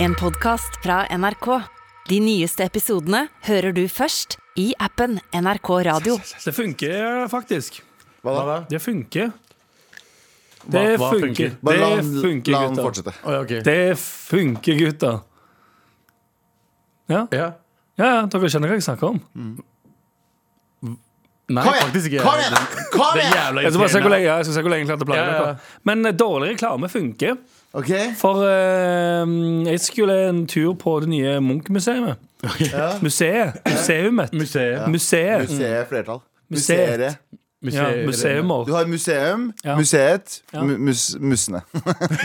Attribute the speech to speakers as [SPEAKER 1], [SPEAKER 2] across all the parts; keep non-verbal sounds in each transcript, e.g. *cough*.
[SPEAKER 1] En podcast fra NRK. De nyeste episodene hører du først i appen NRK Radio.
[SPEAKER 2] Det funker faktisk.
[SPEAKER 3] Hva da?
[SPEAKER 2] Det funker.
[SPEAKER 4] Hva-
[SPEAKER 2] Det
[SPEAKER 4] hva
[SPEAKER 2] funker.
[SPEAKER 4] funker?
[SPEAKER 3] Bare la
[SPEAKER 2] Det
[SPEAKER 3] han,
[SPEAKER 2] funker,
[SPEAKER 3] la han
[SPEAKER 2] gutta.
[SPEAKER 3] fortsette.
[SPEAKER 4] Å, ja, ok.
[SPEAKER 2] Det funker, gutta. Ja,
[SPEAKER 4] ja.
[SPEAKER 2] ja, ja dere skjønner hva jeg snakker om.
[SPEAKER 4] Nei,
[SPEAKER 3] Kom igjen!
[SPEAKER 4] faktisk ikke.
[SPEAKER 3] Kom igjen! Kom
[SPEAKER 4] Det er
[SPEAKER 3] igjen!
[SPEAKER 4] jævla
[SPEAKER 2] Jeg skal bare se hvor
[SPEAKER 4] irriterende.
[SPEAKER 2] lenge, jeg skal se hvor lenge jeg klarte å plage
[SPEAKER 4] Ja, ja, ja.
[SPEAKER 2] dere. Men eh, dårlig reklame funker.
[SPEAKER 3] Ok,
[SPEAKER 2] For eh, jeg skulle en tur på det nye Munch-museet. Museet. Museumet.
[SPEAKER 4] Museet.
[SPEAKER 2] Museet.
[SPEAKER 3] Museet flertall.
[SPEAKER 2] Museet.
[SPEAKER 3] Museere.
[SPEAKER 2] Ja, museumer.
[SPEAKER 3] Du har museum,
[SPEAKER 2] Ja.
[SPEAKER 3] museet,
[SPEAKER 2] Ja.
[SPEAKER 3] mu- mus, mussene.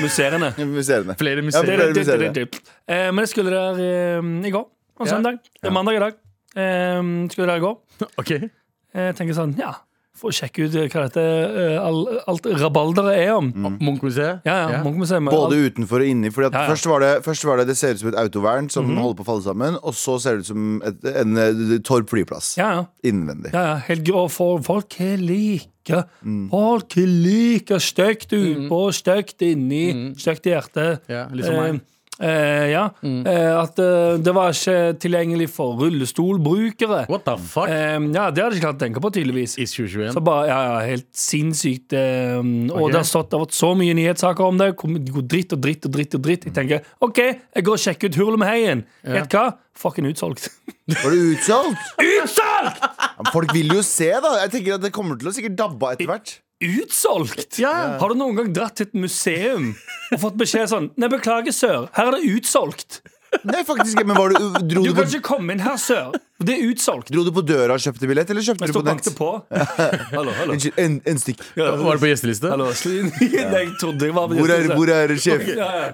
[SPEAKER 2] Museerne.
[SPEAKER 3] *laughs* Museene. Ja,
[SPEAKER 4] Flere
[SPEAKER 2] Det,
[SPEAKER 4] museer.
[SPEAKER 3] men-
[SPEAKER 2] det,
[SPEAKER 3] Flere
[SPEAKER 2] det, det,
[SPEAKER 3] museer,
[SPEAKER 2] det, Eh, men jeg skulle der eh, i går. Og
[SPEAKER 4] Ja.
[SPEAKER 2] søndag. Det er mandag i dag. Eh, skulle der i går.
[SPEAKER 4] Ok.
[SPEAKER 2] Eh, Jeg tenker sånn, ja, får sjekke ut hva dette eh, all, alt rabalderet er om.
[SPEAKER 3] Mm.
[SPEAKER 4] Munch-museet.
[SPEAKER 2] Ja, ja, Munch-museet. med
[SPEAKER 3] Både
[SPEAKER 2] alt-
[SPEAKER 3] utenfor og inni. Fordi at
[SPEAKER 2] Ja, Mhm. ja.
[SPEAKER 3] Først, var det, først var det det ser ut som et autovern som holder på å falle sammen, og så ser det ut som et, en eh, Torp flyplass.
[SPEAKER 2] Ja, ja.
[SPEAKER 3] Innvendig.
[SPEAKER 2] ja, ja. Helt grå for folk er like.
[SPEAKER 4] Mm.
[SPEAKER 2] Folk er like stygt utpå, stygt inni, stygt i hjertet.
[SPEAKER 4] Mm. Ja, litt som meg. Mm.
[SPEAKER 2] Eh, eh, ja. Eh, at eh, det var ikke tilgjengelig for rullestolbrukere.
[SPEAKER 4] What the fuck?
[SPEAKER 2] Eh, ja, det hadde jeg ikke klart å tenke på, tydeligvis.
[SPEAKER 4] I 2021.
[SPEAKER 2] Så bare, ja, ja, Helt sinnssykt. eh, Og
[SPEAKER 4] Sånn. Ok.
[SPEAKER 2] det har stått det har vært så mye nyhetssaker om det. kom- det går Dritt og dritt og dritt. og dritt Jeg tenker OK, jeg går og sjekker ut Hurlumheien. Vet du hva? Fucking utsolgt.
[SPEAKER 3] Var det
[SPEAKER 2] *laughs*
[SPEAKER 3] utsolgt?
[SPEAKER 2] Utsolgt!
[SPEAKER 3] Ja, men Folk vil jo se, da. Jeg tenker at Det kommer til å sikkert dabbe etter hvert.
[SPEAKER 2] Utsolgt?
[SPEAKER 4] Ja.
[SPEAKER 2] Har du noen gang dratt til et museum og fått beskjed sånn Nei, beklager, sør. Her er det utsolgt.
[SPEAKER 3] Nei, faktisk ikke. Men var du, dro,
[SPEAKER 2] Du
[SPEAKER 3] du
[SPEAKER 2] kan
[SPEAKER 3] på,
[SPEAKER 2] ikke komme inn her, sør. Det er utsolgt.
[SPEAKER 3] dro du på døra og kjøpte billett, eller kjøpte
[SPEAKER 2] Jeg
[SPEAKER 3] du
[SPEAKER 2] står
[SPEAKER 3] på
[SPEAKER 2] og
[SPEAKER 3] nett?
[SPEAKER 2] banker på. Hallo, hallo.
[SPEAKER 3] Unnskyld, en, en stikk.
[SPEAKER 4] Var det på gjesteliste?
[SPEAKER 2] hallo. Jeg trodde jeg var
[SPEAKER 3] Hvor er, hvor er sjef?
[SPEAKER 2] Ja, ja.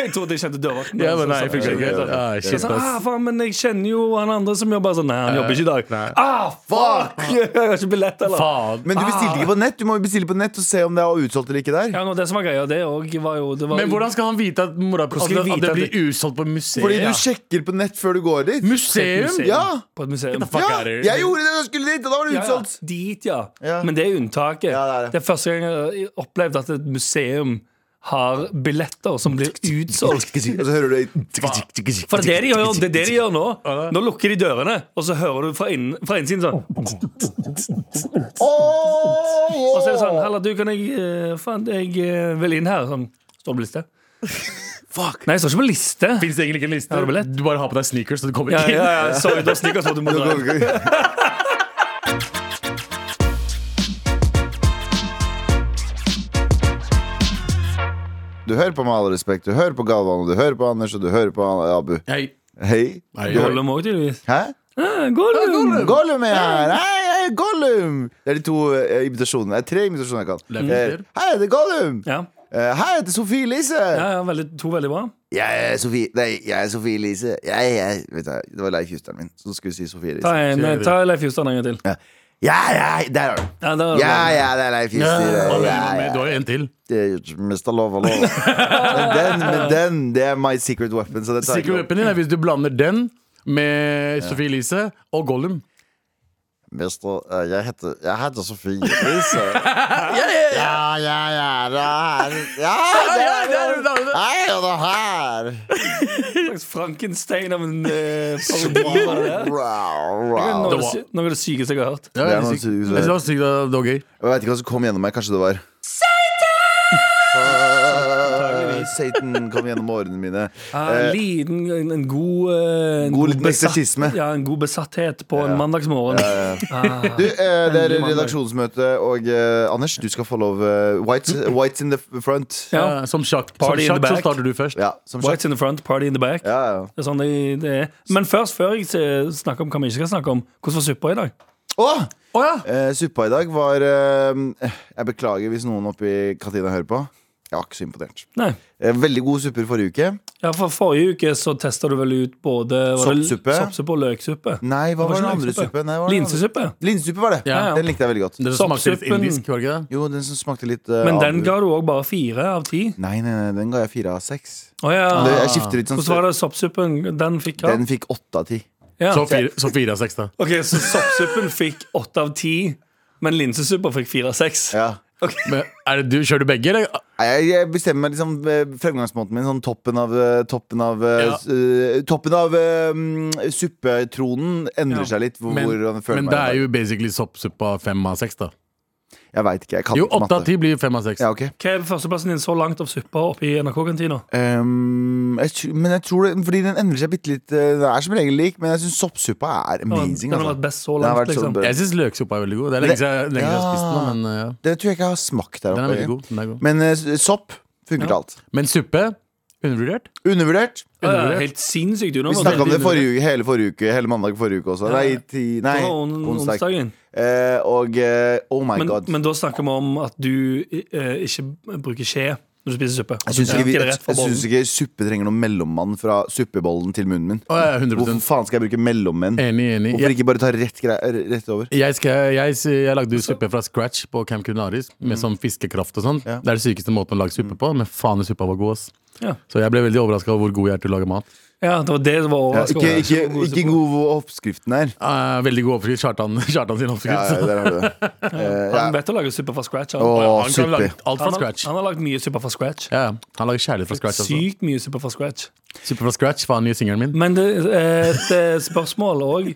[SPEAKER 2] Jeg trodde jeg kjente dørvakten.
[SPEAKER 4] Ja, men nei, jeg fikk
[SPEAKER 3] Ja,
[SPEAKER 4] det ikke.
[SPEAKER 3] ja, ja.
[SPEAKER 4] Ah,
[SPEAKER 2] Jeg
[SPEAKER 4] shit,
[SPEAKER 2] sa, ah,
[SPEAKER 4] ass.
[SPEAKER 2] faen, men jeg kjenner jo han andre som jobber sånn. Nei, han jobber ikke i dag.
[SPEAKER 4] Nei.
[SPEAKER 2] Ah, fuck! *laughs* Jeg har ikke billett, eller?
[SPEAKER 4] Eh. Faen.
[SPEAKER 3] Men du bestilte ikke på nett. Du må jo bestille på nett og se om det er utsolgt eller ikke der.
[SPEAKER 2] Ja, nå, det som var greia, det òg var jo det var,
[SPEAKER 4] Men hvordan skal han vite at, mora, at,
[SPEAKER 2] skal
[SPEAKER 4] det,
[SPEAKER 2] vi vite
[SPEAKER 4] at det
[SPEAKER 2] at
[SPEAKER 4] blir usolgt på museet?
[SPEAKER 3] Fordi du
[SPEAKER 4] Ja.
[SPEAKER 3] sjekker på nett før du går dit.
[SPEAKER 4] Museum?
[SPEAKER 2] Museum.
[SPEAKER 3] Ja!
[SPEAKER 2] På et museum.
[SPEAKER 4] Fuck
[SPEAKER 3] ja.
[SPEAKER 4] er det?
[SPEAKER 3] Jeg gjorde det da jeg skulle dit, og da var det
[SPEAKER 2] Ja, ja,
[SPEAKER 3] utsolgt.
[SPEAKER 2] dit, ja.
[SPEAKER 3] Ja.
[SPEAKER 2] Men det er unntaket.
[SPEAKER 3] Ja, det er det.
[SPEAKER 2] det er første gang jeg har opplevd at et museum har billetter som blir utsolgt.
[SPEAKER 3] Og så hører du
[SPEAKER 2] For det er det de gjør, det er det de gjør nå. Nå lukker de dørene, og så hører du fra, innen, fra innsiden sånn Og så er det sånn Halla, du, kan jeg eh, Faen, jeg eh, vil inn her. Sånn. Står det på liste? Fuck. Nei, jeg står ikke på liste.
[SPEAKER 4] Finnes det egentlig ikke en liste?
[SPEAKER 2] Har du billett?
[SPEAKER 4] Du bare har på deg sneakers, så du kommer
[SPEAKER 2] Ja,
[SPEAKER 4] ikke inn.
[SPEAKER 2] ja, ja. Sorry, da snikker jeg så du må
[SPEAKER 3] *laughs*
[SPEAKER 2] dra.
[SPEAKER 3] Du hører på Med all respekt. Du hører på Galvan, og du hører på Anders, og du hører på Abu.
[SPEAKER 4] Hei.
[SPEAKER 3] Hei.
[SPEAKER 4] Hei.
[SPEAKER 3] Du hører-
[SPEAKER 2] Gollum òg, tydeligvis.
[SPEAKER 3] Hæ?
[SPEAKER 2] Ja, Gollum!
[SPEAKER 3] Gollum er her! Hei, hei, Gollum! Det er de to eh, imitasjonene. Det er tre imitasjoner jeg kan.
[SPEAKER 4] Det er fint,
[SPEAKER 3] Eh,
[SPEAKER 4] det.
[SPEAKER 3] Hei, det er Gollum!
[SPEAKER 2] Ja,
[SPEAKER 3] Eh, Hei, jeg heter Sofie Elise!
[SPEAKER 2] ja, ja veldig, to veldig bra.
[SPEAKER 3] Jeg er Sofie Nei, jeg er Sofie Elise. Jeg, jeg, vet du, det var Leif Justeren min som skulle si Sofie
[SPEAKER 2] Ta,
[SPEAKER 3] Elise.
[SPEAKER 2] en, eh, ta Leif Jostein en gang til.
[SPEAKER 3] Ja, ja, ja, der har du den.
[SPEAKER 2] Ja, der,
[SPEAKER 3] Ja, ja, det er Leif
[SPEAKER 4] Ja,
[SPEAKER 3] Juster. Ja,
[SPEAKER 4] hva mener du
[SPEAKER 3] ja,
[SPEAKER 4] med- Du har jo en til.
[SPEAKER 3] Det er Mr. Lova Lova. Men den, men den, det er my secret weapon. Så det tar jeg
[SPEAKER 4] Secret
[SPEAKER 3] ikke opp.
[SPEAKER 4] weapon din er hvis du blander den med Sophie Elise og Gollum.
[SPEAKER 3] Mr. eh, Jeg heter, jeg heter Sofie Elise. Ja, ja, ja, det er Ja, det er Hei, og det her.
[SPEAKER 2] slags Frankenstein av en eh, parodi. var det det? Det
[SPEAKER 3] Wow,
[SPEAKER 2] er
[SPEAKER 3] wow.
[SPEAKER 2] Noe
[SPEAKER 4] Det
[SPEAKER 2] av det
[SPEAKER 4] var-
[SPEAKER 2] sy- noe av det sykeste jeg har hørt.
[SPEAKER 4] Ja,
[SPEAKER 3] Det er
[SPEAKER 4] veldig
[SPEAKER 3] noe
[SPEAKER 4] sykt.
[SPEAKER 3] sykt.
[SPEAKER 4] Jeg synes det var sykt at det var gøy.
[SPEAKER 3] Jeg vet ikke hva som kom gjennom meg. Kanskje det var Eh, *laughs* Satan kom gjennom årene mine.
[SPEAKER 2] Ja,
[SPEAKER 3] Eh,
[SPEAKER 2] en liten, en, en god eh, en
[SPEAKER 3] God liten eksorsisme.
[SPEAKER 2] Ja, en god besatthet på en mandagsmorgen. Ah,
[SPEAKER 3] Du, eh, det er
[SPEAKER 2] Endelig mandag.
[SPEAKER 3] redaksjonsmøte, og eh, Anders, du skal få lov eh, whites, whites in the front.
[SPEAKER 2] ja.
[SPEAKER 4] Ja, Eh, Som sjakk, som
[SPEAKER 2] Party in the
[SPEAKER 4] sjakk så
[SPEAKER 2] back.
[SPEAKER 4] starter du først.
[SPEAKER 3] Ja, som sagt.
[SPEAKER 2] Whites in the front, party in the back.
[SPEAKER 3] Ja, ja.
[SPEAKER 2] Det er sånn det, det er. Men først, før jeg se- snakker om hva vi ikke skal snakke om, hvordan var suppa i dag?
[SPEAKER 3] Å!
[SPEAKER 4] Å ja!
[SPEAKER 3] Eh, suppa i dag var eh, Jeg beklager hvis noen oppe i kantina hører på. Jeg var ikke så imponert.
[SPEAKER 2] Nei.
[SPEAKER 3] Eh, veldig gode supper forrige uke.
[SPEAKER 2] Ja, for Forrige uke så testa du vel ut både var det
[SPEAKER 3] Soppsuppe.
[SPEAKER 2] soppsuppe og løksuppe.
[SPEAKER 3] Nei, hva
[SPEAKER 2] Det
[SPEAKER 3] var
[SPEAKER 2] var
[SPEAKER 3] den
[SPEAKER 2] ikke
[SPEAKER 3] andre
[SPEAKER 2] løksuppe.
[SPEAKER 3] suppen? Nei, hva var den andre?
[SPEAKER 2] Linsesuppe.
[SPEAKER 3] Linsesuppe var det.
[SPEAKER 4] Ja,
[SPEAKER 2] ja.
[SPEAKER 3] Den likte jeg veldig godt.
[SPEAKER 4] Det smakte litt
[SPEAKER 2] Soppsuppen.
[SPEAKER 4] indisk, var det ikke det?
[SPEAKER 3] Jo, den som smakte litt eh,
[SPEAKER 2] Men den
[SPEAKER 3] abu.
[SPEAKER 2] ga du òg bare fire av ti.
[SPEAKER 3] Nei, nei, nei, den ga jeg fire av seks.
[SPEAKER 2] Å ja.
[SPEAKER 3] Det,
[SPEAKER 4] Ah.
[SPEAKER 3] jeg skifter litt
[SPEAKER 2] Hvordan var
[SPEAKER 3] sånn
[SPEAKER 2] det soppsuppen? Den fikk hva?
[SPEAKER 3] Den fikk åtte av ti.
[SPEAKER 2] Ja.
[SPEAKER 4] Så fire, så fire av seks, da.
[SPEAKER 2] Ok, så soppsuppen fikk åtte av ti, men linsesuppa fikk fire av seks.
[SPEAKER 3] Ja.
[SPEAKER 4] Men er det du, Kjører du begge, eller?
[SPEAKER 3] Nei, Jeg, jeg bestemmer meg liksom eh, fremgangsmåten min. Sånn toppen av eh, Toppen av, eh,
[SPEAKER 4] Ja.
[SPEAKER 3] s- eh, toppen av eh, mm, suppetronen endrer
[SPEAKER 2] Ja.
[SPEAKER 3] seg litt. Hvor,
[SPEAKER 4] Men,
[SPEAKER 3] hvordan jeg føler
[SPEAKER 4] men
[SPEAKER 3] meg
[SPEAKER 4] det er
[SPEAKER 3] i dag.
[SPEAKER 4] jo basically soppsuppa fem av seks, da.
[SPEAKER 3] Jeg veit ikke. Jeg kan
[SPEAKER 4] Jo,
[SPEAKER 3] ikke
[SPEAKER 4] åtte av
[SPEAKER 3] matte.
[SPEAKER 4] ti blir fem av seks.
[SPEAKER 3] Ja, ok
[SPEAKER 2] Hva er førsteplassen din så langt av suppa oppe i NRK-kantina?
[SPEAKER 3] Ehm, jeg, tr- Men jeg tror det Fordi den endrer seg bitte litt. eh, Den er som regel lik, men jeg syns soppsuppa er amazing.
[SPEAKER 2] Den har
[SPEAKER 3] altså.
[SPEAKER 2] vært best så
[SPEAKER 3] Den har
[SPEAKER 2] langt,
[SPEAKER 3] vært sånn
[SPEAKER 2] liksom.
[SPEAKER 3] bra.
[SPEAKER 4] Jeg syns løksuppa er veldig god. Det er lenge
[SPEAKER 3] Det-
[SPEAKER 4] siden jeg- lenge siden jeg har
[SPEAKER 3] Ja.
[SPEAKER 4] spist den, men uh, ja.
[SPEAKER 3] Det tror jeg ikke jeg har smakt der
[SPEAKER 4] den er
[SPEAKER 3] oppe.
[SPEAKER 4] veldig god. Den er god.
[SPEAKER 3] Men eh, s- sopp funker til alt.
[SPEAKER 4] Men suppe undervurdert.
[SPEAKER 3] Undervurdert.
[SPEAKER 2] Ja, ja, Helt sinnssykt.
[SPEAKER 3] Vi snakka om det forrige uke, hele forrige uke, hele mandag forrige uke også.
[SPEAKER 2] Ja.
[SPEAKER 3] Nei, ti, nei onsdag.
[SPEAKER 2] onsdagen.
[SPEAKER 3] Eh, og eh, oh my
[SPEAKER 2] Men,
[SPEAKER 3] god.
[SPEAKER 2] men da snakker vi om at du eh, ikke bruker skje når du spiser suppe.
[SPEAKER 3] jeg syns
[SPEAKER 2] At du
[SPEAKER 3] ikke, vi-
[SPEAKER 2] drikker det
[SPEAKER 3] jeg,
[SPEAKER 2] rett fra bollen.
[SPEAKER 3] syns ikke suppe trenger noen mellommann fra suppebollen til munnen min.
[SPEAKER 4] Å, jeg er 100
[SPEAKER 3] Hvorfor faen skal jeg bruke mellommenn?
[SPEAKER 4] Enig, enig.
[SPEAKER 3] Hvorfor
[SPEAKER 4] Eh, Jeg,
[SPEAKER 3] ikke bare ta rett, grei, rett over?
[SPEAKER 4] jeg, skal, jeg, jeg lagde jo suppe fra scratch på Camp Culinaris med sånn fiskekraft og sånn.
[SPEAKER 3] Mm. Ja. Mm.
[SPEAKER 4] Det er den sykeste måten å lage suppe på, men faen, den suppa var god, ass.
[SPEAKER 2] Ja.
[SPEAKER 4] Så jeg ble veldig overraska over hvor god jeg er til å lage mat.
[SPEAKER 2] Ja, det var det som var
[SPEAKER 3] Ja,
[SPEAKER 2] overraskende.
[SPEAKER 3] ikke, ikke, ikke god hvor oppskriften er.
[SPEAKER 4] Eh, veldig god oppskrift. Kjartan, *laughs* Kjartan sin oppskrift.
[SPEAKER 3] Ja,
[SPEAKER 4] så-
[SPEAKER 3] der har du det. Eh, ja.
[SPEAKER 2] Han vet å lage suppe fra scratch. Han,
[SPEAKER 3] Å,
[SPEAKER 4] Han kan
[SPEAKER 3] suppe.
[SPEAKER 4] lage alt fra
[SPEAKER 2] han, har,
[SPEAKER 4] scratch.
[SPEAKER 2] han har lagd mye suppe fra scratch.
[SPEAKER 4] Ja, han lager kjærlighet fra scratch. Også.
[SPEAKER 2] Sykt mye suppe fra scratch.
[SPEAKER 4] Super fra scratch var den nye singelen min.
[SPEAKER 2] Men det, eh, et eh, spørsmål òg.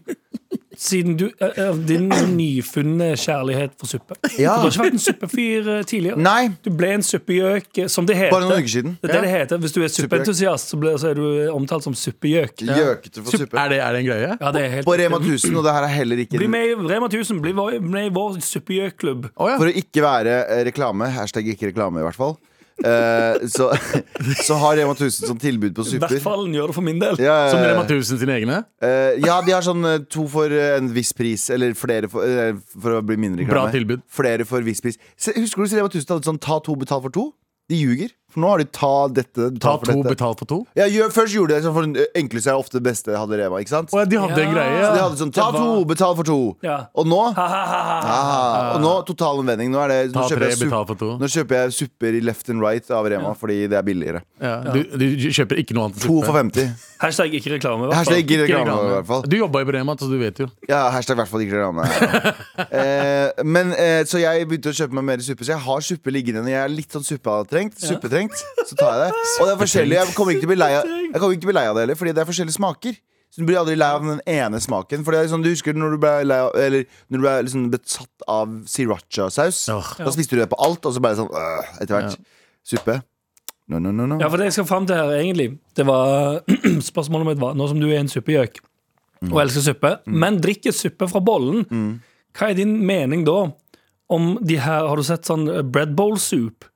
[SPEAKER 2] Siden du eh, eh, Din nyfunne kjærlighet for suppe.
[SPEAKER 3] Ja.
[SPEAKER 2] Du har ikke vært en suppefyr eh, tidligere.
[SPEAKER 3] Nei,
[SPEAKER 2] Du ble en suppegjøk, eh, som det heter.
[SPEAKER 3] bare noen uker siden.
[SPEAKER 2] Det er det det heter. Hvis du er suppeentusiast, så, ble, så er du eh, omtalt som suppegjøk.
[SPEAKER 3] Gjøkete for
[SPEAKER 4] Sup-
[SPEAKER 3] suppe.
[SPEAKER 4] Er det, er det en greie?
[SPEAKER 2] Ja, det er helt
[SPEAKER 3] På Rema 1000, og det her er heller ikke
[SPEAKER 2] Bli med i Rema 1000. Bli vår- med i vår suppegjøkklubb.
[SPEAKER 4] Å ja.
[SPEAKER 3] For å ikke være eh, reklame, hashtag ikke reklame i hvert fall, eh, så, *laughs* så har Rema 1000 sånn tilbud på
[SPEAKER 2] I
[SPEAKER 3] supper.
[SPEAKER 2] hvert fall gjør det for min del.
[SPEAKER 3] Ja, ja,
[SPEAKER 4] Som
[SPEAKER 3] ja.
[SPEAKER 4] Rema 1000 sine egne?
[SPEAKER 3] Eh, ja, de har sånn eh, to for eh, en viss pris, eller flere for, eh, for å bli mindre reklame.
[SPEAKER 4] Bra tilbud.
[SPEAKER 3] Flere for viss pris. Se, husker du så Rema 1000 hadde sånn ta to, betal for to? De ljuger. For nå har de ta dette,
[SPEAKER 4] Ta
[SPEAKER 3] betal for
[SPEAKER 4] to,
[SPEAKER 3] dette.
[SPEAKER 4] betal for to?
[SPEAKER 3] Ja, gjør, først gjorde de det, sånn, for den enkleste er ofte det beste, hadde Rema. ikke sant?
[SPEAKER 4] Å ja, de hadde en
[SPEAKER 2] Ja.
[SPEAKER 4] greie.
[SPEAKER 3] Så
[SPEAKER 4] Ja.
[SPEAKER 3] de hadde sånn ta
[SPEAKER 2] Det var-
[SPEAKER 3] to, betal for to.
[SPEAKER 2] Ja. *laughs*
[SPEAKER 3] Og nå
[SPEAKER 2] Ha-ha-ha.
[SPEAKER 3] Ah, og nå total omvending. Nå, er det, nå,
[SPEAKER 4] Ta
[SPEAKER 3] kjøper
[SPEAKER 4] tre,
[SPEAKER 3] jeg
[SPEAKER 4] betal
[SPEAKER 3] sup-
[SPEAKER 4] for to.
[SPEAKER 3] nå kjøper jeg supper i left and right av Rema fordi det er billigere.
[SPEAKER 4] Ja. Du, du kjøper ikke noe annet enn
[SPEAKER 3] To
[SPEAKER 4] suppe.
[SPEAKER 3] for 50.
[SPEAKER 2] Hashtag ikke reklame. i hvert fall.
[SPEAKER 3] Hashtag ikke reklame, i hvert fall.
[SPEAKER 4] Du jobba jo på Rema, så du vet jo.
[SPEAKER 3] Ja, hashtag i hvert fall ikke reklame. Ja. eh, men, eh, så jeg begynte å kjøpe meg mer suppe, så jeg har suppe liggende når jeg er litt sånn suppetrengt. Suppetrengt, så tar jeg det. Og det er forskjellig. Jeg kommer ikke til å bli lei av, jeg kommer ikke til å bli lei av det heller, fordi det er forskjellige smaker. Så Du blir aldri lei av den ene smaken. For det er sånn, Du husker når du ble, lei av, eller, når du ble liksom besatt av sriracha-saus.
[SPEAKER 4] Åh.
[SPEAKER 3] Da spiste du det på alt, og så ble det sånn øh, etter hvert. Suppe. No, no, no, no.
[SPEAKER 2] Ja, for det jeg skal fram til her, egentlig, det var *clears throat* spørsmålet mitt var Nå som du er en suppegjøk
[SPEAKER 3] Mm.
[SPEAKER 2] og elsker suppe, men drikker suppe fra bollen, hva er din mening da om de her Har du sett sånn eh, bread bowl soup?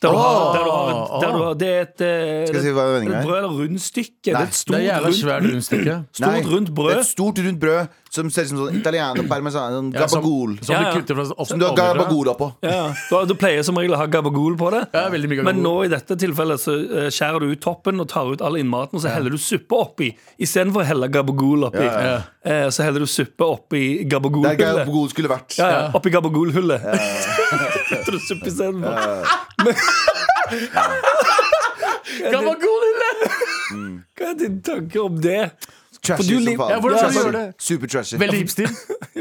[SPEAKER 2] Der du har, der du har, der du har, det er et, eh,
[SPEAKER 3] Skal jeg si hva vendingen
[SPEAKER 2] et
[SPEAKER 3] er?
[SPEAKER 2] brød eller rundstykke. det
[SPEAKER 3] Nei,
[SPEAKER 2] er et
[SPEAKER 4] Det
[SPEAKER 2] stort,
[SPEAKER 4] er jævla
[SPEAKER 2] rundt,
[SPEAKER 4] svært rundstykke.
[SPEAKER 3] Nei,
[SPEAKER 2] stort rundt
[SPEAKER 3] Det er
[SPEAKER 2] brød.
[SPEAKER 3] et stort, rundt brød som ser ut som sånn italiano parmesan. Sånn
[SPEAKER 4] Ja, som,
[SPEAKER 3] gabagol.
[SPEAKER 4] som
[SPEAKER 2] Ja,
[SPEAKER 4] du
[SPEAKER 2] ja.
[SPEAKER 4] kutter fra ofte
[SPEAKER 3] Som du har
[SPEAKER 4] ovenfra.
[SPEAKER 3] gabagola på.
[SPEAKER 2] Ja, du, du pleier som regel å ha gabagool på det.
[SPEAKER 4] Ja, veldig mye
[SPEAKER 2] Men
[SPEAKER 4] gabagol.
[SPEAKER 2] nå i dette tilfellet så eh, skjærer du ut toppen og tar ut all innmaten, og så heller du suppe oppi. Istedenfor å helle gabagol oppi,
[SPEAKER 4] ja.
[SPEAKER 2] eh, så heller du suppe oppi
[SPEAKER 3] Der
[SPEAKER 2] gabagolhullet.
[SPEAKER 3] gabagol skulle vært.
[SPEAKER 2] Ja, ja, oppi gabagolhullet. *laughs* Putter du suppe istedenfor. Men-
[SPEAKER 4] Gabagol, lille!
[SPEAKER 2] Hva er dine tanker om det? For
[SPEAKER 3] Trashy
[SPEAKER 2] du
[SPEAKER 3] som
[SPEAKER 2] liv-
[SPEAKER 3] faen.
[SPEAKER 4] Ja, hvordan skal du
[SPEAKER 3] Trashy.
[SPEAKER 4] gjøre det?
[SPEAKER 3] Super trashy.
[SPEAKER 4] Veldig
[SPEAKER 3] *laughs*
[SPEAKER 4] hipster.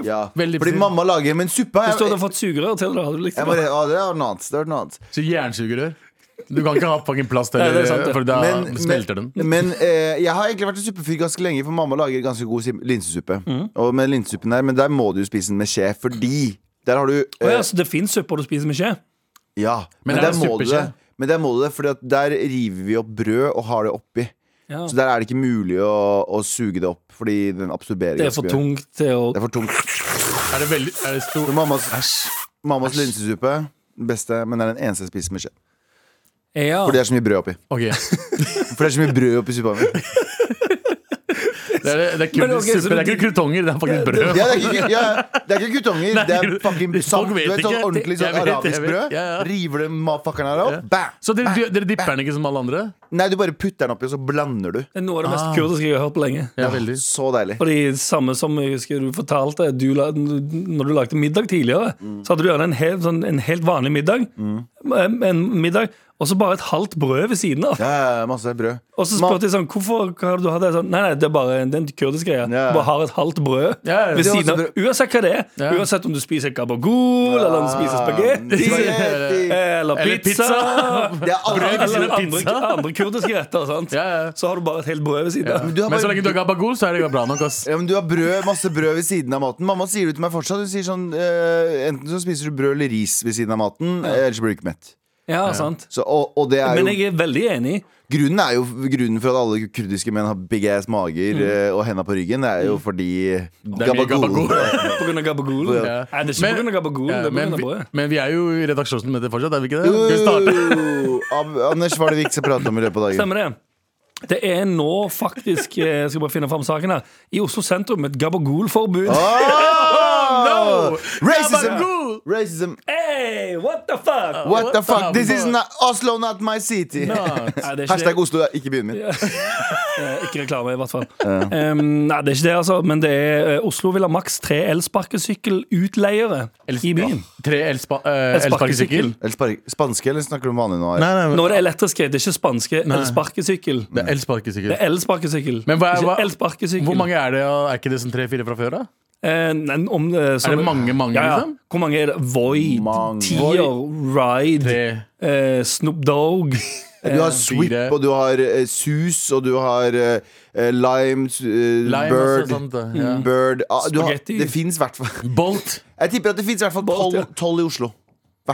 [SPEAKER 3] ja.
[SPEAKER 4] veldig
[SPEAKER 3] Fordi
[SPEAKER 4] fin.
[SPEAKER 3] mamma lager Men suppa
[SPEAKER 2] Hvis
[SPEAKER 3] jeg,
[SPEAKER 2] du hadde
[SPEAKER 3] jeg,
[SPEAKER 2] fått sugerør til det, hadde du likt
[SPEAKER 3] må
[SPEAKER 2] det.
[SPEAKER 3] re- å, Det er noe annet. Det er noe annet.
[SPEAKER 4] Så jernsugerør. Du kan ikke ha fucking plast
[SPEAKER 2] Nei, det er sant,
[SPEAKER 4] heller,
[SPEAKER 2] det.
[SPEAKER 4] for da
[SPEAKER 3] Men,
[SPEAKER 4] smelter den.
[SPEAKER 3] men, men eh, jeg har egentlig vært en suppefyr ganske lenge, for mamma lager ganske god sim- linsesuppe. Og med linsesuppen der, Men der må du jo spise den med skje, fordi der har du eh,
[SPEAKER 2] Å ja, så det fins supper du spiser med skje?
[SPEAKER 3] Ja, men,
[SPEAKER 4] Men er
[SPEAKER 3] der
[SPEAKER 4] det
[SPEAKER 3] må du
[SPEAKER 4] suppeskje?
[SPEAKER 3] det. Men der må du det, Fordi at der river vi opp brød og har det oppi.
[SPEAKER 2] Ja.
[SPEAKER 3] Så der er det ikke mulig å, å suge det opp, fordi den absorberer
[SPEAKER 2] Det er for
[SPEAKER 3] ganske mye.
[SPEAKER 2] tungt til å
[SPEAKER 3] Det er for tungt.
[SPEAKER 4] Er det veldig er det stor
[SPEAKER 3] Men Mammas,
[SPEAKER 4] Æsj.
[SPEAKER 3] mammas linsesuppe, den beste, men det er den eneste jeg spiser med skje.
[SPEAKER 2] Ja.
[SPEAKER 3] For det
[SPEAKER 4] Ah.
[SPEAKER 3] er så mye brød oppi.
[SPEAKER 4] Ok.
[SPEAKER 3] For det er så mye brød oppi suppa
[SPEAKER 4] *laughs*
[SPEAKER 3] mi.
[SPEAKER 4] Det *laughs* er, det er, kun,
[SPEAKER 2] Men ok, så
[SPEAKER 4] suppe, det er ikke krutonger, det er faktisk brød.
[SPEAKER 3] Ja, det, er ikke, ja, det er ikke guttunger, det er fucking
[SPEAKER 4] folk
[SPEAKER 3] salt. Du
[SPEAKER 4] vet
[SPEAKER 3] vet, sånn
[SPEAKER 4] ikke.
[SPEAKER 3] ordentlig
[SPEAKER 4] Jeg
[SPEAKER 3] sånn
[SPEAKER 4] vet, jeg
[SPEAKER 3] arabisk
[SPEAKER 4] vet.
[SPEAKER 3] brød.
[SPEAKER 4] Ja, ja.
[SPEAKER 3] River det mafakkeren her opp. Bam!
[SPEAKER 4] Så dere, dere- dere dipper den ikke som alle andre?
[SPEAKER 3] Nei, du bare putter den oppi, og så blander du.
[SPEAKER 2] Det er noe av det mest kurdiske jeg har hørt på lenge.
[SPEAKER 4] Ja, veldig
[SPEAKER 3] Så deilig.
[SPEAKER 2] Fordi samme som jeg husker du fortalte du, la- Når du
[SPEAKER 4] Mm.
[SPEAKER 2] lagde middag tidligere Så hadde du gjerne en, hel, sånn, en helt vanlig middag En en middag Og så bare et halvt brød ved siden av.
[SPEAKER 3] Ja, ja, ja, masse brød.
[SPEAKER 2] Og så
[SPEAKER 3] Ma-
[SPEAKER 2] spurte jeg sånn, hvorfor hva har du hatt det? Sånn, nei, nei, det er bare en- det er en kurdisk greie.
[SPEAKER 3] Ja.
[SPEAKER 2] Du bare har et halvt brød
[SPEAKER 4] Ja, ja,
[SPEAKER 2] ved
[SPEAKER 4] det
[SPEAKER 3] var
[SPEAKER 2] siden av.
[SPEAKER 3] så
[SPEAKER 2] Uansett hva det er.
[SPEAKER 4] Ja.
[SPEAKER 2] Uansett om du spiser gabagool, eller om du spiser
[SPEAKER 3] Ah,
[SPEAKER 2] spagetti, Eh,
[SPEAKER 3] Spagetti.
[SPEAKER 2] eller
[SPEAKER 4] Eller
[SPEAKER 2] pizza, *laughs*
[SPEAKER 4] pizza.
[SPEAKER 3] Det er aldri
[SPEAKER 2] eller andre,
[SPEAKER 4] pizza.
[SPEAKER 2] andre kurdiske retter, sant?
[SPEAKER 4] Ja, ja.
[SPEAKER 2] så har du bare et helt brød ved siden av.
[SPEAKER 3] du har
[SPEAKER 4] Men så
[SPEAKER 3] bare-
[SPEAKER 4] lenge du har gabagol, så er det bra nok. ass
[SPEAKER 3] Ja, men Du har brød, masse brød ved siden av maten. Mamma sier det til meg fortsatt. Hun sier sånn eh, Enten så spiser du brød eller ris ved siden av maten, eh, ellers blir du ikke mett.
[SPEAKER 2] Ja, sant.
[SPEAKER 3] Så, og, og det er jo,
[SPEAKER 2] Men jeg er veldig enig.
[SPEAKER 3] grunnen er jo grunnen for at alle kurdiske menn har big ass
[SPEAKER 2] Mm.
[SPEAKER 3] mager eh, og henda på ryggen, det er jo fordi
[SPEAKER 4] Det er mye
[SPEAKER 3] gabagool.
[SPEAKER 4] gabagol.
[SPEAKER 3] *laughs*
[SPEAKER 2] På grunn av gabagool.
[SPEAKER 4] Ja.
[SPEAKER 2] Nei, det er ikke på grunn av gabagool, det
[SPEAKER 4] Ja,
[SPEAKER 2] er på
[SPEAKER 4] men,
[SPEAKER 2] grunn av
[SPEAKER 4] vi,
[SPEAKER 2] brød.
[SPEAKER 4] men vi er jo i redaksjonen med det fortsatt, er vi ikke det? Skal vi starte?
[SPEAKER 3] Uh, Ab Anders, hva er det vi ikke skal prate om i løpet av dagen?
[SPEAKER 2] Stemmer det. Det er nå faktisk, eh, jeg skal bare finne fram saken her, i Oslo sentrum et gabagool-forbud.
[SPEAKER 3] Oh, Ah! Racism!
[SPEAKER 4] Gabagol!
[SPEAKER 3] Racism!
[SPEAKER 2] Hey, what the fuck?
[SPEAKER 3] What the
[SPEAKER 4] What
[SPEAKER 3] fuck?
[SPEAKER 4] the
[SPEAKER 3] This is
[SPEAKER 4] fuck?
[SPEAKER 3] not Oslo, not my city! *laughs*
[SPEAKER 2] Nei, det er ikke
[SPEAKER 3] Hashtag
[SPEAKER 2] det.
[SPEAKER 3] Oslo er ikke byen min.
[SPEAKER 2] Eh, Ikke reklame, i hvert fall. Um, nei, det er ikke det, altså. Men det er eh, Oslo vil ha maks tre elsparkesykkelutleiere i byen.
[SPEAKER 4] Tre elspa, eh, elsparkesykkel.
[SPEAKER 3] Eller spar- spanske, eller snakker du om vanlig nå?
[SPEAKER 4] Nei, nei, men-
[SPEAKER 2] Nå er det elektriske, det er ikke spanske elsparkesykkel.
[SPEAKER 4] det er elsparkesykkel.
[SPEAKER 2] Det er elsparkesykkel.
[SPEAKER 4] Men hva er-
[SPEAKER 2] ikke
[SPEAKER 4] hva-
[SPEAKER 2] elsparkesykkel.
[SPEAKER 4] Hvor mange er det? og Er ikke det sånn tre-fire fra før? da?
[SPEAKER 2] Eh, nei, om, det- sånn-
[SPEAKER 4] Er det mange, mange,
[SPEAKER 2] ja, ja.
[SPEAKER 4] liksom?
[SPEAKER 2] Hvor mange er det? Void,
[SPEAKER 3] Mange.
[SPEAKER 2] Tier, Ride,
[SPEAKER 4] Tre.
[SPEAKER 2] eh, Snoop
[SPEAKER 4] *laughs*
[SPEAKER 2] Dogg
[SPEAKER 3] Du har Swip,
[SPEAKER 4] fire.
[SPEAKER 3] og du har eh, Sus, og du har eh, eh, Lime, s- eh,
[SPEAKER 4] Lime
[SPEAKER 3] Bird,
[SPEAKER 4] og sånt. Ja.
[SPEAKER 3] Bird. Ah, du har,
[SPEAKER 2] Spaghetti.
[SPEAKER 3] Det fins hvert fall
[SPEAKER 4] Bolt.
[SPEAKER 3] Jeg tipper at det fins i hvert fall
[SPEAKER 2] Bolt,
[SPEAKER 3] tolv
[SPEAKER 2] ja.
[SPEAKER 3] tolv i Oslo. Hvert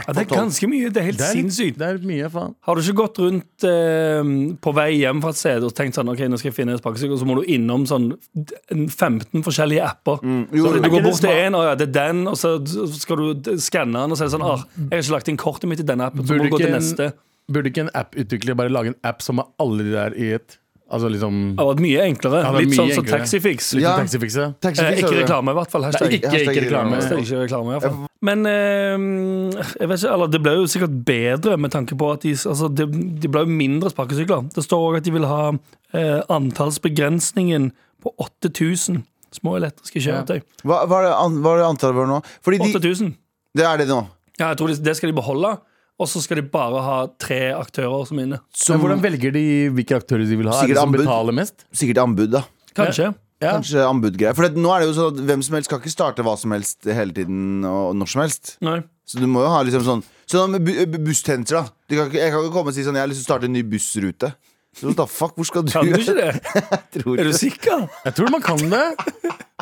[SPEAKER 2] ja,
[SPEAKER 3] fall
[SPEAKER 2] Det er
[SPEAKER 3] tolv.
[SPEAKER 2] ganske mye. Det er helt
[SPEAKER 4] Det er,
[SPEAKER 2] sinnssykt.
[SPEAKER 4] det er mye, faen.
[SPEAKER 2] Har du ikke gått rundt eh, på vei hjem fra et sted og tenkt sånn, ok, nå skal jeg finne en spakkesykkel, og så må du innom sånn d- en 15 forskjellige apper.
[SPEAKER 4] Mm.
[SPEAKER 3] Jo,
[SPEAKER 2] så
[SPEAKER 3] jo,
[SPEAKER 2] du
[SPEAKER 3] jo.
[SPEAKER 2] går bort til en, og ja, det er den, og så skal du d- skanne den, og så er det sånn, ah, jeg har ikke lagt inn kortet mitt i denne appen, så
[SPEAKER 4] Burde
[SPEAKER 2] må du gå til
[SPEAKER 4] ikke en-
[SPEAKER 2] neste.
[SPEAKER 4] Burde ikke en apputvikler bare lage en app som har alle de der i et Altså liksom
[SPEAKER 2] Det har vært mye enklere.
[SPEAKER 4] Ja, det er
[SPEAKER 2] Litt
[SPEAKER 4] mye
[SPEAKER 2] sånn som
[SPEAKER 4] enklere.
[SPEAKER 2] Taxifix.
[SPEAKER 3] Ja.
[SPEAKER 4] taxifikse?
[SPEAKER 3] Taxi
[SPEAKER 2] Eh,
[SPEAKER 3] fix,
[SPEAKER 2] ikke
[SPEAKER 3] har du det?
[SPEAKER 2] reklame, i hvert fall.
[SPEAKER 4] Nei,
[SPEAKER 2] Hashtag.
[SPEAKER 4] ikke,
[SPEAKER 3] hashtag
[SPEAKER 4] ikke reklame.
[SPEAKER 3] reklame.
[SPEAKER 2] Hashtag ikke reklame, i hvert fall. Men eh, jeg vet ikke, eller det ble jo sikkert bedre med tanke på at de, altså, de, de ble jo mindre sparkesykler. Det står òg at de vil ha eh, antallsbegrensningen på 8000 små elektriske kjøretøy.
[SPEAKER 3] Hva, hva, er det an, hva er det antallet vårt nå? Fordi de,
[SPEAKER 2] 8000.
[SPEAKER 3] det er det nå.
[SPEAKER 2] Ja, jeg tror de, det skal de beholde. Og så skal de bare ha tre aktører som er inne.
[SPEAKER 3] Som,
[SPEAKER 4] Men hvordan velger de hvilke aktører de vil ha?
[SPEAKER 3] Sikkert
[SPEAKER 4] er det som
[SPEAKER 3] anbud.
[SPEAKER 4] betaler mest?
[SPEAKER 3] sikkert anbud, da.
[SPEAKER 2] Kanskje.
[SPEAKER 4] Ja.
[SPEAKER 3] Kanskje anbudgreier. For det, nå er det jo sånn at hvem som helst skal ikke starte hva som helst hele tiden og når som helst.
[SPEAKER 2] Nei.
[SPEAKER 3] Så du må jo ha liksom sånn Sånn med bu- bu- busstjenester, da. Du kan, ikke- jeg kan ikke komme og si sånn Jeg har lyst til å starte en ny bussrute. Så, what the fuck, hvor skal du?
[SPEAKER 2] Kan du ikke det?
[SPEAKER 3] Tror
[SPEAKER 2] Er
[SPEAKER 3] ikke.
[SPEAKER 2] du sikker?
[SPEAKER 4] Jeg tror man kan det.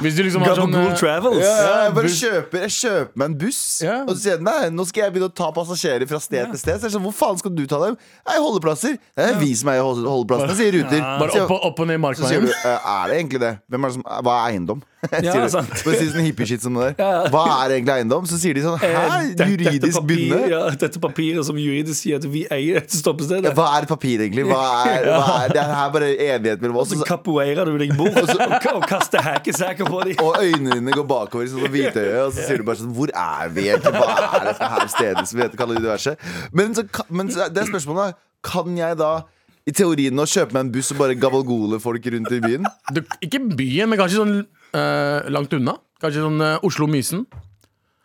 [SPEAKER 4] Hvis du liksom har sånn
[SPEAKER 2] Gabagool
[SPEAKER 4] eh,
[SPEAKER 2] Travels.
[SPEAKER 3] Ja, ja, jeg bare
[SPEAKER 4] buss-
[SPEAKER 3] kjøper, jeg kjøper meg en buss,
[SPEAKER 4] Ja.
[SPEAKER 3] og så sier den nei, nå skal jeg begynne å ta passasjerer fra sted til sted. Så jeg er sånn, Hvor faen skal du ta dem? Nei, holdeplasser. Det er vi som eier hold- holdeplassene, sier Ruter. Så
[SPEAKER 4] Bare
[SPEAKER 3] sier-
[SPEAKER 4] opp og, opp og ned i
[SPEAKER 3] så sier
[SPEAKER 4] markveien.
[SPEAKER 3] du, «Eh, er det egentlig det? Hvem er det som, eh, hva er eiendom? *laughs*
[SPEAKER 2] Ja,
[SPEAKER 3] sier du.
[SPEAKER 2] sant.
[SPEAKER 3] For å si sånn hippie-shit som det der. Hva er egentlig eiendom? Så sier de sånn, hæ?
[SPEAKER 2] Det- Eh, dette
[SPEAKER 3] Juridisk
[SPEAKER 2] papir-
[SPEAKER 3] bindende?
[SPEAKER 2] Ja, dette papiret som juridisk sier at vi eier dette stoppestedet.
[SPEAKER 3] Hva er papir egentlig? Hva er, hva er, det her er bare evighet mellom oss.
[SPEAKER 2] Så
[SPEAKER 3] og så-
[SPEAKER 2] capoeira du deg bort og, så, og kaster hackesacker på dem.
[SPEAKER 3] Og øynene dine går bakover i sånn hvitøye, og så sier du bare sånn Hvor er vi egentlig? Hva er dette her stedet som vi heter kaller universet? Men, så, ka- men så, det er spørsmålet da, kan jeg da i teorien nå kjøpe meg en buss og bare gavalgole folk rundt i byen?
[SPEAKER 4] Du, ikke byen, men kanskje sånn eh, langt unna. Kanskje sånn eh, Oslo-Mysen.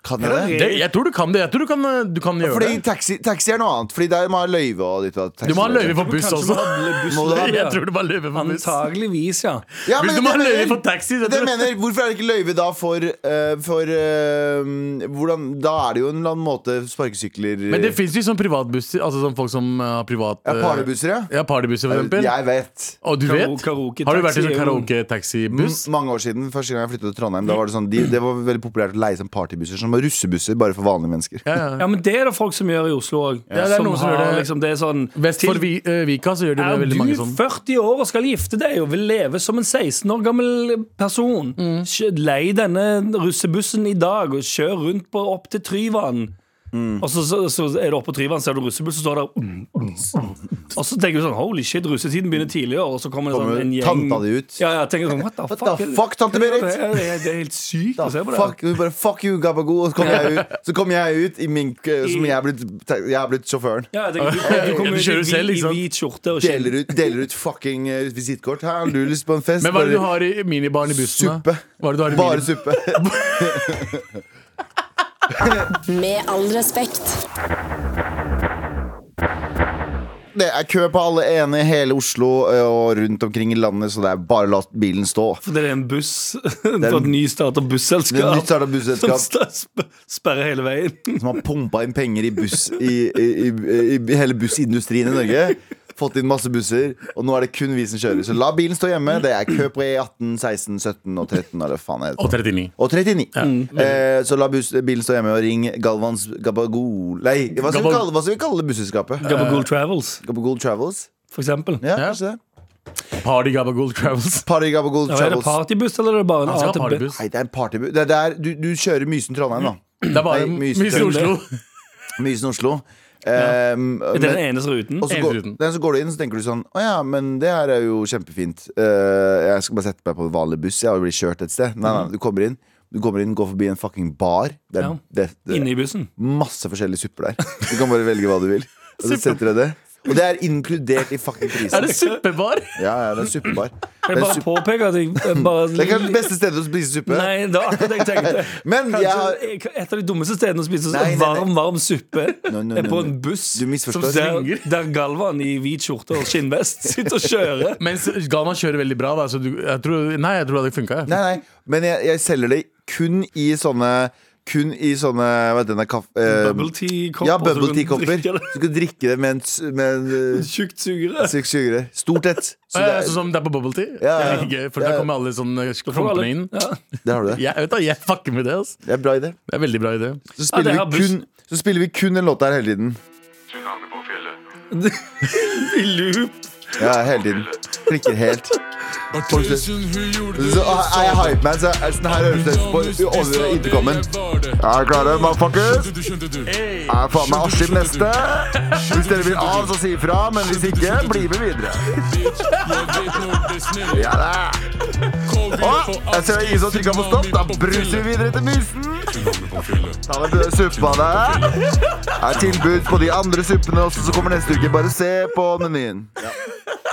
[SPEAKER 3] Kan jeg det?
[SPEAKER 4] Det, jeg tror du kan det. Jeg tror du kan, eh, du kan gjøre
[SPEAKER 3] Fordi
[SPEAKER 4] det.
[SPEAKER 3] taxi, taxi er noe annet. Fordi der må ha løyve og ditt og datt.
[SPEAKER 4] Du må ha løyve for buss
[SPEAKER 2] Kanskje
[SPEAKER 4] også. *laughs*
[SPEAKER 2] vanlig buss-
[SPEAKER 3] Må du ha-
[SPEAKER 4] Jeg tror du bare løyve for buss.
[SPEAKER 2] Antageligvis, ja.
[SPEAKER 3] Ja, men
[SPEAKER 4] Hvis du må
[SPEAKER 3] det
[SPEAKER 4] ha løyve
[SPEAKER 3] mener-
[SPEAKER 4] for taxi, så
[SPEAKER 3] det
[SPEAKER 4] tror jeg-
[SPEAKER 3] mener, Hvorfor er det ikke løyve da for, eh, for eh, hvordan, Da er det jo en eller annen måte sparkesykler
[SPEAKER 4] Men det fins jo sånn privatbusser. Altså sånn folk som eh, har privat
[SPEAKER 3] ja,
[SPEAKER 4] eh,
[SPEAKER 3] Parnebusser, ja.
[SPEAKER 4] Ja, partybusser, for eksempel.
[SPEAKER 3] Jeg vet.
[SPEAKER 4] Og du vet?
[SPEAKER 2] Karo- karaoke-taxi
[SPEAKER 4] Har du vært i sånn
[SPEAKER 2] er jo-
[SPEAKER 4] karaoke-taxi-buss?
[SPEAKER 3] Mange år siden, første gang jeg flyttet til Trondheim da var Det sånn, de, det var veldig populært å leie sånn partybusser Som var russebusser, bare for vanlige mennesker
[SPEAKER 4] Ja, ja.
[SPEAKER 2] Ja, men det er det folk som gjør i Oslo òg.
[SPEAKER 4] Ja, det er noen som gjør det.
[SPEAKER 2] Liksom, det er sånn
[SPEAKER 4] Vest for vi, eh, Vika så gjør de det
[SPEAKER 2] Er du
[SPEAKER 4] veldig mange sånn.
[SPEAKER 2] 40 år og skal gifte deg og vil leve som en 16 år gammel person? Kjø- Lei denne russebussen i dag og kjør rundt på, opp til Tryvann. Og så, så, så er du oppe på Tryvann, ser du russebuss, så står det der mm, Og så tenker du sånn holy shit, russetiden begynner tidligere, og så kommer det
[SPEAKER 3] Kommer
[SPEAKER 2] sånn en gjeng
[SPEAKER 3] tanta di ut.
[SPEAKER 2] Ja, ja, tenker sånn, what the fuck,
[SPEAKER 3] the
[SPEAKER 2] er det-
[SPEAKER 3] fuck, tante
[SPEAKER 2] hva er det-
[SPEAKER 3] Berit?
[SPEAKER 2] Det, er- det er helt sykt
[SPEAKER 3] da,
[SPEAKER 2] å se på det.
[SPEAKER 3] fuck, hun bare, fuck you, gabago Og så kom jeg ut, så kom jeg ut i min, Som jeg er blitt, jeg er blitt sjåføren
[SPEAKER 2] Ja, jeg tenker, du, du
[SPEAKER 4] Ja,
[SPEAKER 2] kommer ut
[SPEAKER 4] du
[SPEAKER 2] i,
[SPEAKER 4] kjører selv,
[SPEAKER 2] hvit-
[SPEAKER 4] ikke
[SPEAKER 2] i
[SPEAKER 4] sant?
[SPEAKER 2] hvit skjorte og skinn.
[SPEAKER 3] Deler ut, deler ut fucking eh, visitkort Her har du lyst på en fest
[SPEAKER 4] Men hva er det du
[SPEAKER 3] Bare-
[SPEAKER 4] har i minibaren i bussen? da?
[SPEAKER 3] Suppe.
[SPEAKER 4] Hva er det du har i
[SPEAKER 3] Bare
[SPEAKER 4] minibaren?
[SPEAKER 3] suppe
[SPEAKER 5] Med all respekt.
[SPEAKER 3] Det er kø på alle ene i hele Oslo eh, og rundt omkring i landet, så det er bare å la bilen stå.
[SPEAKER 2] For det er en buss *laughs* for et nystarta
[SPEAKER 3] Det er et nytt
[SPEAKER 2] busselskap
[SPEAKER 3] startet
[SPEAKER 2] som
[SPEAKER 3] busselskap *laughs*
[SPEAKER 2] sta- sp- sperrer hele veien.
[SPEAKER 3] som har pumpa inn penger i, buss, i, i, i, i hele bussindustrien i Norge. Fått inn masse busser, og nå er det kun vi som kjører. Så la bilen stå hjemme. Det er kø på E18, 16, 17 og 13. Eller hva faen er
[SPEAKER 4] Og
[SPEAKER 3] det.
[SPEAKER 4] 39.
[SPEAKER 3] Og 39. Eh, så la buss, bilen stå hjemme og ring Galvans Gabagol Nei, hva skal,
[SPEAKER 4] Gabag-
[SPEAKER 3] vi kalle, hva skal vi kalle busselskapet? Eh,
[SPEAKER 2] Gabagool Travels,
[SPEAKER 3] Gabagol Travels?
[SPEAKER 2] for eksempel.
[SPEAKER 3] Ja,
[SPEAKER 4] Ja.
[SPEAKER 3] kanskje det.
[SPEAKER 4] Party Gabagool Travels.
[SPEAKER 3] Party Gabagol
[SPEAKER 2] Ja, er det
[SPEAKER 3] Travels.
[SPEAKER 2] partybuss, eller er det bare en
[SPEAKER 4] Han skal ha
[SPEAKER 2] A til B?
[SPEAKER 4] partybuss.
[SPEAKER 3] Nei, det er en partybu. Det er der, du, du kjører Mysen-Trondheim, da.
[SPEAKER 4] Det er bare
[SPEAKER 3] Nei,
[SPEAKER 4] Mysen i
[SPEAKER 3] Mysen.
[SPEAKER 4] Oslo. *laughs*
[SPEAKER 3] Mysen-Oslo. Eh,
[SPEAKER 2] Er det
[SPEAKER 3] men-
[SPEAKER 2] den eneste ruten?
[SPEAKER 3] Og så
[SPEAKER 4] Helt
[SPEAKER 3] går,
[SPEAKER 4] foruten.
[SPEAKER 3] den, så går du inn, så tenker du sånn Å ja, men det her er jo kjempefint. Eh, jeg skal bare sette meg på en vanlig buss. Jeg har jo blitt kjørt et sted. Nei, nei, du kommer inn, du kommer inn går forbi en fucking bar. Det er,
[SPEAKER 2] Mhm. Ja.
[SPEAKER 3] det, det
[SPEAKER 2] Inne
[SPEAKER 3] er
[SPEAKER 2] i bussen.
[SPEAKER 3] masse forskjellige supper der. Du kan bare velge hva du vil. Og så setter jeg det. Og det er inkludert i fucking
[SPEAKER 4] Er
[SPEAKER 3] prisen.
[SPEAKER 4] det suppebar?
[SPEAKER 3] Ja, ja, det er en suppebar.
[SPEAKER 2] Jeg
[SPEAKER 3] Det er,
[SPEAKER 2] bare
[SPEAKER 3] suppe.
[SPEAKER 2] påpeker at jeg jeg bare
[SPEAKER 3] *laughs* det er kanskje det beste stedet å spise suppe.
[SPEAKER 2] Nei, det var akkurat det jeg tenkte.
[SPEAKER 3] Men
[SPEAKER 2] Kanskje
[SPEAKER 3] jeg har
[SPEAKER 2] et av de dummeste stedene å spise
[SPEAKER 3] Nei, nei, nei.
[SPEAKER 2] varm, varm suppe
[SPEAKER 3] No, no,
[SPEAKER 2] er på
[SPEAKER 3] no,
[SPEAKER 2] en
[SPEAKER 3] no.
[SPEAKER 2] buss
[SPEAKER 3] Du
[SPEAKER 2] som
[SPEAKER 3] misforstår.
[SPEAKER 2] der,
[SPEAKER 4] Ringer.
[SPEAKER 2] der Galvan i hvit skjorte og
[SPEAKER 3] *laughs*
[SPEAKER 2] skinnvest sitter og kjører.
[SPEAKER 4] Mens Galvan kjører veldig bra. Da, så du, jeg tror, nei, jeg tror det hadde funka.
[SPEAKER 3] Nei, nei, men jeg, jeg selger det kun i sånne Kun i sånne Hva heter denne kaff... eh,
[SPEAKER 2] Bubble tea-kopper.
[SPEAKER 3] ja,
[SPEAKER 2] så
[SPEAKER 3] bubble
[SPEAKER 2] du kan
[SPEAKER 3] tea-kopper.
[SPEAKER 2] drikke det.
[SPEAKER 3] Du kan drikke det med en, s- med en
[SPEAKER 2] *laughs*
[SPEAKER 3] eh,
[SPEAKER 2] Tjukt sugere.
[SPEAKER 3] Seks sugere. Stort et. Så det,
[SPEAKER 4] Sånn
[SPEAKER 3] er,
[SPEAKER 4] som det er på bubble tea?
[SPEAKER 3] Ja, ja.
[SPEAKER 4] Det er gøy, for
[SPEAKER 3] Ja,
[SPEAKER 4] da
[SPEAKER 3] ja.
[SPEAKER 4] kommer alle sånne
[SPEAKER 2] For alle-
[SPEAKER 4] klumpene inn.
[SPEAKER 2] Ja.
[SPEAKER 3] det har du det.
[SPEAKER 4] Jeg, vet da, jeg fucker med det. ass.
[SPEAKER 3] Det er bra idé.
[SPEAKER 4] Det er veldig bra
[SPEAKER 3] *laughs*
[SPEAKER 4] idé.
[SPEAKER 3] Så spiller,
[SPEAKER 2] det har
[SPEAKER 3] vi, kun, så spiller vi kun en låt der hele tiden.
[SPEAKER 5] Tsunami på fjellet.
[SPEAKER 2] I loop.
[SPEAKER 3] Ja, hele tiden. Klikker helt. Folk sier- Så er jeg hype man, så er sånn her høres det ut på over intercomen. Er dere klare, motherfuckers? Er faen meg Askim neste? Hvis dere vil av, så si ifra. Men hvis ikke, bli med videre. *laughs* Ja da. Å, jeg ser ingen som trykker på stopp. Da bruser vi videre til Mysen. Ta med denne suppa der. Er tilbud på de andre suppene også, som kommer neste uke. Bare se på menyen.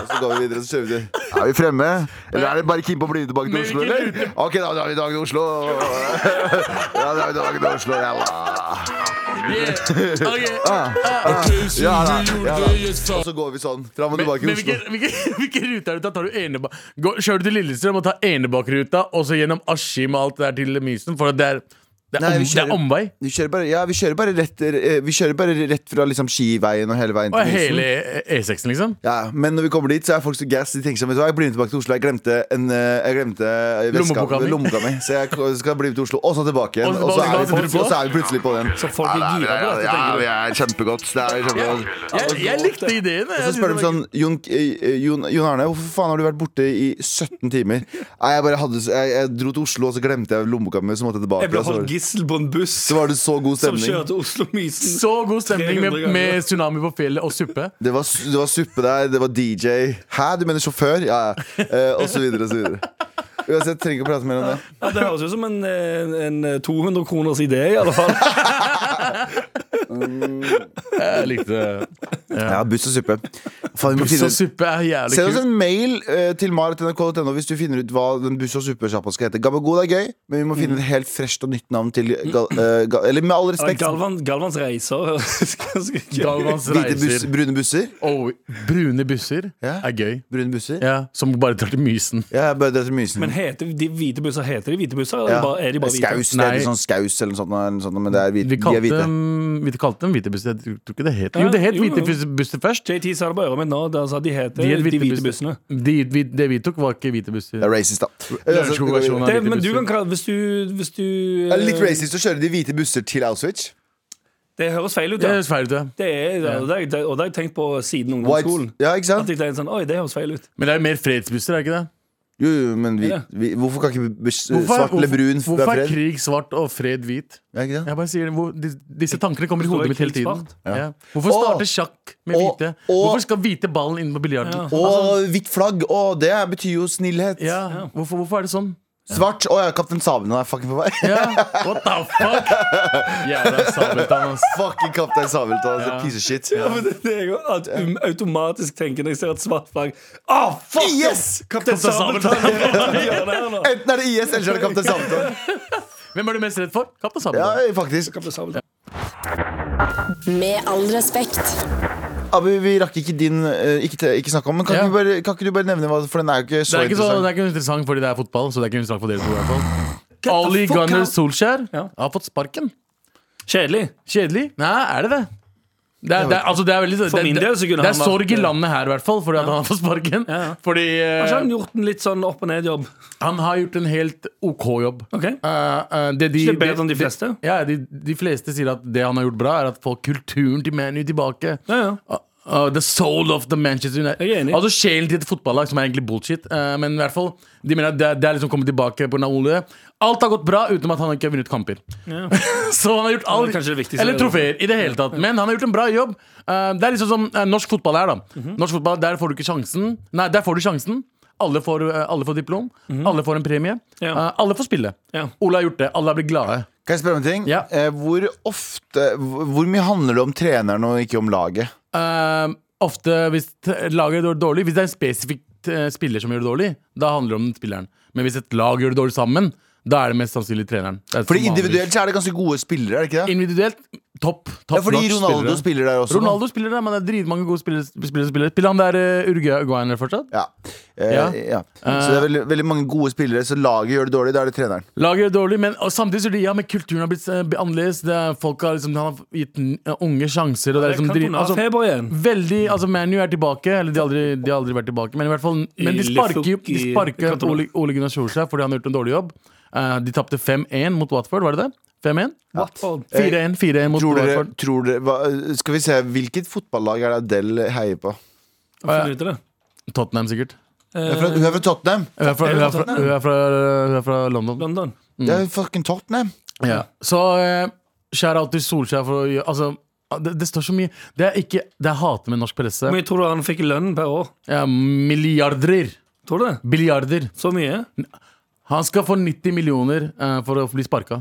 [SPEAKER 3] Og så går vi videre, så kjører vi til Er vi fremme? Eller er det bare keen på å bli med tilbake til Oslo, eller? Ok, da drar vi dagen til
[SPEAKER 4] *laughs*
[SPEAKER 3] Oslo. Ja, da drar vi dagen til Oslo, ja da. Ah, ah, ja da, ja da. Og så går vi sånn fram og
[SPEAKER 4] Men,
[SPEAKER 3] tilbake i
[SPEAKER 4] men
[SPEAKER 3] Oslo.
[SPEAKER 4] hvilken hvilke rute er det du tar? tar du eneba Gå, kjører du til Lillestrøm og tar enebakruta, og så gjennom Askim og alt det der til Mysen? For det er, det er,
[SPEAKER 3] Nei,
[SPEAKER 4] om,
[SPEAKER 3] vi
[SPEAKER 4] det
[SPEAKER 3] kjører-
[SPEAKER 4] er omvei.
[SPEAKER 3] Vi kjører bare, ja, vi kjører bare, rett, eh, vi kjører bare rett fra liksom, skiveien og hele veien
[SPEAKER 4] Og
[SPEAKER 3] til Mysen.
[SPEAKER 4] hele E6-en, liksom.
[SPEAKER 3] Ja, men når vi kommer dit, så er folk så gass. De tenker sånn, vet du hva, jeg blir med tilbake til Oslo. Jeg glemte, en, eh, jeg glemte veska-
[SPEAKER 4] Lommeboka mi.
[SPEAKER 3] lommeboka mi. Så jeg k- skal bli med til Oslo, og så tilbake igjen.
[SPEAKER 4] Og så
[SPEAKER 3] Og så er
[SPEAKER 4] tilbake,
[SPEAKER 3] vi,
[SPEAKER 4] tilbake,
[SPEAKER 3] og så er vi plutselig på den.
[SPEAKER 2] Så folk er
[SPEAKER 3] Ja, det
[SPEAKER 2] gira
[SPEAKER 3] er-
[SPEAKER 2] på dette,
[SPEAKER 3] ja,
[SPEAKER 2] tenker du.
[SPEAKER 3] det er kjempegodt. Det er kjempegodt.
[SPEAKER 4] Jeg, jeg likte ideen.
[SPEAKER 3] Og
[SPEAKER 4] jeg.
[SPEAKER 3] så spør de sånn Jon, eh, Jon, Jon Arne, hvorfor faen har du vært borte i 17 timer? Nei, jeg bare hadde Jeg, jeg dro til Oslo, og så glemte jeg lommeboka mi, så måtte jeg tilbake.
[SPEAKER 2] Jeg ble
[SPEAKER 3] og så var
[SPEAKER 2] holdt
[SPEAKER 3] det-
[SPEAKER 2] gissel på en buss
[SPEAKER 3] Så var det så god
[SPEAKER 2] som
[SPEAKER 3] stemning.
[SPEAKER 2] kjører til Oslo-Mysen.
[SPEAKER 4] Så god stemning med,
[SPEAKER 2] 300 ganger.
[SPEAKER 4] med tsunami på fjellet og suppe.
[SPEAKER 3] Det var, su- det var suppe der, det var DJ. Hæ, du mener sjåfør? Ja, ja. Eh, og så videre og så videre. Uansett, trenger ikke å prate mer om det.
[SPEAKER 2] Ja, det høres ut som en, en, en 200 kroners idé, i alle fall.
[SPEAKER 4] Jeg likte det.
[SPEAKER 3] Ja, buss og suppe. Faen, vi må
[SPEAKER 4] Så
[SPEAKER 3] finne ut-
[SPEAKER 4] suppe er jævlig
[SPEAKER 3] Send oss
[SPEAKER 4] kult.
[SPEAKER 3] en mail eh, til mar.nrk.no hvis du finner ut hva den buss- og suppesjappa skal hete. Gabagool er gøy, men vi må
[SPEAKER 4] Mm.
[SPEAKER 3] finne et helt fresht og nytt navn til gal, eh, ga, Eller med all
[SPEAKER 2] *laughs* Ja,
[SPEAKER 3] respekt,
[SPEAKER 2] Galvan, Galvans *laughs* reiser høres ganske gøy
[SPEAKER 4] Galvans
[SPEAKER 3] hvite buss,
[SPEAKER 4] reiser
[SPEAKER 3] brune busser.
[SPEAKER 4] og brune busser
[SPEAKER 3] Ja.
[SPEAKER 4] er gøy.
[SPEAKER 3] Brune busser.
[SPEAKER 4] Ja, Som bare drar til Mysen.
[SPEAKER 3] Ja, jeg bare drar til Mysen.
[SPEAKER 2] Men heter de hvite busser Heter de hvite busser, eller
[SPEAKER 3] Ja.
[SPEAKER 2] bare, er de bare hvite?
[SPEAKER 3] Skaus, det er
[SPEAKER 4] Nei.
[SPEAKER 3] litt sånn skaus eller noe sånt, eller noe sånt, men det er hvite. De
[SPEAKER 4] Vi
[SPEAKER 3] er
[SPEAKER 4] kalte
[SPEAKER 3] hvite.
[SPEAKER 4] dem, vi kalte dem hvite busser. Jeg tror ikke det het
[SPEAKER 2] Ja,
[SPEAKER 4] Jo, det het
[SPEAKER 2] jo, jo.
[SPEAKER 4] hvite bus- busser først.
[SPEAKER 2] JT sa det på øret mitt nå. Der sa de heter
[SPEAKER 4] De
[SPEAKER 2] de
[SPEAKER 4] het
[SPEAKER 2] hvite,
[SPEAKER 4] hvite busser.
[SPEAKER 2] bussene.
[SPEAKER 4] De, vi, det vi tok, var ikke hvite busser.
[SPEAKER 3] Det er racist, da. Uansett, vi går videre.
[SPEAKER 4] Lørenskog-versjonen av
[SPEAKER 2] Det,
[SPEAKER 4] hvite
[SPEAKER 2] men du
[SPEAKER 4] busser.
[SPEAKER 2] kan kalle Hvis du, hvis du
[SPEAKER 3] Det er litt
[SPEAKER 2] eh,
[SPEAKER 3] racist å kjøre de hvite busser til Auschwitz.
[SPEAKER 2] Det høres feil ut,
[SPEAKER 4] Det
[SPEAKER 2] ja.
[SPEAKER 4] høres feil ut, ja.
[SPEAKER 2] Det er, det, og det, har jeg- det, og det har jeg tenkt på siden
[SPEAKER 3] White-
[SPEAKER 2] ungdomsskolen.
[SPEAKER 3] Ja, ikke
[SPEAKER 2] At
[SPEAKER 3] sant?
[SPEAKER 2] jeg tenkte sånn, oi, det høres feil ut.
[SPEAKER 4] Men det er jo mer fredsbusser, er det ikke det?
[SPEAKER 3] Jo, jo, men vi,
[SPEAKER 2] Ja.
[SPEAKER 3] vi, hvorfor kan ikke bes-
[SPEAKER 4] Hvorfor,
[SPEAKER 3] svart eller
[SPEAKER 4] hvorfor-
[SPEAKER 3] brun
[SPEAKER 4] hvorfor
[SPEAKER 3] være
[SPEAKER 4] er
[SPEAKER 3] fred?
[SPEAKER 4] krig svart og fred hvit?
[SPEAKER 3] Ja, ikke sant?
[SPEAKER 4] Jeg bare sier, det, hvor, dis- Disse tankene kommer i
[SPEAKER 2] Hvorfor er
[SPEAKER 4] hodet mitt hele
[SPEAKER 2] krig
[SPEAKER 4] tiden.
[SPEAKER 2] svart?
[SPEAKER 4] Ja. Hvorfor starte sjakk med
[SPEAKER 3] og-
[SPEAKER 4] hvite?
[SPEAKER 3] og-
[SPEAKER 4] Hvorfor skal hvite ballen inn på biljarden?
[SPEAKER 2] Ja.
[SPEAKER 3] Å, hvitt flagg! Å, det betyr jo snillhet.
[SPEAKER 4] altså- Ja. Hvorfor, hvorfor er det sånn?
[SPEAKER 3] Svart! Å ja, Kaptein Sabeltann er fucking på vei.
[SPEAKER 4] Ja, What the fuck? Jævla sabeltann, ass.
[SPEAKER 3] *laughs* fucking Kaptein Sabeltann, altså, piece of shit.
[SPEAKER 2] Ja, men det, det er jo at um, automatisk tenker når jeg ser et svart flagg Å, fuck!
[SPEAKER 3] Yes!
[SPEAKER 2] Kaptein Sabeltann! *laughs* gjør det her nå.
[SPEAKER 3] Enten er det IS, eller så er det Kaptein Sabeltann.
[SPEAKER 4] Hvem er du mest redd for? Kaptein
[SPEAKER 3] *laughs* Ja,
[SPEAKER 4] Sabeltann.
[SPEAKER 3] faktisk.
[SPEAKER 2] Kaptein Sabeltann.
[SPEAKER 6] Med all respekt.
[SPEAKER 3] Abu, vi rakk ikke din eh, Ikke, te- ikke snakke om, men kan,
[SPEAKER 4] Ja.
[SPEAKER 3] ikke du bare, kan ikke du bare nevne hva For den er jo ikke
[SPEAKER 4] Det
[SPEAKER 3] så
[SPEAKER 4] er ikke, så, det
[SPEAKER 3] interessant.
[SPEAKER 4] er ikke interessant fordi det er fotball, så det er ikke interessant for dere to. i hvert fall
[SPEAKER 2] the
[SPEAKER 4] Ali
[SPEAKER 2] fuck
[SPEAKER 4] Gunnar
[SPEAKER 2] out.
[SPEAKER 4] Solskjær
[SPEAKER 2] Ja.
[SPEAKER 4] har fått sparken.
[SPEAKER 2] Kjedelig.
[SPEAKER 4] Kjedelig? Nei, er det det? Det er, det er, altså det er veldig
[SPEAKER 2] For
[SPEAKER 4] det,
[SPEAKER 2] min del så kunne
[SPEAKER 4] det er
[SPEAKER 2] han vært-
[SPEAKER 4] sorg i landet her, i hvert fall, fordi at han har fått sparken.
[SPEAKER 2] Ja, ja.
[SPEAKER 4] Fordi eh,
[SPEAKER 2] Kanskje han har gjort en litt sånn opp og ned-jobb.
[SPEAKER 4] han har gjort en helt OK jobb.
[SPEAKER 2] Ok?
[SPEAKER 4] Eh, eh, det de,
[SPEAKER 2] Ikke bedre enn de fleste?
[SPEAKER 4] Ja, de, de fleste sier at det han har gjort bra, er at få kulturen til ManU tilbake.
[SPEAKER 2] Ja, ja.
[SPEAKER 4] Uh, uh, the soul of the Manchester United.
[SPEAKER 2] Jeg er enig.
[SPEAKER 4] Altså Sjelen til et fotballag, som er egentlig bullshit. Uh, men i hvert fall, de mener at det, er- det er liksom kommet tilbake på Naole. Alt har gått bra, utenom at han ikke har vunnet kamper. *laughs*
[SPEAKER 2] Ja.
[SPEAKER 4] Så han har gjort all,
[SPEAKER 2] Det er kanskje det viktigste.
[SPEAKER 4] Eller trofeer, i det hele tatt. Men han har gjort en bra jobb. Uh, det er liksom som uh, norsk fotball er, da.
[SPEAKER 3] Mhm.
[SPEAKER 4] Norsk fotball, Der får du ikke sjansen. Nei, der får du sjansen. Alle får, uh, alle får diplom.
[SPEAKER 3] Mhm.
[SPEAKER 4] Alle får en premie.
[SPEAKER 2] Ja.
[SPEAKER 4] Uh, alle får spille.
[SPEAKER 2] Ja.
[SPEAKER 4] Ole har gjort det. Alle har blitt glade.
[SPEAKER 3] Kan jeg spørre om en ting?
[SPEAKER 4] Ja.
[SPEAKER 3] Eh, hvor ofte hvor, hvor mye handler det om treneren og ikke om laget?
[SPEAKER 4] Ehm, ofte hvis t- laget gjør det dårlig Hvis det er en spesifikk eh, spiller som gjør det dårlig, da handler det om spilleren. Men hvis et lag gjør det dårlig sammen, da er det mest sannsynlig treneren. Det er
[SPEAKER 3] Fordi
[SPEAKER 4] som vanlig.
[SPEAKER 3] individuelt så er det ganske gode spillere, er det ikke det?
[SPEAKER 4] Individuelt, topp. topp
[SPEAKER 3] Ja, fordi
[SPEAKER 4] notch
[SPEAKER 3] Ronaldo
[SPEAKER 4] spillere.
[SPEAKER 3] spiller der også. nå.
[SPEAKER 4] Ronaldo spiller der, men det er dritmange gode spillere. spillere, spillere. Spiller han der uh, uruguayaner fortsatt?
[SPEAKER 3] Ja. Eh,
[SPEAKER 4] Ja.
[SPEAKER 3] ja. Så det er veldig, veldig mange gode spillere, så laget gjør det dårlig. Da er det treneren.
[SPEAKER 4] Laget gjør det dårlig, men og samtidig så er det ja, men kulturen har blitt eh, annerledes. Det er, folk har liksom, Han har gitt eh, unge sjanser. Og det er liksom drit, altså,
[SPEAKER 2] Kantonafeber igjen.
[SPEAKER 4] Veldig, altså ManU er tilbake. Eller de har aldri, de har aldri vært tilbake, men i hvert fall Men de
[SPEAKER 2] Ille
[SPEAKER 4] sparker, jo-
[SPEAKER 2] fukk
[SPEAKER 4] de
[SPEAKER 2] i
[SPEAKER 4] sparker
[SPEAKER 2] Cantona.
[SPEAKER 4] Ole, Ole Gunnar Solskjær fordi han har gjort en dårlig jobb. Eh, de tapte 5-1 mot Watford, var det det? 5-1?
[SPEAKER 2] Watford.
[SPEAKER 4] 4-1 4-1 mot
[SPEAKER 3] Tror dere,
[SPEAKER 4] Watford.
[SPEAKER 3] tror dere hva, Skal vi se, hvilket fotballag er det Adele heier på?
[SPEAKER 2] Jeg har funnet ut av det.
[SPEAKER 4] Tottenham, sikkert.
[SPEAKER 3] Hun er fra, hun er fra Tottenham!
[SPEAKER 4] Hun er fra, hun er fra, hun er fra, hun er fra London.
[SPEAKER 2] London.
[SPEAKER 4] Mm.
[SPEAKER 3] Det er fucking Tottenham!
[SPEAKER 4] Ja. Så eh, skjær out til Solskjær for å gjøre Altså, det, det står så mye Det er ikke Det er hatet med norsk presse.
[SPEAKER 2] Hvor mye tror du han fikk i lønn per år?
[SPEAKER 4] Ja, milliarder.
[SPEAKER 2] Tror du det?
[SPEAKER 4] Billiarder.
[SPEAKER 2] Så mye?
[SPEAKER 4] Han skal få 90 millioner eh, for å bli sparka.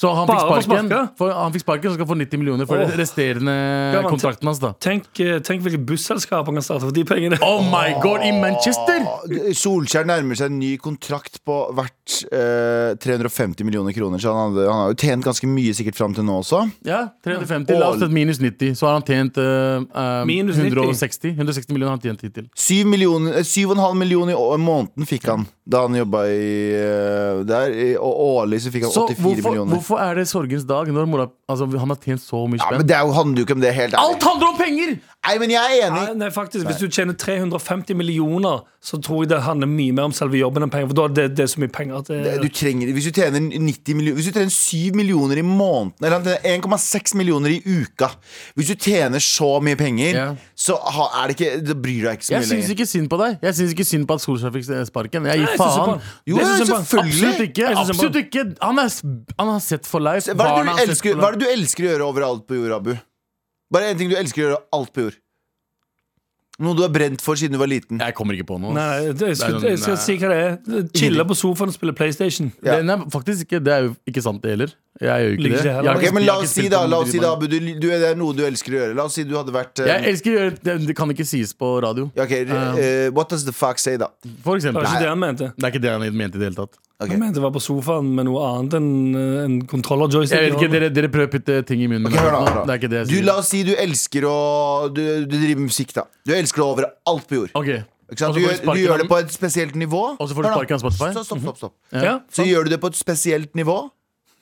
[SPEAKER 4] Så han fikk
[SPEAKER 2] Bare for
[SPEAKER 4] sparken,
[SPEAKER 2] sparka?
[SPEAKER 4] for han fikk sparken så skal han få 90 millioner for
[SPEAKER 2] Åh.
[SPEAKER 4] resterende
[SPEAKER 2] Ja, men-
[SPEAKER 4] kontrakten hans. da
[SPEAKER 2] Tenk, eh, tenk hvilke busselskap han kan starte for de pengene.
[SPEAKER 4] Oh my god, i Manchester!
[SPEAKER 3] Ah, Solskjær nærmer seg en ny kontrakt på verdt eh, 350 millioner kroner. Så han, hadde, han har jo tjent ganske mye sikkert fram til nå også.
[SPEAKER 4] Ja, 350, La oss si minus 90, så har han tjent eh, eh,
[SPEAKER 2] Minus 90.
[SPEAKER 4] 160 160 millioner har han tjent hittil.
[SPEAKER 3] 7,5 millioner, eh, syv og en halv million i å- måneden fikk han da han jobba i eh, der. i- Og årlig så fikk han
[SPEAKER 4] Så
[SPEAKER 3] 84
[SPEAKER 4] hvorfor,
[SPEAKER 3] millioner.
[SPEAKER 4] hvorfor er det sorgens dag når mora Altså, han har tjent så mye
[SPEAKER 3] Ja, men
[SPEAKER 4] spenn?
[SPEAKER 3] Det er jo- handler jo ikke om det helt ærlig.
[SPEAKER 4] Alt handler om penger!
[SPEAKER 3] Nei, men jeg er enig.
[SPEAKER 2] Nei, nei, faktisk, Hvis du tjener 350 millioner, så tror jeg det handler mye mer om selve jobben enn penger. For da er det, det er så mye penger at
[SPEAKER 3] Det- Eh, Du
[SPEAKER 2] det,
[SPEAKER 3] trenger, hvis du tjener 90 millioner Hvis du tjener 7 millioner i måneden Eller han tjener 1,6 millioner i uka Hvis du tjener så mye penger
[SPEAKER 4] Ja.
[SPEAKER 3] Så ha, er det ikke Det bryr deg ikke så
[SPEAKER 4] Jeg
[SPEAKER 3] mye
[SPEAKER 4] syns
[SPEAKER 3] lenger
[SPEAKER 4] ikke synd på deg. Jeg syns ikke synd på at Solskjær fikk sparken. Jeg
[SPEAKER 2] Nei,
[SPEAKER 4] gir
[SPEAKER 2] jeg synes synd på
[SPEAKER 4] faen.
[SPEAKER 2] han.
[SPEAKER 3] Jo,
[SPEAKER 2] Det synes jeg bare-
[SPEAKER 3] selvfølgelig
[SPEAKER 4] Absolutt ikke.
[SPEAKER 2] Jeg synes han
[SPEAKER 4] Absolutt
[SPEAKER 2] bare-
[SPEAKER 4] ikke. Han, er, s- han har sett for life.
[SPEAKER 3] hva er,
[SPEAKER 4] Barna
[SPEAKER 3] det
[SPEAKER 4] har
[SPEAKER 3] du
[SPEAKER 4] sett
[SPEAKER 3] elsker, hva
[SPEAKER 4] for life.
[SPEAKER 3] er det du elsker å gjøre overalt på jord, Abu? Bare en ting du elsker å gjøre alt på jord Noe du har brent for siden du var liten
[SPEAKER 4] Jeg kommer ikke på noe.
[SPEAKER 2] Nei, nei, det, eh, jeg, skal, jeg skal si hva det er. Chille på sofaen og spille PlayStation.
[SPEAKER 3] Ja.
[SPEAKER 4] Den er faktisk ikke, Det er jo ikke sant, det heller. Jeg gjør jo ikke
[SPEAKER 2] Ligger
[SPEAKER 4] det.
[SPEAKER 2] ikke
[SPEAKER 4] Jeg,
[SPEAKER 2] her,
[SPEAKER 4] har
[SPEAKER 2] da.
[SPEAKER 3] Ok,
[SPEAKER 4] ikke-
[SPEAKER 3] men
[SPEAKER 4] jeg
[SPEAKER 3] la
[SPEAKER 4] har
[SPEAKER 3] oss
[SPEAKER 4] ikke
[SPEAKER 3] si
[SPEAKER 4] spilt
[SPEAKER 3] da,
[SPEAKER 4] den
[SPEAKER 3] la oss si da
[SPEAKER 4] videoen.
[SPEAKER 3] Abu, du, du, det er noe du elsker å gjøre La oss si du hadde vært eh,
[SPEAKER 4] Jeg elsker å gjøre det, det kan ikke sies på radio.
[SPEAKER 3] ja, ok, eh, What does the fuck say da?
[SPEAKER 4] For
[SPEAKER 2] Det
[SPEAKER 4] eksempel.
[SPEAKER 2] var ikke
[SPEAKER 4] Nei.
[SPEAKER 2] det han mente.
[SPEAKER 4] Det er ikke det han mente i det hele tatt.
[SPEAKER 3] Ok.
[SPEAKER 2] Han mente å være på sofaen med noe annet enn eh, en kontroller-joystick.
[SPEAKER 4] Jeg vet ikke, Dere, dere prøver å putte ting i munnen.
[SPEAKER 3] Ok, hør da, hør da.
[SPEAKER 4] Det er ikke det jeg
[SPEAKER 3] Du,
[SPEAKER 4] sier.
[SPEAKER 3] la oss si du elsker å Du, du driver med musikk, da. Du elsker det over alt på jord.
[SPEAKER 4] Ok.
[SPEAKER 3] Ikke sant?
[SPEAKER 4] Og
[SPEAKER 3] Du,
[SPEAKER 4] så får du
[SPEAKER 3] gjør, du
[SPEAKER 4] sparken av-
[SPEAKER 3] gjør det på et spesielt nivå.
[SPEAKER 4] Og så får du
[SPEAKER 3] Hør da.
[SPEAKER 4] sparken av Spotify. Mhm.
[SPEAKER 3] Så, stopp, stopp, stopp.
[SPEAKER 2] Ja,
[SPEAKER 3] så gjør du det på et spesielt nivå.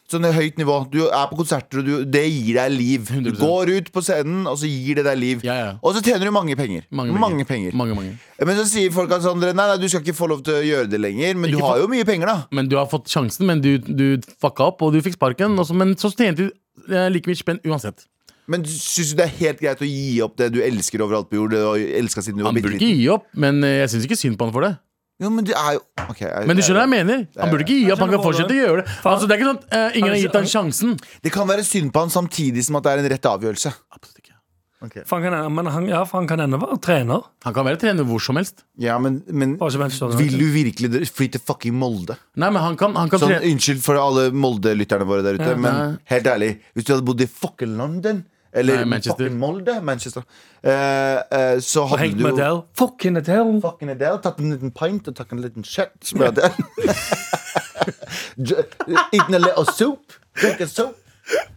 [SPEAKER 3] Sånn et høyt nivå. Du er på konserter, og du, det gir deg liv. Du
[SPEAKER 4] 100%.
[SPEAKER 3] går ut på scenen, og så gir det deg liv.
[SPEAKER 4] Ja, ja.
[SPEAKER 3] Og så tjener du mange penger.
[SPEAKER 4] Mange penger. Mange, mange.
[SPEAKER 3] Men så sier folk at sånn, nei, nei, du skal ikke få lov til å gjøre det lenger. Men
[SPEAKER 4] Ikke
[SPEAKER 3] du har jo mye penger, da.
[SPEAKER 4] Men du har fått sjansen, men du, du fucka opp, og du fikk sparken. Og så, men så tjente du eh, like mye spenn uansett.
[SPEAKER 3] Men syns du det er helt greit å gi opp det du elsker overalt på jord? Det du har elsket siden du var
[SPEAKER 4] Han
[SPEAKER 3] bitte
[SPEAKER 4] burde ikke
[SPEAKER 3] liten?
[SPEAKER 4] gi opp, men eh, jeg syns ikke synd på han for det.
[SPEAKER 3] Jo, men det er jo Ok, jeg-
[SPEAKER 4] Men du skjønner hva jeg mener? Han burde ikke gi opp. Han kan
[SPEAKER 2] Jeg skjønner
[SPEAKER 4] fortsette å gjøre det. Altså, det er ikke sånn at eh, ingen har gitt han sjansen.
[SPEAKER 3] Det kan være synd på han samtidig som at det er en rett avgjørelse.
[SPEAKER 4] Absolutt ikke.
[SPEAKER 2] for han kan, men han, ja, for han kan ennå være trener.
[SPEAKER 4] Han kan være trener hvor som helst.
[SPEAKER 3] Ja, men, men
[SPEAKER 2] Bare så Manchester United.
[SPEAKER 3] vil du virkelig dr- fly til fucking Molde?
[SPEAKER 4] Nei, men han kan, han kan
[SPEAKER 3] Sånn,
[SPEAKER 4] trene
[SPEAKER 3] Unnskyld for alle Molde-lytterne våre der ute,
[SPEAKER 2] Ja.
[SPEAKER 3] men helt ærlig, hvis du hadde bodd i fucking London eller
[SPEAKER 4] Nei, Manchester.
[SPEAKER 3] fucking Molde, Manchester, eh, eh, så
[SPEAKER 2] Og
[SPEAKER 3] hadde
[SPEAKER 2] Hank
[SPEAKER 3] du jo
[SPEAKER 2] Medell. Fucking Adele.
[SPEAKER 3] fucking Adele, tatt en liten pint og tatt en liten shit med *laughs* Adele. J- Eaten a little soup. Drink a soup.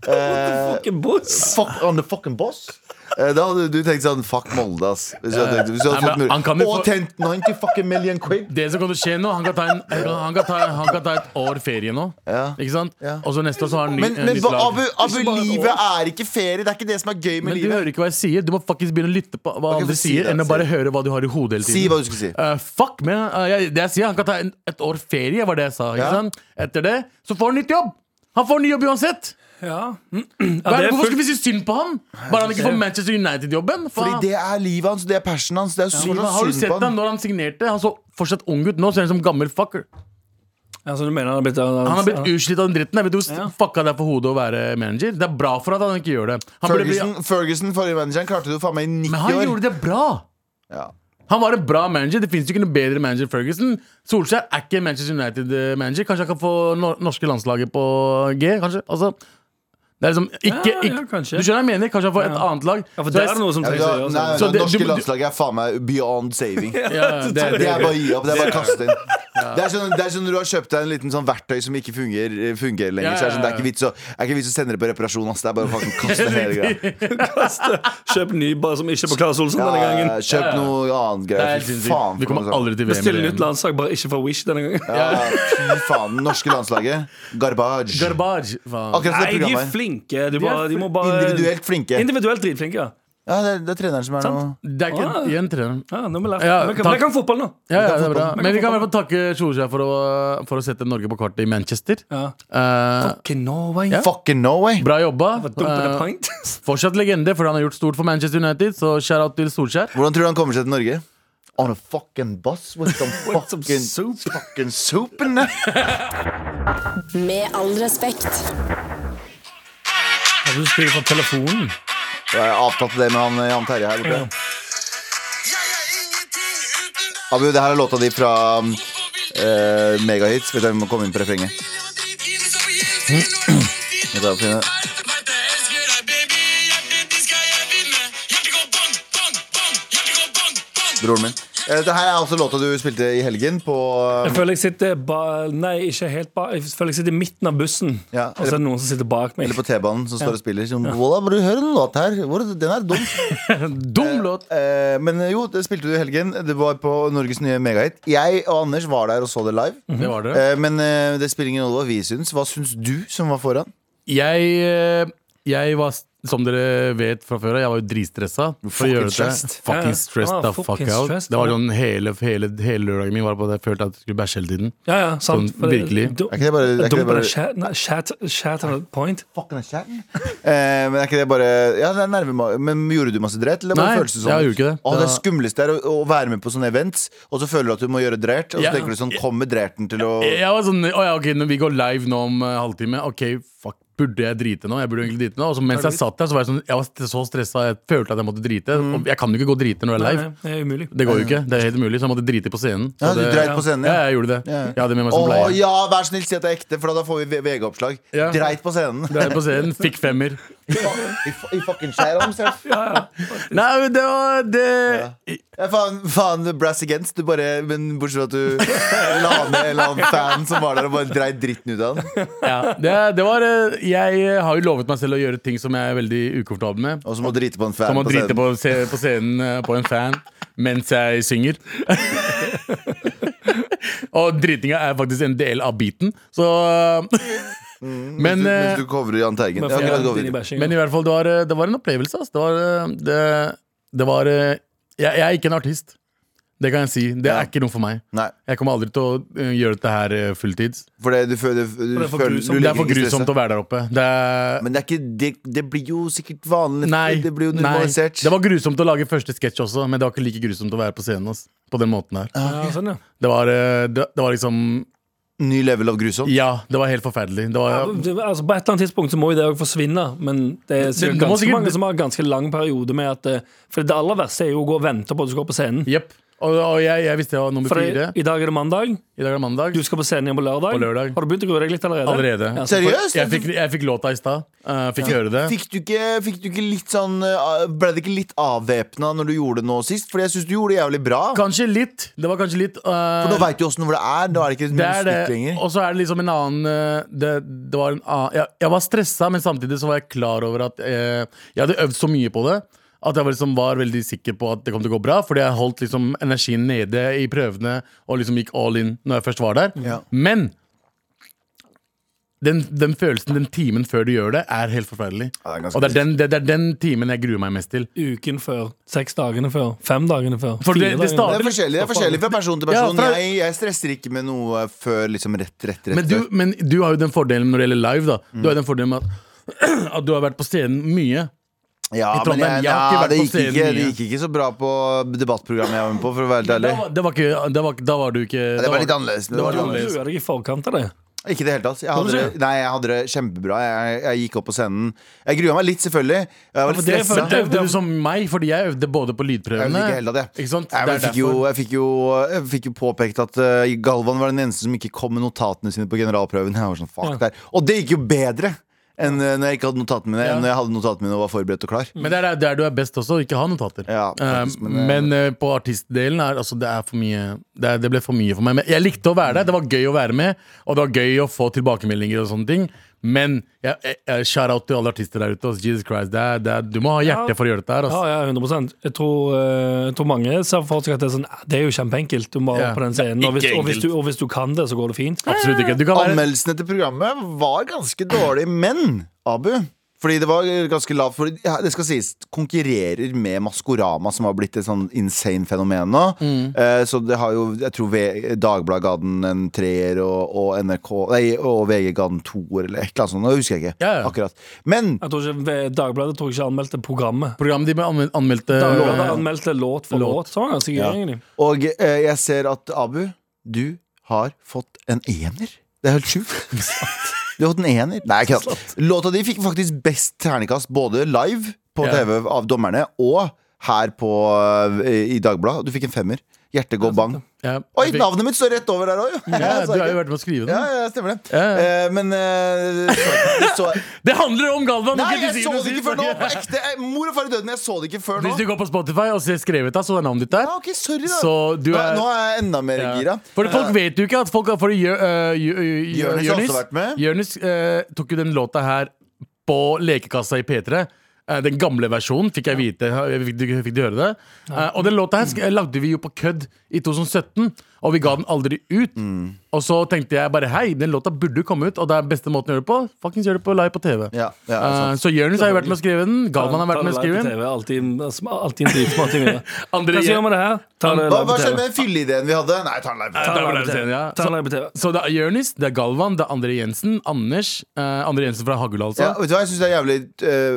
[SPEAKER 2] Fucking boss.
[SPEAKER 3] Fuck on the fucking boss. Eh, Da hadde du tenkt sånn Fuck Molde, ass. Hvis du hadde tenkt, hvis du hadde
[SPEAKER 4] Nei,
[SPEAKER 3] fått
[SPEAKER 4] men han kan
[SPEAKER 3] mulighet Og
[SPEAKER 4] jo få-
[SPEAKER 3] tjent 90 fucking million quid!
[SPEAKER 4] Det som kommer til å skje nå, han kan ta, en, han kan, han kan ta, han kan ta et år ferie nå.
[SPEAKER 3] Ja.
[SPEAKER 4] Ikke sant?
[SPEAKER 3] Ja.
[SPEAKER 4] Og så neste år så har han ny,
[SPEAKER 3] Men,
[SPEAKER 4] eh,
[SPEAKER 3] men
[SPEAKER 4] nytt
[SPEAKER 3] ba-
[SPEAKER 4] lag.
[SPEAKER 3] Abu, Abu
[SPEAKER 2] Ikke bare et
[SPEAKER 3] livet
[SPEAKER 2] år.
[SPEAKER 3] er ikke ferie. Det er ikke det som er gøy med
[SPEAKER 4] Men du
[SPEAKER 3] livet.
[SPEAKER 4] hører ikke hva jeg sier. Du må faktisk begynne å lytte på hva
[SPEAKER 3] Ok,
[SPEAKER 4] andre
[SPEAKER 3] si det,
[SPEAKER 4] sier, enn å
[SPEAKER 3] si
[SPEAKER 4] bare
[SPEAKER 3] det.
[SPEAKER 4] høre hva du har i hodet hele tiden.
[SPEAKER 3] Si hva du skulle si.
[SPEAKER 4] Eh, fuck, men eh, jeg, det jeg sier, han kan ta en, et år ferie, var det jeg sa. Ikke
[SPEAKER 3] Ja.
[SPEAKER 4] sant? Etter det så får han nytt jobb! Han får ny jobb uansett!
[SPEAKER 2] *clears throat* Ja.
[SPEAKER 4] Hva
[SPEAKER 2] det
[SPEAKER 4] er det,
[SPEAKER 2] er
[SPEAKER 4] hvorfor
[SPEAKER 2] fullt-
[SPEAKER 4] skal vi si synd på han? Bare han ikke får Manchester United-jobben?
[SPEAKER 3] Fordi
[SPEAKER 4] Faen.
[SPEAKER 3] det er livet hans, det er passionen hans. Det er synd
[SPEAKER 4] Men Har du
[SPEAKER 3] synd
[SPEAKER 4] sett
[SPEAKER 3] på
[SPEAKER 4] ham
[SPEAKER 3] han.
[SPEAKER 4] når han signerte? Han så fortsatt ung ut nå, ser han ut som gammel fucker.
[SPEAKER 2] Altså, du mener han har blitt
[SPEAKER 4] Han har blitt utslitt av den dritten. Jeg vet du hvor
[SPEAKER 2] Ja.
[SPEAKER 4] fucka det er for hodet å være manager? Det er bra for at han ikke gjør det. Han burde bli-
[SPEAKER 3] Ferguson, Ferguson, forrige manageren, klarte du faen meg i 90
[SPEAKER 4] men han
[SPEAKER 3] år.
[SPEAKER 4] gjorde det bra!
[SPEAKER 3] Ja.
[SPEAKER 4] Han var en bra manager. Det fins ikke noe bedre manager enn Ferguson. Solskjær er ikke Manchester United-manager. Kanskje han kan få no norske landslaget på G? Kanskje? Altså, det er liksom ikke,
[SPEAKER 2] Ja, ja,
[SPEAKER 4] ikke
[SPEAKER 2] kanskje.
[SPEAKER 4] Du skjønner hva jeg mener? Kanskje han får et
[SPEAKER 2] Ja.
[SPEAKER 4] annet lag?
[SPEAKER 2] Ja, for
[SPEAKER 4] Så
[SPEAKER 2] der
[SPEAKER 4] jeg-
[SPEAKER 2] er det noe som
[SPEAKER 3] Ja,
[SPEAKER 2] trengs
[SPEAKER 3] du
[SPEAKER 2] å
[SPEAKER 3] har-
[SPEAKER 2] gjøres. *laughs*
[SPEAKER 3] nei,
[SPEAKER 4] Så
[SPEAKER 3] det
[SPEAKER 4] det-
[SPEAKER 3] norske
[SPEAKER 4] du- du-
[SPEAKER 3] landslaget er faen meg beyond saving.
[SPEAKER 4] *laughs* ja, det, er-
[SPEAKER 3] Det er bare å gi opp. Det er bare å kaste inn. Det er sånn, det er sånn når du har kjøpt deg en liten sånn verktøy som ikke fungerer, fungerer lenger.
[SPEAKER 4] Ja,
[SPEAKER 3] Så er det, sånn, det er
[SPEAKER 4] ja, ja.
[SPEAKER 3] ikke vits å, er ikke vits å sende det på reparasjon. Ass. Det er bare å
[SPEAKER 4] *laughs*
[SPEAKER 3] fucking kaste hele greia.
[SPEAKER 2] Kjøp ny bare som ikke er på Claes Olsen denne
[SPEAKER 3] Ja,
[SPEAKER 2] gangen.
[SPEAKER 3] kjøp noe annet
[SPEAKER 4] det
[SPEAKER 3] greier.
[SPEAKER 4] er
[SPEAKER 3] Fy
[SPEAKER 4] sinnssykt.
[SPEAKER 3] faen. for
[SPEAKER 4] Vi
[SPEAKER 3] noe
[SPEAKER 4] kommer
[SPEAKER 3] sånt.
[SPEAKER 4] aldri til VM.
[SPEAKER 2] Bestill
[SPEAKER 4] eller
[SPEAKER 2] nytt
[SPEAKER 4] EM.
[SPEAKER 2] landslag, bare ikke fra Wish denne gangen.
[SPEAKER 3] Ja, fy faen. Det norske landslaget. Garbage.
[SPEAKER 4] Garbage. Faen.
[SPEAKER 3] Akkurat som
[SPEAKER 2] Nei,
[SPEAKER 3] det
[SPEAKER 2] de er
[SPEAKER 3] programmet. her.
[SPEAKER 2] flinke. De, bare, de må bare
[SPEAKER 3] Individuelt flinke.
[SPEAKER 2] Individuelt dritflinke, ja.
[SPEAKER 3] Ja, det, er- det er treneren som er
[SPEAKER 2] Sant.
[SPEAKER 3] noe
[SPEAKER 4] Det er ikke
[SPEAKER 2] Ah.
[SPEAKER 4] igjen trener.
[SPEAKER 2] ja nå har vi lært.
[SPEAKER 4] Ja,
[SPEAKER 2] vi kan,
[SPEAKER 4] takk.
[SPEAKER 2] vi kan fotball nå.
[SPEAKER 4] Ja, ja, det er bra.
[SPEAKER 3] fotballen.
[SPEAKER 4] Men vi kan i hvert fall takke Solskjær for, å- for å sette Norge på kartet i Manchester.
[SPEAKER 2] Ja.
[SPEAKER 4] Eh,
[SPEAKER 2] Fucking Norway.
[SPEAKER 4] Ja.
[SPEAKER 3] Fucking Norway!
[SPEAKER 4] bra jobba.
[SPEAKER 2] Dump in the
[SPEAKER 4] Eh,
[SPEAKER 2] pint.
[SPEAKER 4] fortsatt legende, for han har gjort stort for Manchester United. Så shout-out til Solskjær.
[SPEAKER 3] Hvordan tror du han kommer seg til Norge? On a fucking bus *laughs* with some
[SPEAKER 2] With some
[SPEAKER 3] fucking
[SPEAKER 2] soup.
[SPEAKER 3] fucking soup in there.
[SPEAKER 1] Med all respekt.
[SPEAKER 2] Ja, Du spiller fra telefonen.
[SPEAKER 3] *laughs* Jeg har avtalt det med han eh, Jan Terje her borte.
[SPEAKER 5] Jeg er ingenting uten deg.
[SPEAKER 3] Abu, det her er låta di fra um,
[SPEAKER 5] Hvorfor vil du
[SPEAKER 3] eh, *clears throat* megahits. Vet du, jeg må komme inn på refrenget.
[SPEAKER 5] vil ha dritt inn som vi elsker når
[SPEAKER 3] Vet
[SPEAKER 5] det er fint?
[SPEAKER 3] du hva, Fine?
[SPEAKER 5] Du vet jeg elsker deg, baby. Hjertet ditt skal jeg vinne. Hjertet går bang, bang, bang. Hjertet går bang, bang.
[SPEAKER 3] Broren min. Eh, Dette her er altså låta du spilte i helgen på
[SPEAKER 2] *laughs*
[SPEAKER 3] eh,
[SPEAKER 2] Jeg føler jeg sitter ba Nei, ikke helt ba Jeg føler jeg sitter i midten av bussen,
[SPEAKER 3] Ja,
[SPEAKER 2] og så er det noen som sitter bak meg.
[SPEAKER 3] Eller på T-banen, som står og spiller. Sånn, Walla, må du høre den låta her? Hvor- Den er dum. *laughs*
[SPEAKER 4] Dum låt!
[SPEAKER 3] Eh, men jo, det spilte du i helgen. Det var på Norges nye megahit. Jeg og Anders var der og så det live.
[SPEAKER 4] Det var det.
[SPEAKER 3] Eh, men eh, det spiller ingen rolle hva vi syns. Hva syns du som var foran?
[SPEAKER 4] Jeg, eh, jeg var, som dere vet fra før, jeg var jo dritstressa. for å
[SPEAKER 3] Fucking
[SPEAKER 4] gjøre dette.
[SPEAKER 3] stressed.
[SPEAKER 2] Ja, ja.
[SPEAKER 4] Fucking stressed
[SPEAKER 2] Ah,
[SPEAKER 4] the
[SPEAKER 2] fucking
[SPEAKER 4] fuck out.
[SPEAKER 2] stressed,
[SPEAKER 4] Det var
[SPEAKER 2] ja.
[SPEAKER 4] sånn hele, hele, hele lørdagen min var på det. Jeg følte at jeg skulle bæsje hele tiden.
[SPEAKER 2] Ja, ja, sant.
[SPEAKER 4] Sånn, virkelig.
[SPEAKER 2] Du-
[SPEAKER 3] Er ikke det bare- er ikke det
[SPEAKER 2] Dump in
[SPEAKER 3] bare-
[SPEAKER 2] a chat- nei, chat- chat on a point.
[SPEAKER 3] Fucking a chat. Eh, men er ikke det bare Ja, det er nerve, men gjorde du masse dreit? Eller bare
[SPEAKER 4] Nei,
[SPEAKER 3] føles det sånn?
[SPEAKER 4] jeg gjorde ikke det.
[SPEAKER 3] Å,
[SPEAKER 4] Det
[SPEAKER 3] det
[SPEAKER 4] var-
[SPEAKER 3] skumleste er å, å være med på sånne events, og så føler du at du må gjøre dreit, og så
[SPEAKER 4] Ja.
[SPEAKER 3] tenker du sånn Kommer drerten til å
[SPEAKER 4] Jeg var sånn, «Å ja, ok, når vi går live nå om eh, halvtime Ok, fuck, burde jeg drite nå? Jeg burde egentlig drite nå Og så mens jeg satt der, så var jeg sånn Jeg var st- så stresset, jeg følte at jeg måtte drite Og jeg kan jo ikke gå og drite når jeg er
[SPEAKER 2] Mm. Nei,
[SPEAKER 4] live
[SPEAKER 2] nei, det er umulig.
[SPEAKER 4] Det går jo ikke, det er helt umulig Så jeg måtte drite på scenen Så
[SPEAKER 3] Ja, du
[SPEAKER 4] det-
[SPEAKER 3] dreit på scenen,
[SPEAKER 4] Ja,
[SPEAKER 3] ja.
[SPEAKER 4] jeg gjorde det
[SPEAKER 3] Ja.
[SPEAKER 4] Jeg hadde med
[SPEAKER 3] Å
[SPEAKER 4] meg som bleie
[SPEAKER 3] ja, vær snill, si at det er ekte, for da får vi V- VG-oppslag.
[SPEAKER 4] Ja.
[SPEAKER 3] Dreit på scenen.
[SPEAKER 4] Dreit på scenen, fikk femmer
[SPEAKER 3] I fa- *laughs* I fa- i fucking share on himself. *laughs* Ja,
[SPEAKER 4] Nei, men det var det
[SPEAKER 3] faen, faen, brass against. Du bare, men bortsett fra at du la ned en eller annen fan som var der og bare dreit dritten ut av den.
[SPEAKER 4] ja, det, det var eh, Jeg har jo lovet meg selv å gjøre ting som jeg er veldig ukomfortabel med
[SPEAKER 3] Og så må du drite på en fan
[SPEAKER 4] Som å
[SPEAKER 3] på
[SPEAKER 4] drite
[SPEAKER 3] scenen.
[SPEAKER 4] på, se- på scenen eh, på en fan mens jeg
[SPEAKER 3] *laughs*
[SPEAKER 4] synger. og dritinga er faktisk en del av beaten, så men,
[SPEAKER 3] Mm. Mens du-
[SPEAKER 4] eh,
[SPEAKER 3] mens du covrer Jahn Teigen.
[SPEAKER 2] Men
[SPEAKER 3] Ja,
[SPEAKER 2] for-
[SPEAKER 3] greit, gå
[SPEAKER 2] din i
[SPEAKER 3] videre.
[SPEAKER 2] bæsjing,
[SPEAKER 4] men i hvert fall, det var, eh, det var en opplevelse. ass. Det var, eh, det, det var eh, jeg, jeg er ikke en artist. Det kan jeg si. Det
[SPEAKER 3] Ja.
[SPEAKER 4] er ikke noe for meg.
[SPEAKER 3] Nei.
[SPEAKER 4] Jeg kommer aldri til å eh, gjøre dette her eh, fulltids.
[SPEAKER 3] For det, du føler, du
[SPEAKER 2] det er for
[SPEAKER 3] føler
[SPEAKER 2] grusomt.
[SPEAKER 3] du
[SPEAKER 4] Det
[SPEAKER 3] legger
[SPEAKER 4] er for
[SPEAKER 3] ikke
[SPEAKER 4] grusomt
[SPEAKER 3] stresset.
[SPEAKER 4] å være der oppe. Det er,
[SPEAKER 3] Men det, er ikke, det, det blir jo sikkert vanlig.
[SPEAKER 4] nei,
[SPEAKER 3] det blir jo
[SPEAKER 4] nei.
[SPEAKER 3] normalisert.
[SPEAKER 4] Det var grusomt å lage første sketsj også, men det var ikke like grusomt å være på scenen. ass. På den måten her.
[SPEAKER 2] Ja, sånn, ja.
[SPEAKER 4] Det var, eh, det, det var liksom
[SPEAKER 3] Ny level av grusomt.
[SPEAKER 4] Ja, det var helt forferdelig. Det var,
[SPEAKER 2] Det- Altså, på et eller annet tidspunkt så må jo det òg forsvinne, men det er sikkert
[SPEAKER 4] Det- det må
[SPEAKER 2] ganske
[SPEAKER 4] sikkert-
[SPEAKER 2] mange som har ganske lang periode med at eh, For det aller verste er jo å gå og vente på at du skal på scenen.
[SPEAKER 4] Jepp. Og, og jeg, jeg visste jeg var nummer
[SPEAKER 2] For
[SPEAKER 4] fire.
[SPEAKER 2] det, I dag er det mandag,
[SPEAKER 4] I dag er det mandag.
[SPEAKER 2] du skal på scenen igjen på lørdag.
[SPEAKER 4] På lørdag.
[SPEAKER 2] Har du begynt å grue deg litt allerede?
[SPEAKER 4] Allerede.
[SPEAKER 2] Ja, så-
[SPEAKER 3] Seriøst?
[SPEAKER 4] Jeg fikk, jeg fikk låta i stad. eh, fikk høre det.
[SPEAKER 3] Fikk du, ikke, fikk du ikke litt sånn eh, Ble det ikke litt avvæpna når du gjorde det nå sist? Fordi jeg syns du gjorde det jævlig bra.
[SPEAKER 4] Kanskje litt. Det var kanskje litt eh,
[SPEAKER 3] For nå veit du åssen hvor det er. Da er det ikke
[SPEAKER 4] det
[SPEAKER 3] noen
[SPEAKER 4] er
[SPEAKER 3] stikk
[SPEAKER 4] det.
[SPEAKER 3] lenger.
[SPEAKER 4] Og så er det liksom en annen eh, Det, det var en annen jeg, jeg var stressa, men samtidig så var jeg klar over at eh, jeg hadde øvd så mye på det At jeg var liksom var veldig sikker på at det kom til å gå bra, fordi jeg holdt liksom energien nede i prøvene og liksom gikk all in når jeg først var der.
[SPEAKER 3] Ja.
[SPEAKER 4] Men den, den følelsen den timen før du gjør det, er helt forferdelig.
[SPEAKER 3] Ja, det er ganske
[SPEAKER 4] og det er, den, det, det er den timen jeg gruer meg mest til.
[SPEAKER 2] Uken før, seks dagene før, fem dagene før.
[SPEAKER 4] For det-
[SPEAKER 2] fire
[SPEAKER 4] det
[SPEAKER 2] dagene
[SPEAKER 4] starter-
[SPEAKER 3] Det er forskjellig, det er forskjellig fra person til person.
[SPEAKER 4] Ja, fra-
[SPEAKER 3] jeg, jeg stresser ikke med noe før liksom rett, rett, rett.
[SPEAKER 4] Men du,
[SPEAKER 3] før.
[SPEAKER 4] men du har jo den fordelen når det gjelder live, da. Du
[SPEAKER 3] Mm.
[SPEAKER 4] har jo den fordelen med at, *clears throat* at du har vært på scenen mye.
[SPEAKER 3] ja,
[SPEAKER 4] i Trondheim,
[SPEAKER 3] men jeg,
[SPEAKER 4] jeg har ikke
[SPEAKER 3] ja,
[SPEAKER 4] vært
[SPEAKER 3] det,
[SPEAKER 4] på
[SPEAKER 3] gikk
[SPEAKER 4] scenen
[SPEAKER 3] ikke, det
[SPEAKER 4] mye.
[SPEAKER 3] gikk ikke så bra på debattprogrammet jeg var med på, for å være helt
[SPEAKER 4] Da
[SPEAKER 3] ærlig.
[SPEAKER 4] var, det var ikke, da, var, da var du ikke
[SPEAKER 3] Det var litt annerledes. Det var
[SPEAKER 4] var
[SPEAKER 3] litt
[SPEAKER 4] litt
[SPEAKER 2] før. Du
[SPEAKER 3] annerledes.
[SPEAKER 2] gruer deg i forkant av det.
[SPEAKER 3] Ikke i det hele tatt. Jeg hadde, det- nei, jeg hadde det kjempebra. Jeg, jeg gikk opp på scenen. Jeg grua meg litt, selvfølgelig. Jeg var litt
[SPEAKER 2] for det
[SPEAKER 3] stressa.
[SPEAKER 2] følte
[SPEAKER 4] Men øvde du som meg, fordi jeg øvde både på
[SPEAKER 3] Jeg
[SPEAKER 4] lydprøvene
[SPEAKER 3] vet ikke helt av det.
[SPEAKER 4] Ikke sant?
[SPEAKER 3] Nei, men
[SPEAKER 4] Det er
[SPEAKER 3] jeg, fikk jo,
[SPEAKER 4] derfor.
[SPEAKER 3] jeg, fikk jo, jeg fikk jo påpekt at eh, Galvan var den eneste som ikke kom med notatene sine på generalprøven. *laughs* Jeg var sånn, fuck der. Og det gikk jo bedre enn eh, når jeg ikke hadde notatene mine,
[SPEAKER 4] Ja.
[SPEAKER 3] enn når jeg hadde notatene mine og var forberedt og klar.
[SPEAKER 4] Men det er der du er best også, å ikke ha notater.
[SPEAKER 3] Ja, faktisk,
[SPEAKER 4] Eh,
[SPEAKER 3] men det-
[SPEAKER 4] men eh, på artistdelen er altså, det, er for mye, det, er, det ble for mye for meg. Men jeg likte å være der, det var gøy å være med, og det var gøy å få tilbakemeldinger og sånne ting. Men jeg, jeg, jeg shout out til alle artister der ute. ass. Jesus Christ, det er, det er, Du må ha hjerte
[SPEAKER 2] Ja.
[SPEAKER 4] for å gjøre dette her. ass.
[SPEAKER 2] Ja, ja, 100 Jeg tror, eh, jeg tror mange ser for seg at det er sånn "Ah, Det er jo kjempeenkelt. Du må
[SPEAKER 4] Ja.
[SPEAKER 2] på den scenen. Og hvis, og, hvis du, og hvis du kan det, så går det fint.
[SPEAKER 4] Absolutt ikke. Du kan være
[SPEAKER 3] Anmeldelsene til programmet var ganske dårlige, men Abu fordi det var ganske lavt for, ja, Det skal sies, konkurrerer med Maskorama, som har blitt et sånn insane fenomen nå.
[SPEAKER 4] Mm.
[SPEAKER 3] Eh, så det har jo Jeg tror V- Dagbladet ga den en treer, og, og NRK Nei, og VG ga den toer, eller et eller annet sånt. Nå husker jeg ikke
[SPEAKER 4] Ja, ja.
[SPEAKER 3] akkurat. Men
[SPEAKER 2] Jeg tror ikke, eh, Dagbladet tror jeg ikke anmeldte programmet.
[SPEAKER 4] program de anmel- eh, anmeldte
[SPEAKER 2] Dagbladet anmeldte låt for låt.
[SPEAKER 4] Låt.
[SPEAKER 2] Så var det ganske gøy, egentlig.
[SPEAKER 3] Og eh, jeg ser at Abu, du har fått en ener. Det er helt
[SPEAKER 4] *laughs*
[SPEAKER 3] sjukt. Du har fått en ener. Nei, ikke sant. Låta di fikk faktisk best ternekast både live på
[SPEAKER 4] Ja.
[SPEAKER 3] TV av dommerne og her på, eh, i Dagbladet. Du fikk en femmer. Hjertet går bang.
[SPEAKER 4] Ja,
[SPEAKER 3] Oi,
[SPEAKER 4] jeg fikk-
[SPEAKER 3] navnet mitt står rett over der òg, jo! Jeg
[SPEAKER 4] Ja, du
[SPEAKER 3] sa
[SPEAKER 4] har jo
[SPEAKER 3] ikke.
[SPEAKER 4] vært med å skrive
[SPEAKER 3] Ja,
[SPEAKER 4] den.
[SPEAKER 3] ja, stemmer det.
[SPEAKER 4] Ja, ja.
[SPEAKER 3] Eh, men eh, så, så,
[SPEAKER 4] Det handler om Galvan!
[SPEAKER 3] Nei, jeg
[SPEAKER 4] ikke til
[SPEAKER 3] så
[SPEAKER 4] syvende og
[SPEAKER 3] det ikke
[SPEAKER 4] sist.
[SPEAKER 3] før nå! På ekte. Eh, Mor og far i døden, jeg så det ikke før nå.
[SPEAKER 4] Hvis du går på Spotify og ser skrevet av, så er navnet ditt der.
[SPEAKER 3] Ja, ok, sorry, da.
[SPEAKER 4] Så du
[SPEAKER 3] Nå-
[SPEAKER 4] er-
[SPEAKER 3] Nå er jeg enda mer
[SPEAKER 4] Ja.
[SPEAKER 3] gira. Eh,
[SPEAKER 4] For folk vet jo ikke at folk har for Jør- øh, Jør- Jør-
[SPEAKER 3] Jørnis har også
[SPEAKER 4] Jørnis-
[SPEAKER 3] vært med.
[SPEAKER 4] Jørnis øh, tok jo den låta her på lekekassa i P3. Eh, Den gamle versjonen fikk jeg vite. Jeg Fikk du, fikk du høre det? Eh, og den låta her sk- lagde vi jo på kødd i 2017, og vi ga den aldri ut.
[SPEAKER 3] Mm.
[SPEAKER 4] Og så tenkte jeg bare hei, den låta burde komme ut, og det er beste måten å gjøre det på. Fuckings gjør det på live på TV.
[SPEAKER 3] Ja, ja,
[SPEAKER 4] Eh, så Jørnis har jo vært med å skrive den. Galvan har vært med å
[SPEAKER 2] Ta det live
[SPEAKER 4] skrive
[SPEAKER 2] på
[SPEAKER 4] den.
[SPEAKER 2] TV, Alltid, alltid en dritsmart ting å
[SPEAKER 4] *laughs*
[SPEAKER 2] gjøre.
[SPEAKER 4] Andre-
[SPEAKER 2] Hva skal vi gjøre med det her? Ta det
[SPEAKER 3] Hva,
[SPEAKER 2] live på
[SPEAKER 3] hva
[SPEAKER 2] TV.
[SPEAKER 3] skjedde med den fylleideen vi hadde? Nei, ta den live.
[SPEAKER 2] Ta det
[SPEAKER 4] Nei,
[SPEAKER 2] live på
[SPEAKER 4] det er
[SPEAKER 2] TV.
[SPEAKER 4] det,
[SPEAKER 2] Ta det
[SPEAKER 4] ja.
[SPEAKER 2] live på TV.
[SPEAKER 4] Så det er Jørnis, det er Galvan, det er Andre Jensen, Anders. eh, Andre Jensen fra Hagula, altså.
[SPEAKER 3] Ja, vet du hva, Jeg syns det er jævlig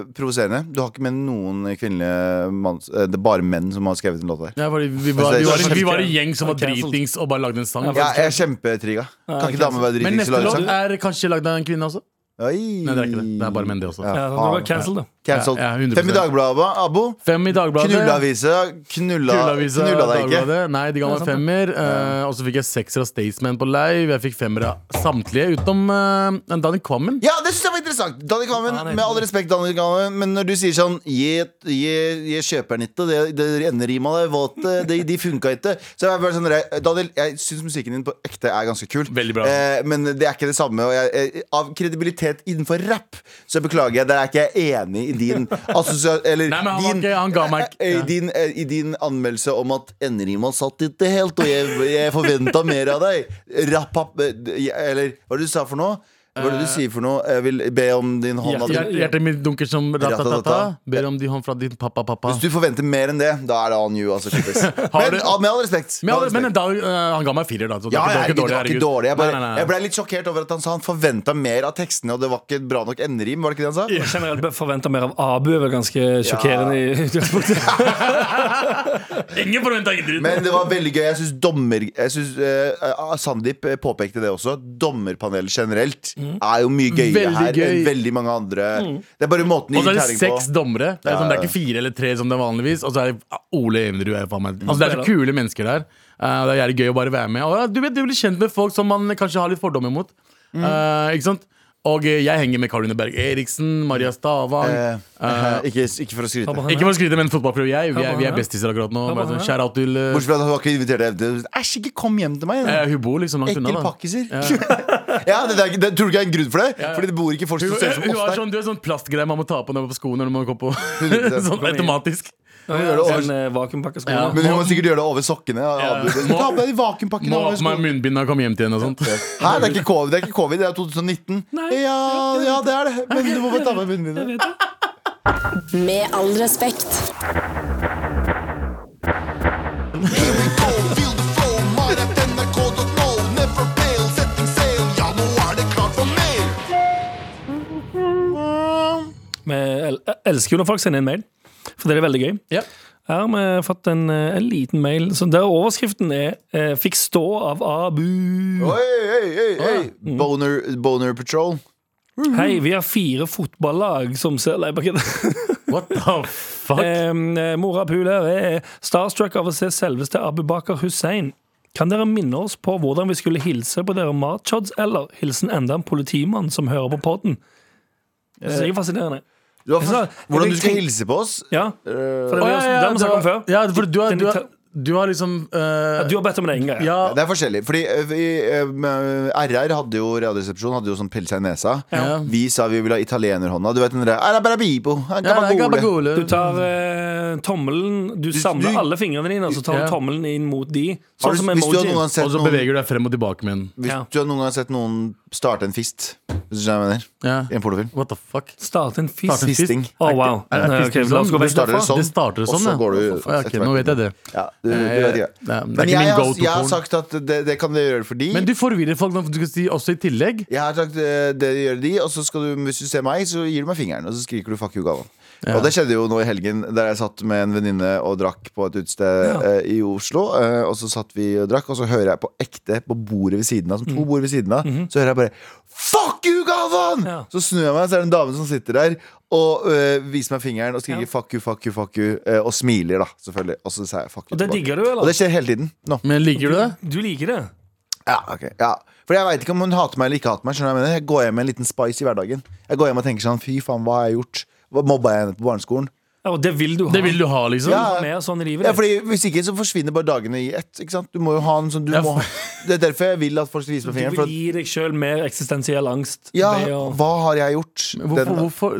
[SPEAKER 3] eh, provoserende. Du har ikke med noen kvinnelige manns... eh, det er bare menn som har skrevet den låta der.
[SPEAKER 4] Ja, fordi vi,
[SPEAKER 3] Altså,
[SPEAKER 4] var, vi,
[SPEAKER 3] det er
[SPEAKER 4] var,
[SPEAKER 3] sånn-
[SPEAKER 4] vi var en gjeng som var
[SPEAKER 2] Cancelled.
[SPEAKER 4] dritings og bare lagde en sang.
[SPEAKER 3] altså- Ja, jeg er kjempetrigga. Kan ikke damer være
[SPEAKER 4] Men
[SPEAKER 3] dritings og
[SPEAKER 4] neste
[SPEAKER 3] lage
[SPEAKER 4] låt
[SPEAKER 3] sang?
[SPEAKER 4] er kanskje lagd av en kvinne også?
[SPEAKER 3] Oi.
[SPEAKER 4] Nei, det er ikke det. Det er bare menn, det også.
[SPEAKER 3] Ja,
[SPEAKER 2] Ja, det
[SPEAKER 3] faen.
[SPEAKER 2] var cancel, det.
[SPEAKER 3] Cancelled.
[SPEAKER 4] Ja, ja, 100%.
[SPEAKER 3] Fem i Dagbladet, Abo.
[SPEAKER 4] Fem i Dagbladet.
[SPEAKER 3] Knulleavisa. Knulla,
[SPEAKER 4] Kullavisa,
[SPEAKER 3] knulla deg ikke.
[SPEAKER 4] Dagbladet. Nei, de ga meg femmer. eh, og så fikk jeg sekser av Staysman på live. Jeg fikk femmer av samtlige utenom eh, Danny Kvammen.
[SPEAKER 3] Ja, det syns jeg var interessant! Danny Kvammen,
[SPEAKER 2] Ja, nei.
[SPEAKER 3] med all respekt, Danny Kvammen, men når du sier sånn Gi, gi, gi kjøperen ikke, det, det enderima det er våt, de, de funka ikke. Så jeg er bare sånn re- Daniel, jeg syns musikken din på ekte er ganske kul,
[SPEAKER 4] Veldig bra.
[SPEAKER 3] Eh, men det er ikke det samme. Og jeg, jeg, av kredibilitet innenfor rapp, så beklager jeg, der er ikke jeg enig i
[SPEAKER 4] *laughs*
[SPEAKER 3] din assosia... Eller
[SPEAKER 4] Nei, men han, var
[SPEAKER 3] din
[SPEAKER 4] ikke, han ga meg
[SPEAKER 3] *laughs*
[SPEAKER 4] ikke-
[SPEAKER 3] i din, eh, I din anmeldelse om at enderima satt ikke helt, og jeg, jeg forventa mer av deg. Rappap eh, d- Eller hva er det du sa for noe? Hva er det du sier for noe? Jeg vil be om din hånd.
[SPEAKER 2] Ja,
[SPEAKER 3] At
[SPEAKER 4] Hjert-
[SPEAKER 3] du,
[SPEAKER 4] Hjertet mitt dunker som ratatata.
[SPEAKER 3] Ratatata.
[SPEAKER 4] Ber om de hånd fra din pappa, pappa.
[SPEAKER 3] hvis du forventer mer enn det, da er det on you. Altså, kompis. men
[SPEAKER 4] du-
[SPEAKER 3] ah, med all respekt.
[SPEAKER 4] Men,
[SPEAKER 3] med all
[SPEAKER 4] jeg- men
[SPEAKER 3] respekt.
[SPEAKER 4] en dag, eh, han ga meg firer, da. Så
[SPEAKER 3] Ja,
[SPEAKER 4] det var
[SPEAKER 3] herregud,
[SPEAKER 4] ikke
[SPEAKER 3] det var ikke dårlig. Jeg,
[SPEAKER 4] herregud.
[SPEAKER 3] bare,
[SPEAKER 4] Nei, nei, nei.
[SPEAKER 3] jeg ble litt sjokkert over at han sa han forventa mer av tekstene, og det var ikke bra nok enderim. Var det ikke det han sa?
[SPEAKER 2] Og Generelt forventa mer av Abu er vel ganske sjokkerende i utgangspunktet.
[SPEAKER 4] Ingen forventa ingen dritt.
[SPEAKER 3] Men det var veldig gøy. Jeg syns dommer jeg synes, eh, eh, Sandeep eh, påpekte det også. Dommerpanelet generelt er jo mye gøyere
[SPEAKER 4] Veldig
[SPEAKER 3] her enn
[SPEAKER 4] gøy. Mm.
[SPEAKER 3] veldig mange andre. Det er bare måten de
[SPEAKER 4] Og så
[SPEAKER 3] gir
[SPEAKER 4] er det
[SPEAKER 3] terning på.
[SPEAKER 4] seks dommere. Det er, sånn, det er ikke fire eller tre som det er vanligvis. Og så er det ah, Ole Evenrud er faen meg Altså Det er så kule mennesker der. Eh, det er
[SPEAKER 3] Mm.
[SPEAKER 4] jævlig gøy å bare være med. Og ja, du vet, du blir kjent med folk som man kanskje har litt fordommer mot. Eh, ikke sant? Og eh, jeg henger med Karoline Berg Eriksen, Maria Stavang.
[SPEAKER 3] Eh, eh, *laughs* ikke, ikke for å skryte.
[SPEAKER 2] Tabba.
[SPEAKER 3] Bortsett
[SPEAKER 2] han
[SPEAKER 4] ikke for å skryte, men fotballprøve. Jeg, vi er, vi
[SPEAKER 2] han er.
[SPEAKER 4] er bestiser akkurat nå.
[SPEAKER 2] Ja,
[SPEAKER 4] Bare
[SPEAKER 2] han
[SPEAKER 4] sånn,
[SPEAKER 2] er.
[SPEAKER 4] Shout out til eh,
[SPEAKER 3] fra at hun var ikke invitert deg. Æsj, ikke kom hjem til meg!
[SPEAKER 4] eh, Hun bor liksom langt
[SPEAKER 3] Ekkel
[SPEAKER 4] unna. da
[SPEAKER 3] pakkiser. *laughs* ja, det, der- det tror du ikke er en grunn for det? Fordi det bor ikke folk
[SPEAKER 4] Hun,
[SPEAKER 3] som ser ut som
[SPEAKER 4] hun har
[SPEAKER 3] oss der. *laughs*
[SPEAKER 4] sånn, du er sånn plastgreie man må ta på når man er på skoene. Når man går på *laughs* Sånn
[SPEAKER 3] 100%.
[SPEAKER 4] automatisk
[SPEAKER 3] gjør det over-
[SPEAKER 2] Sånn eh, vakuumpakkesko.
[SPEAKER 4] Ja.
[SPEAKER 2] da.
[SPEAKER 3] Men hun må sikkert gjøre det over sokkene. og avbryte.
[SPEAKER 4] Må-
[SPEAKER 3] Ta på deg de vakuumpakkene.
[SPEAKER 4] Må ha
[SPEAKER 3] over
[SPEAKER 4] på meg
[SPEAKER 3] skoene.
[SPEAKER 4] munnbind når jeg kommer hjem til henne. og sånt
[SPEAKER 3] Hæ, det er ikke covid, det er, ikke COVID, det er 2019. Ja, ja, det er det. Men du må bare ta med munnbindet.
[SPEAKER 6] Med all respekt.
[SPEAKER 2] Vi el eh, elsker jo når folk sender inn mail, for det er veldig gøy.
[SPEAKER 4] *laughs* Ja.
[SPEAKER 2] Her har vi fått en, eh, en liten mail så der overskriften er eh, 'Fikk stå av Abu'.
[SPEAKER 3] Oi, oi, oi,
[SPEAKER 4] Mm.
[SPEAKER 3] oi. Boner, boner Patrol.
[SPEAKER 2] Hei, vi har fire fotballag som ser Nei, bare kødder.
[SPEAKER 3] *laughs*
[SPEAKER 4] What the fuck?
[SPEAKER 2] *laughs* Em, eh, Mora Pul her er starstruck av å se selveste Abu Bakar Hussein. Kan dere minne oss på hvordan vi skulle hilse på dere machods, eller hilsen enda en politimann som hører på podden? Det
[SPEAKER 4] Eh,
[SPEAKER 2] synes jeg er fascinerende.
[SPEAKER 3] Du har
[SPEAKER 2] Altså,
[SPEAKER 3] fårt- hvordan du skal
[SPEAKER 2] tenk-
[SPEAKER 3] hilse på oss?
[SPEAKER 2] Ja, for det
[SPEAKER 4] eh, Å,
[SPEAKER 2] har vi
[SPEAKER 4] ja,
[SPEAKER 2] også-
[SPEAKER 4] ja,
[SPEAKER 2] det har vi snakket
[SPEAKER 4] du
[SPEAKER 2] om
[SPEAKER 4] har-
[SPEAKER 2] før.
[SPEAKER 4] Ja, for du har, du har, du har liksom eh,
[SPEAKER 2] Du har bedt om det en gang.
[SPEAKER 4] Ja,
[SPEAKER 3] Det er forskjellig. Fordi eh, vi, eh, med- RR hadde jo Radioresepsjonen hadde jo sånn pille seg i nesa.
[SPEAKER 4] Ja.
[SPEAKER 3] Vi sa vi ville ha italienerhånda. Du vet den der Arabrabibo. Gabagole.
[SPEAKER 4] Gabagole.
[SPEAKER 2] Du tar eh, tommelen Du samler
[SPEAKER 3] du-
[SPEAKER 2] alle fingrene dine, og så tar du
[SPEAKER 4] Ja.
[SPEAKER 2] tommelen inn mot de.
[SPEAKER 3] Har
[SPEAKER 2] Sånn
[SPEAKER 3] du-
[SPEAKER 2] som
[SPEAKER 3] Hvis du har
[SPEAKER 2] emoji.
[SPEAKER 3] noen gang sett
[SPEAKER 4] Og så
[SPEAKER 3] noen,
[SPEAKER 4] beveger du deg frem og tilbake med den.
[SPEAKER 2] Ja.
[SPEAKER 3] hvis du har noen gang sett noen starte en fist, hvis du skjønner hva jeg mener,
[SPEAKER 4] Ja.
[SPEAKER 3] i en pornofilm
[SPEAKER 4] What the fuck?
[SPEAKER 2] Starte en fist.
[SPEAKER 4] Starte en fist.
[SPEAKER 3] Fisting.
[SPEAKER 2] Å, wow.
[SPEAKER 4] Er det- er det
[SPEAKER 2] Ok, la oss gå
[SPEAKER 4] sånn?
[SPEAKER 2] vekk
[SPEAKER 3] starter det
[SPEAKER 2] derfra.
[SPEAKER 3] sånn,
[SPEAKER 4] Det starter
[SPEAKER 3] og
[SPEAKER 4] sånn,
[SPEAKER 3] så går du
[SPEAKER 4] ja, ok, Nå vet jeg det. Eh,
[SPEAKER 3] Ja, du, du vet ikke.
[SPEAKER 4] Nei, det er
[SPEAKER 3] Men
[SPEAKER 4] ikke
[SPEAKER 3] jeg,
[SPEAKER 4] min
[SPEAKER 3] har- jeg har
[SPEAKER 4] go-to-porn.
[SPEAKER 3] sagt at det, det kan dere gjøre for de.
[SPEAKER 4] Men du forvirrer folk når du skal si også i tillegg.
[SPEAKER 3] Jeg har sagt eh, det gjør de, og så skal du, hvis du ser meg, så gir du meg fingeren. Og så skriker du 'fuck you, Galvan'.
[SPEAKER 4] Ja.
[SPEAKER 3] Og det skjedde jo nå i helgen, der jeg satt med en venninne og drakk på et utested eh, i Oslo. eh, og så satt vi og drakk, og så hører jeg på ekte på bordet ved siden av, som to
[SPEAKER 2] Mhm.
[SPEAKER 3] bord ved siden av, så hører jeg bare 'fuck you, Galvan'!
[SPEAKER 2] Ja.
[SPEAKER 3] Så snur jeg meg, så er det en dame som sitter der. Og eh, viser meg fingeren og skriker 'fuck you, fuck you', fuck you eh, og smiler, da, selvfølgelig. Og så sier jeg 'fuck you'.
[SPEAKER 2] Og det
[SPEAKER 3] tilbake.
[SPEAKER 2] digger du,
[SPEAKER 3] og
[SPEAKER 2] eller?
[SPEAKER 3] det skjer hele tiden. Nå.
[SPEAKER 4] Men liker du det?
[SPEAKER 2] Du liker det?
[SPEAKER 3] Ja, ok ja. For jeg veit ikke om hun hater meg eller ikke hater meg. Skjønner du hva Jeg mener Jeg går hjem med en liten spice i hverdagen. Jeg går hjem og tenker sånn Fy faen, hva har jeg gjort? Hva Mobba jeg henne på barneskolen?
[SPEAKER 2] Ja, og det vil du ha.
[SPEAKER 4] Det vil du ha, liksom?
[SPEAKER 3] Ja.
[SPEAKER 2] ha med sånn i livet
[SPEAKER 3] Ja,
[SPEAKER 2] ditt.
[SPEAKER 3] fordi Hvis ikke så forsvinner bare dagene i ett. Ikke sant? Du må jo ha en sånn du
[SPEAKER 4] Ja,
[SPEAKER 3] må,
[SPEAKER 4] for-
[SPEAKER 3] Det er derfor jeg vil at folk skal vise meg
[SPEAKER 2] Du
[SPEAKER 3] fingeren.
[SPEAKER 2] vil
[SPEAKER 3] For at,
[SPEAKER 2] gi deg sjøl mer eksistensiell angst.
[SPEAKER 3] ja,
[SPEAKER 2] ved å-
[SPEAKER 3] hva har jeg gjort?
[SPEAKER 4] Hvorfor,
[SPEAKER 3] Den-
[SPEAKER 4] hvorfor?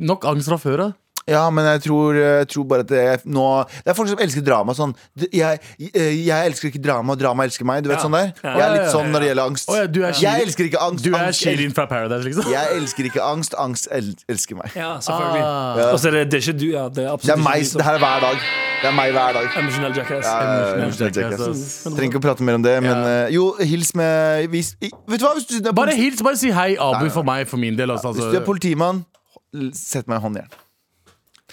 [SPEAKER 4] Nok angst fra før av.
[SPEAKER 3] Ja, men jeg tror, jeg tror bare at det er nå Det er folk som elsker drama sånn d- Jeg, eh, jeg elsker ikke drama, og drama elsker meg. Du vet
[SPEAKER 2] Ja.
[SPEAKER 3] sånn der?
[SPEAKER 2] Ja.
[SPEAKER 3] Jeg er litt
[SPEAKER 4] Ja, ja,
[SPEAKER 3] sånn når det gjelder angst.
[SPEAKER 4] Å ja, du er
[SPEAKER 3] Jeg
[SPEAKER 4] Shirin-
[SPEAKER 3] elsker ikke angst.
[SPEAKER 4] Du er
[SPEAKER 3] angst
[SPEAKER 4] Shirin fra Paradise, liksom?
[SPEAKER 3] jeg elsker ikke angst. Angst el elsker meg.
[SPEAKER 2] Ja, selvfølgelig.
[SPEAKER 4] Ah.
[SPEAKER 2] Og så er det, det er ikke du, ja. Det er
[SPEAKER 3] Det
[SPEAKER 2] absolutt
[SPEAKER 3] er meg,
[SPEAKER 2] ikke du
[SPEAKER 3] det her er hver dag. Det er meg hver dag.
[SPEAKER 2] Emotionell jackass.
[SPEAKER 3] Eh,
[SPEAKER 4] Emotional Mm. jackass, altså.
[SPEAKER 3] Trenger ikke å prate mer om det, men eh, jo, hils med vis, i, Vet du hva, hvis du er,
[SPEAKER 4] Bare
[SPEAKER 3] politi,
[SPEAKER 4] hils, bare si hei, Abu, for meg, for min del. Altså,
[SPEAKER 3] hvis du er
[SPEAKER 4] altså.
[SPEAKER 3] politimann, l- sett meg i håndjern.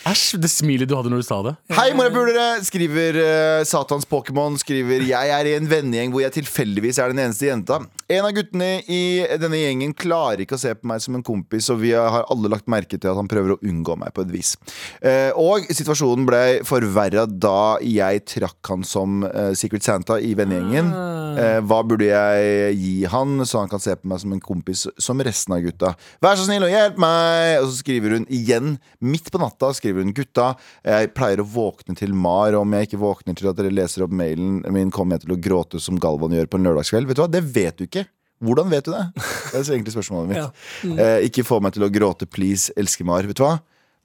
[SPEAKER 4] Æsj, det smilet du hadde når du sa det.
[SPEAKER 3] Hei, morapulere! Skriver eh, Satans Pokémon. Skriver Jeg er i en vennegjeng hvor jeg tilfeldigvis er den eneste jenta. En av guttene i denne gjengen klarer ikke å se på meg som en kompis, og vi har alle lagt merke til at han prøver å unngå meg på et vis. Eh, og situasjonen ble forverra da jeg trakk han som eh, Secret Santa i vennegjengen. Eh, hva burde jeg gi han, så han kan se på meg som en kompis som resten av gutta? Vær så snill og hjelp meg! Og så skriver hun igjen, midt på natta, skriver hun gutta. Jeg pleier å våkne til Mar. Om jeg ikke våkner til at dere leser opp mailen min, kommer jeg til å gråte som Galvan gjør på en lørdagskveld. Vet du hva, det vet du ikke. Hvordan vet du det? Det er så egentlig spørsmålet mitt.
[SPEAKER 2] Ja.
[SPEAKER 3] Eh, ikke få meg til å gråte, please, elsker Mar. Vet du hva?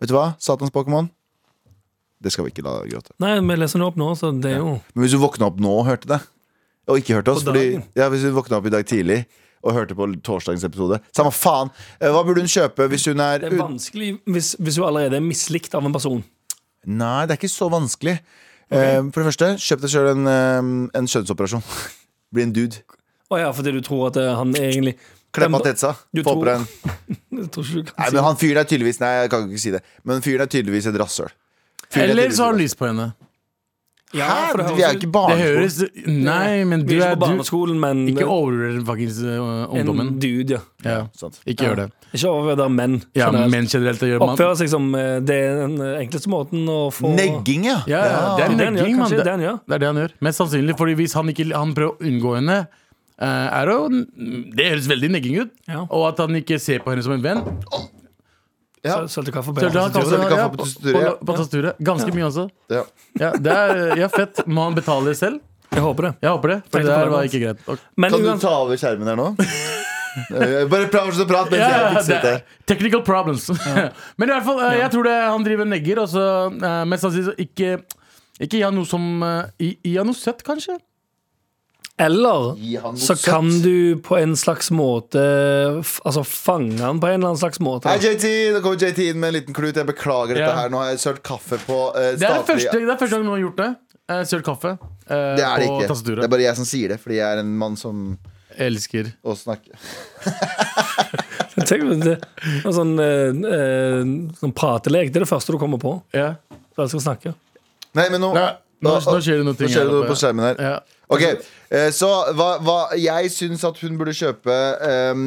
[SPEAKER 3] Vet du hva, Satans Pokémon? Det skal vi ikke la gråte.
[SPEAKER 2] Nei, vi leser den opp nå, så det er jo
[SPEAKER 3] Men hvis du våkna opp nå og hørte det, og ikke hørte oss
[SPEAKER 2] På
[SPEAKER 3] fordi,
[SPEAKER 2] dagen.
[SPEAKER 3] ja, Hvis du våkna opp i dag tidlig og hørte på torsdagens episode, samme faen! Eh, Hva burde hun kjøpe hvis hun er
[SPEAKER 2] Det er vanskelig hvis, hvis du allerede er mislikt av en person.
[SPEAKER 3] Nei, det er ikke så vanskelig. Eh, For det første, kjøp deg sjøl en, eh, en kjønnsoperasjon. *laughs* Bli en dude.
[SPEAKER 2] Å ja, fordi du tror at eh, han egentlig
[SPEAKER 3] Klem av Tetsa.
[SPEAKER 2] Du
[SPEAKER 3] Få
[SPEAKER 2] tror-
[SPEAKER 3] på deg en
[SPEAKER 2] Jeg tror ikke du
[SPEAKER 3] Nei,
[SPEAKER 2] kan si
[SPEAKER 3] men han fyren er tydeligvis Nei, jeg kan ikke si det. Men fyren er tydeligvis et rasshøl. Fyren er
[SPEAKER 4] Eller
[SPEAKER 3] tydeligvis
[SPEAKER 4] så har
[SPEAKER 3] et
[SPEAKER 4] han lyst på henne.
[SPEAKER 2] Ja, for
[SPEAKER 3] rasshøl.
[SPEAKER 2] det
[SPEAKER 3] Hæ?
[SPEAKER 2] høres ut-
[SPEAKER 3] Vi er jo ikke
[SPEAKER 4] Det
[SPEAKER 3] barneskole.
[SPEAKER 4] høres Nei, men du
[SPEAKER 2] Vi er ikke
[SPEAKER 4] er
[SPEAKER 2] på
[SPEAKER 4] du,
[SPEAKER 2] barneskolen, men
[SPEAKER 4] Ikke
[SPEAKER 2] eh,
[SPEAKER 4] overvurder faktisk øh,
[SPEAKER 2] en
[SPEAKER 4] ungdommen.
[SPEAKER 2] dude, ja.
[SPEAKER 4] Ja.
[SPEAKER 3] Sant.
[SPEAKER 4] Ikke gjør det.
[SPEAKER 2] Ikke overvurder menn.
[SPEAKER 4] Ja,
[SPEAKER 2] generelt.
[SPEAKER 4] men generelt det gjør man
[SPEAKER 2] Oppføre seg som eh, Det er den eh, enkleste måten å få
[SPEAKER 3] Negging, ja.
[SPEAKER 4] Ja, ja, det er
[SPEAKER 2] Det er den, ja.
[SPEAKER 4] negging, mann.
[SPEAKER 2] Kanskje det
[SPEAKER 4] Det
[SPEAKER 2] er den, ja.
[SPEAKER 4] det er det han gjør. Mest sannsynlig, fordi hvis han, ikke, han prøver å unngå henne eh, er jo Det høres veldig negging ut.
[SPEAKER 2] Ja.
[SPEAKER 4] Og at han ikke ser på henne som en venn.
[SPEAKER 3] Ja.
[SPEAKER 2] Søl- Sølte kaffe på
[SPEAKER 4] Så da
[SPEAKER 2] hjemme.
[SPEAKER 4] han kan-
[SPEAKER 3] Sølte kaffe
[SPEAKER 4] ja,
[SPEAKER 3] på
[SPEAKER 4] på-
[SPEAKER 3] tastaturet,
[SPEAKER 4] på-
[SPEAKER 3] ja.
[SPEAKER 4] på tastaturet. Ganske mye også.
[SPEAKER 3] Ja.
[SPEAKER 4] Ja, det er, ja, fett. Må han betale selv?
[SPEAKER 2] Jeg håper det.
[SPEAKER 4] Jeg håper det. For
[SPEAKER 2] Tenkte
[SPEAKER 4] det
[SPEAKER 2] på
[SPEAKER 4] her
[SPEAKER 2] det,
[SPEAKER 4] var
[SPEAKER 2] Mats.
[SPEAKER 4] ikke greit. Ok.
[SPEAKER 2] Men
[SPEAKER 3] Kan du
[SPEAKER 2] uansett-
[SPEAKER 3] ta over skjermen her nå?
[SPEAKER 4] *laughs*
[SPEAKER 3] Eh, Bare prat, fortsett å prate mens jeg
[SPEAKER 4] Ja,
[SPEAKER 3] fikser
[SPEAKER 4] det
[SPEAKER 3] dette.
[SPEAKER 4] er technical problems. *laughs* Men i hvert fall, eh, jeg tror det han driver og negger, og så eh, mest sannsynlig så ikke ikke gi han noe som eh, Gi gi han noe søtt, kanskje?
[SPEAKER 2] Eller
[SPEAKER 3] Gi han noe
[SPEAKER 2] så
[SPEAKER 3] søtt.
[SPEAKER 2] kan du på en slags måte f- Altså fange han på en eller annen slags måte.
[SPEAKER 3] Hei, JT! Nå kommer JT inn med en liten klut. Jeg beklager dette
[SPEAKER 4] Ja.
[SPEAKER 3] her. Nå har jeg sølt kaffe på eh,
[SPEAKER 4] Det er, det
[SPEAKER 3] statlig
[SPEAKER 4] første, det er første gang noen har gjort det. Eh, Sølt kaffe eh,
[SPEAKER 3] Det er det
[SPEAKER 4] på
[SPEAKER 3] ikke. Det er
[SPEAKER 4] tastaturet.
[SPEAKER 3] bare jeg som sier det, fordi jeg er en mann som
[SPEAKER 4] Elsker.
[SPEAKER 3] å snakke.
[SPEAKER 2] Tenk om *laughs* det- en sånn, eh, eh, sånn pratelek. Det er det første du kommer på.
[SPEAKER 4] Ja.
[SPEAKER 2] For jeg skal snakke.
[SPEAKER 3] Nei, men nå
[SPEAKER 4] Nei, nå, nå skjer det noe ting
[SPEAKER 3] Nå skjer det
[SPEAKER 4] her
[SPEAKER 3] noe på
[SPEAKER 4] oppe.
[SPEAKER 3] skjermen her.
[SPEAKER 4] Ja.
[SPEAKER 3] Ok, eh, Så hva, hva Jeg syns at hun burde kjøpe ehm,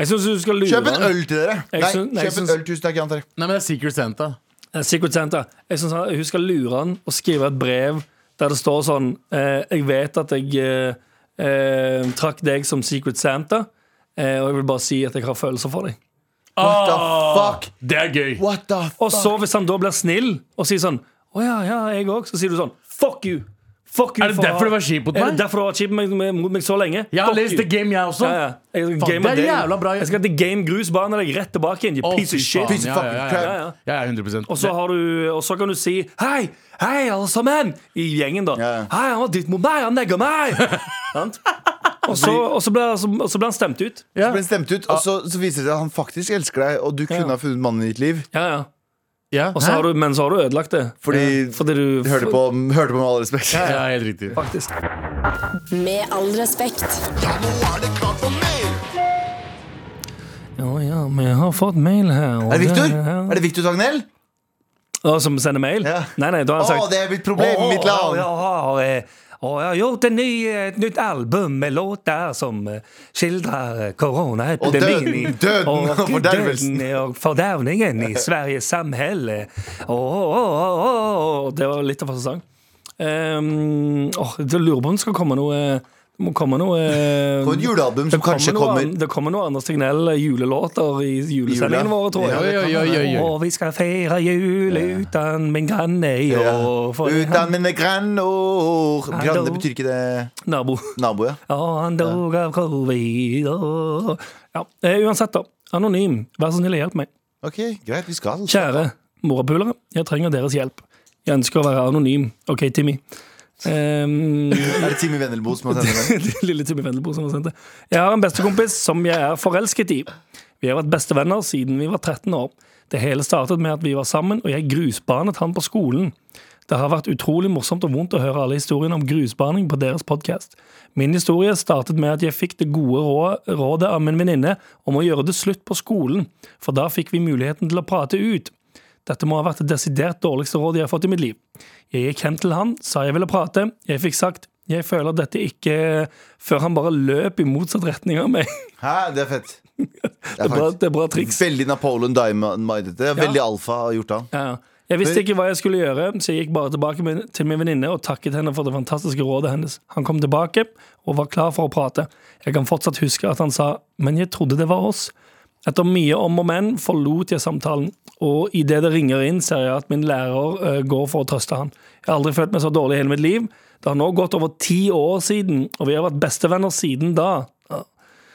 [SPEAKER 2] Jeg syns du skal lure
[SPEAKER 3] Kjøp en øl til dere!
[SPEAKER 2] Jeg
[SPEAKER 3] Nei,
[SPEAKER 2] syns- nei, jeg
[SPEAKER 3] kjøp en
[SPEAKER 2] syns-
[SPEAKER 3] øl. Tusen takk, Jan Terje.
[SPEAKER 4] Nei, men det er Secret Santa.
[SPEAKER 2] Eh, Secret Santa. Jeg synes han- Hun skal lure han og skrive et brev der det står sånn eh, Jeg vet at jeg eh, eh, trakk deg som Secret Santa, eh, og jeg vil bare si at jeg har følelser for deg.
[SPEAKER 3] What the
[SPEAKER 4] Ah.
[SPEAKER 3] fuck?
[SPEAKER 4] Det er gøy!
[SPEAKER 3] What the fuck?
[SPEAKER 2] Og så hvis han da blir snill og sier sånn Å ja, ja, jeg òg. Så sier du sånn Fuck you! Fuck you
[SPEAKER 4] Er det
[SPEAKER 2] for å ha-
[SPEAKER 4] derfor du var kjip mot
[SPEAKER 2] Er
[SPEAKER 4] meg?
[SPEAKER 2] det derfor du var kjip med- med- mot meg så lenge?
[SPEAKER 4] Jeg har
[SPEAKER 2] Fuck
[SPEAKER 4] lest
[SPEAKER 2] you.
[SPEAKER 4] The Game, jeg også.
[SPEAKER 2] ja, ja. Jeg, skal
[SPEAKER 4] Faen,
[SPEAKER 2] game
[SPEAKER 4] det er
[SPEAKER 2] deg.
[SPEAKER 4] jævla bra.
[SPEAKER 2] jeg skal til Game Grus bane deg rett tilbake igjen, you
[SPEAKER 4] Å,
[SPEAKER 2] piece
[SPEAKER 4] fy
[SPEAKER 2] of shit.
[SPEAKER 4] faen,
[SPEAKER 3] Piece of
[SPEAKER 4] ja,
[SPEAKER 3] fucking
[SPEAKER 4] ja, ja,
[SPEAKER 3] crap.
[SPEAKER 4] ja, ja. Jeg er 100
[SPEAKER 2] Og så, har du, og så kan du si Hei, hei alle sammen I gjengen da
[SPEAKER 3] Ja.
[SPEAKER 2] Hei, han var dytt mot meg, han negger meg Sant? og, så, og, så ble, og så- og så ble han stemt ut
[SPEAKER 4] Ja.
[SPEAKER 3] ble han stemt ut,
[SPEAKER 4] Ah.
[SPEAKER 3] og så, så viser det seg at han faktisk elsker deg, og du kunne ha funnet mannen i ditt liv.
[SPEAKER 2] ja, ja.
[SPEAKER 4] Ja.
[SPEAKER 2] Og så har
[SPEAKER 4] Hæ?
[SPEAKER 2] du, Men så har du ødelagt det
[SPEAKER 3] Fordi,
[SPEAKER 2] Fordi du
[SPEAKER 3] du hørte på, hørte på med all respekt.
[SPEAKER 4] Ja, helt riktig.
[SPEAKER 2] Faktisk
[SPEAKER 6] Med all respekt.
[SPEAKER 2] Ja, ja, men jeg har fått mail her og
[SPEAKER 3] Er det Victor?
[SPEAKER 2] her-
[SPEAKER 3] Er det Victor Tagnell?
[SPEAKER 2] Ja, Som sender mail?
[SPEAKER 3] Ja.
[SPEAKER 2] Nei, nei, da har
[SPEAKER 3] Å,
[SPEAKER 2] han sagt
[SPEAKER 3] det er mitt problem,
[SPEAKER 2] Åh,
[SPEAKER 3] mitt land.
[SPEAKER 2] Jeg har, eh, åh, jeg har gjort en ny, eh, et nytt album med låter som eh, skildrer eh, koronaepidemien.
[SPEAKER 3] Og døden-
[SPEAKER 2] i-
[SPEAKER 3] døden og fordervelsen.
[SPEAKER 2] døden og fordervningen
[SPEAKER 3] *laughs*
[SPEAKER 2] i Sveriges eh. samhälle. Åh, åh, åh, åh. Det var litt av en sang. Um, åh, jeg lurer på om det skal komme noe eh, det må komme noe eh,
[SPEAKER 3] På et julealbum
[SPEAKER 2] det
[SPEAKER 3] som
[SPEAKER 2] kommer
[SPEAKER 3] kanskje
[SPEAKER 2] noe
[SPEAKER 3] kommer.
[SPEAKER 2] an- Det kommer noen Anders Tegnell julelåter i julesendingene våre, tror jeg.
[SPEAKER 3] Ja,
[SPEAKER 4] Oi, oi, oi, oi, oi.
[SPEAKER 2] Og vi skal feire jul uten min granne i
[SPEAKER 3] Ja.
[SPEAKER 2] år. For
[SPEAKER 3] Uten
[SPEAKER 2] han,
[SPEAKER 3] mine grannord
[SPEAKER 2] Hallo.
[SPEAKER 3] Granne betyr ikke det
[SPEAKER 2] nabo. *laughs*
[SPEAKER 3] nabo, ja.
[SPEAKER 2] Ja, han dog av covid. og- Ja, eh, uansett, da. Anonym, vær så snill, hjelp meg.
[SPEAKER 3] Ok, greit, vi skal.
[SPEAKER 2] Kjære morapulere, jeg trenger deres hjelp. Jeg ønsker å være anonym. OK, Timmy. Um,
[SPEAKER 3] Er det Timmy Vendelbo som har sendt
[SPEAKER 2] *laughs*
[SPEAKER 3] den?
[SPEAKER 2] lille Timmy Vendelbo som har sendt det. Jeg har en bestekompis som jeg er forelsket i. Vi har vært bestevenner siden vi var 13 år. Det hele startet med at vi var sammen, og jeg grusbanet han på skolen. Det har vært utrolig morsomt og vondt å høre alle historiene om grusbaning på deres podkast. Min historie startet med at jeg fikk det gode rå- rådet av min venninne om å gjøre det slutt på skolen, for da fikk vi muligheten til å prate ut. Dette må ha vært det desidert dårligste rådet jeg har fått i mitt liv. Jeg gikk hen til han, sa jeg ville prate. Jeg fikk sagt jeg føler dette ikke før han bare løp i motsatt retning av meg. *laughs*
[SPEAKER 3] Hæ, det er fett. Det
[SPEAKER 2] Det
[SPEAKER 3] er
[SPEAKER 2] er bra,
[SPEAKER 3] faktisk
[SPEAKER 2] det er bra triks.
[SPEAKER 3] Veldig Napoleon Diamond. Det er veldig alfa har gjort han.
[SPEAKER 2] Ja. Jeg visste ikke hva jeg skulle gjøre, så jeg gikk bare tilbake min- til min venninne og takket henne for det fantastiske rådet hennes. Han kom tilbake og var klar for å prate. Jeg kan fortsatt huske at han sa 'men jeg trodde det var oss'. Etter mye om og men forlot jeg samtalen, og idet det ringer inn, ser jeg at min lærer eh, går for å trøste han. Jeg har aldri følt meg så dårlig i hele mitt liv. Det har nå gått over ti år siden, og vi har vært bestevenner siden da. Ja.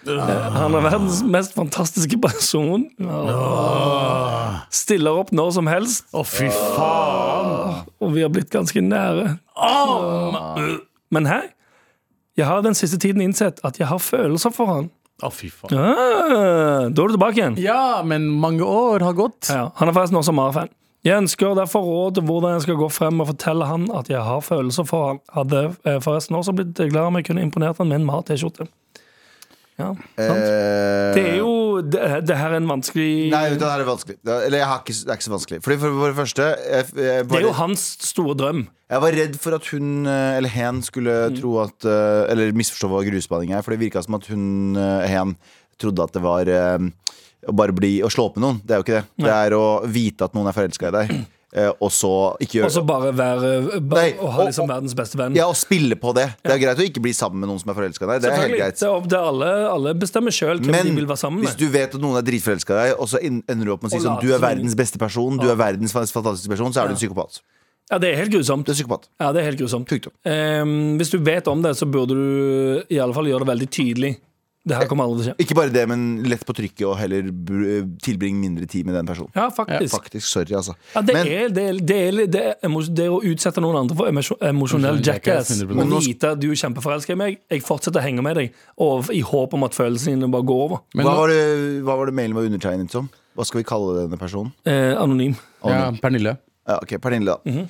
[SPEAKER 2] Eh, Han er verdens mest fantastiske person. Ja. Stiller opp når som helst.
[SPEAKER 4] Å, fy faen!
[SPEAKER 2] Og vi har blitt ganske nære. Men hei, jeg har den siste tiden innsett at jeg har følelser for han.
[SPEAKER 4] Å, fy faen.
[SPEAKER 2] Ah, da er du tilbake igjen.
[SPEAKER 4] Ja, men mange år har gått.
[SPEAKER 2] Ja, han er forresten også Mara-fan. Jeg ønsker derfor råd til hvordan jeg skal gå frem og fortelle han at jeg har følelser for han. Hadde eh, forresten også blitt glad om jeg kunne imponert han med en Mara-T-skjorte. Ja,
[SPEAKER 3] Eh.
[SPEAKER 2] sant. Det er jo Det, det her er en vanskelig
[SPEAKER 3] Nei, vet du, det her er vanskelig. Det- Eller jeg har ikke, det er ikke så vanskelig. Fordi for, for det første jeg, jeg,
[SPEAKER 2] Det er
[SPEAKER 3] var,
[SPEAKER 2] jo hans store drøm.
[SPEAKER 3] jeg var redd for at hun eh, eller hen skulle
[SPEAKER 2] Mm.
[SPEAKER 3] tro at eh, Eller misforstå hva grusbaning er. For det virka som at hun eh, hen trodde at det
[SPEAKER 2] *clears throat*
[SPEAKER 3] var eh, å bare bli Å slå opp med noen. Det er jo ikke det. Det er å vite at noen er forelska i deg. eh, og så ikke
[SPEAKER 2] Og
[SPEAKER 3] gjøre
[SPEAKER 2] så bare være bare,
[SPEAKER 3] Nei,
[SPEAKER 2] å ha
[SPEAKER 3] og-
[SPEAKER 2] liksom
[SPEAKER 3] og-
[SPEAKER 2] verdens beste venn.
[SPEAKER 3] Ja, og spille på det. Det er greit å ikke bli sammen med noen som er forelska i deg. Det er helt
[SPEAKER 2] Selvfølgelig.
[SPEAKER 3] greit.
[SPEAKER 2] Det er opp til alle. Alle bestemmer sjøl hvem
[SPEAKER 3] Men
[SPEAKER 2] de vil være sammen
[SPEAKER 3] hvis
[SPEAKER 2] med.
[SPEAKER 3] du vet at noen er dritforelska i deg, og så en- ender du opp med å si
[SPEAKER 2] Og
[SPEAKER 3] sånn
[SPEAKER 2] later
[SPEAKER 3] Du er
[SPEAKER 2] som
[SPEAKER 3] verdens beste person, du er verdens fantastiske person, så er du en psykopat.
[SPEAKER 2] Ja, det er helt grusomt.
[SPEAKER 3] Du er psykopat.
[SPEAKER 2] Ja, det er helt grusomt.
[SPEAKER 3] Punktum.
[SPEAKER 2] Ehm, hvis du vet om det, så burde du i alle fall gjøre det veldig tydelig. Det her kommer aldri til å skje.
[SPEAKER 3] Ikke bare det, men lett på trykket og heller br- tilbringe mindre tid med den personen.
[SPEAKER 2] Ja, faktisk.
[SPEAKER 3] Faktisk, sorry, altså.
[SPEAKER 2] Ja, det,
[SPEAKER 3] Men-
[SPEAKER 2] er, det, er, det, er, det, er, emo- det er å utsette noen andre for emosjon- emosjonell
[SPEAKER 4] Emosjonell
[SPEAKER 2] jackass.
[SPEAKER 4] jackass, 100%.
[SPEAKER 2] Og vite at du er kjempeforelska i meg, jeg fortsetter å henge med deg og i håp om at følelsene dine bare går over.
[SPEAKER 4] Men
[SPEAKER 3] hva,
[SPEAKER 4] nå-
[SPEAKER 3] var det, hva var det mailen var undertegnet som? Hva skal vi kalle denne personen?
[SPEAKER 2] Eh, anonym.
[SPEAKER 4] Ja, Pernille.
[SPEAKER 3] Ja, ok, Pernille, da.
[SPEAKER 2] Mhm.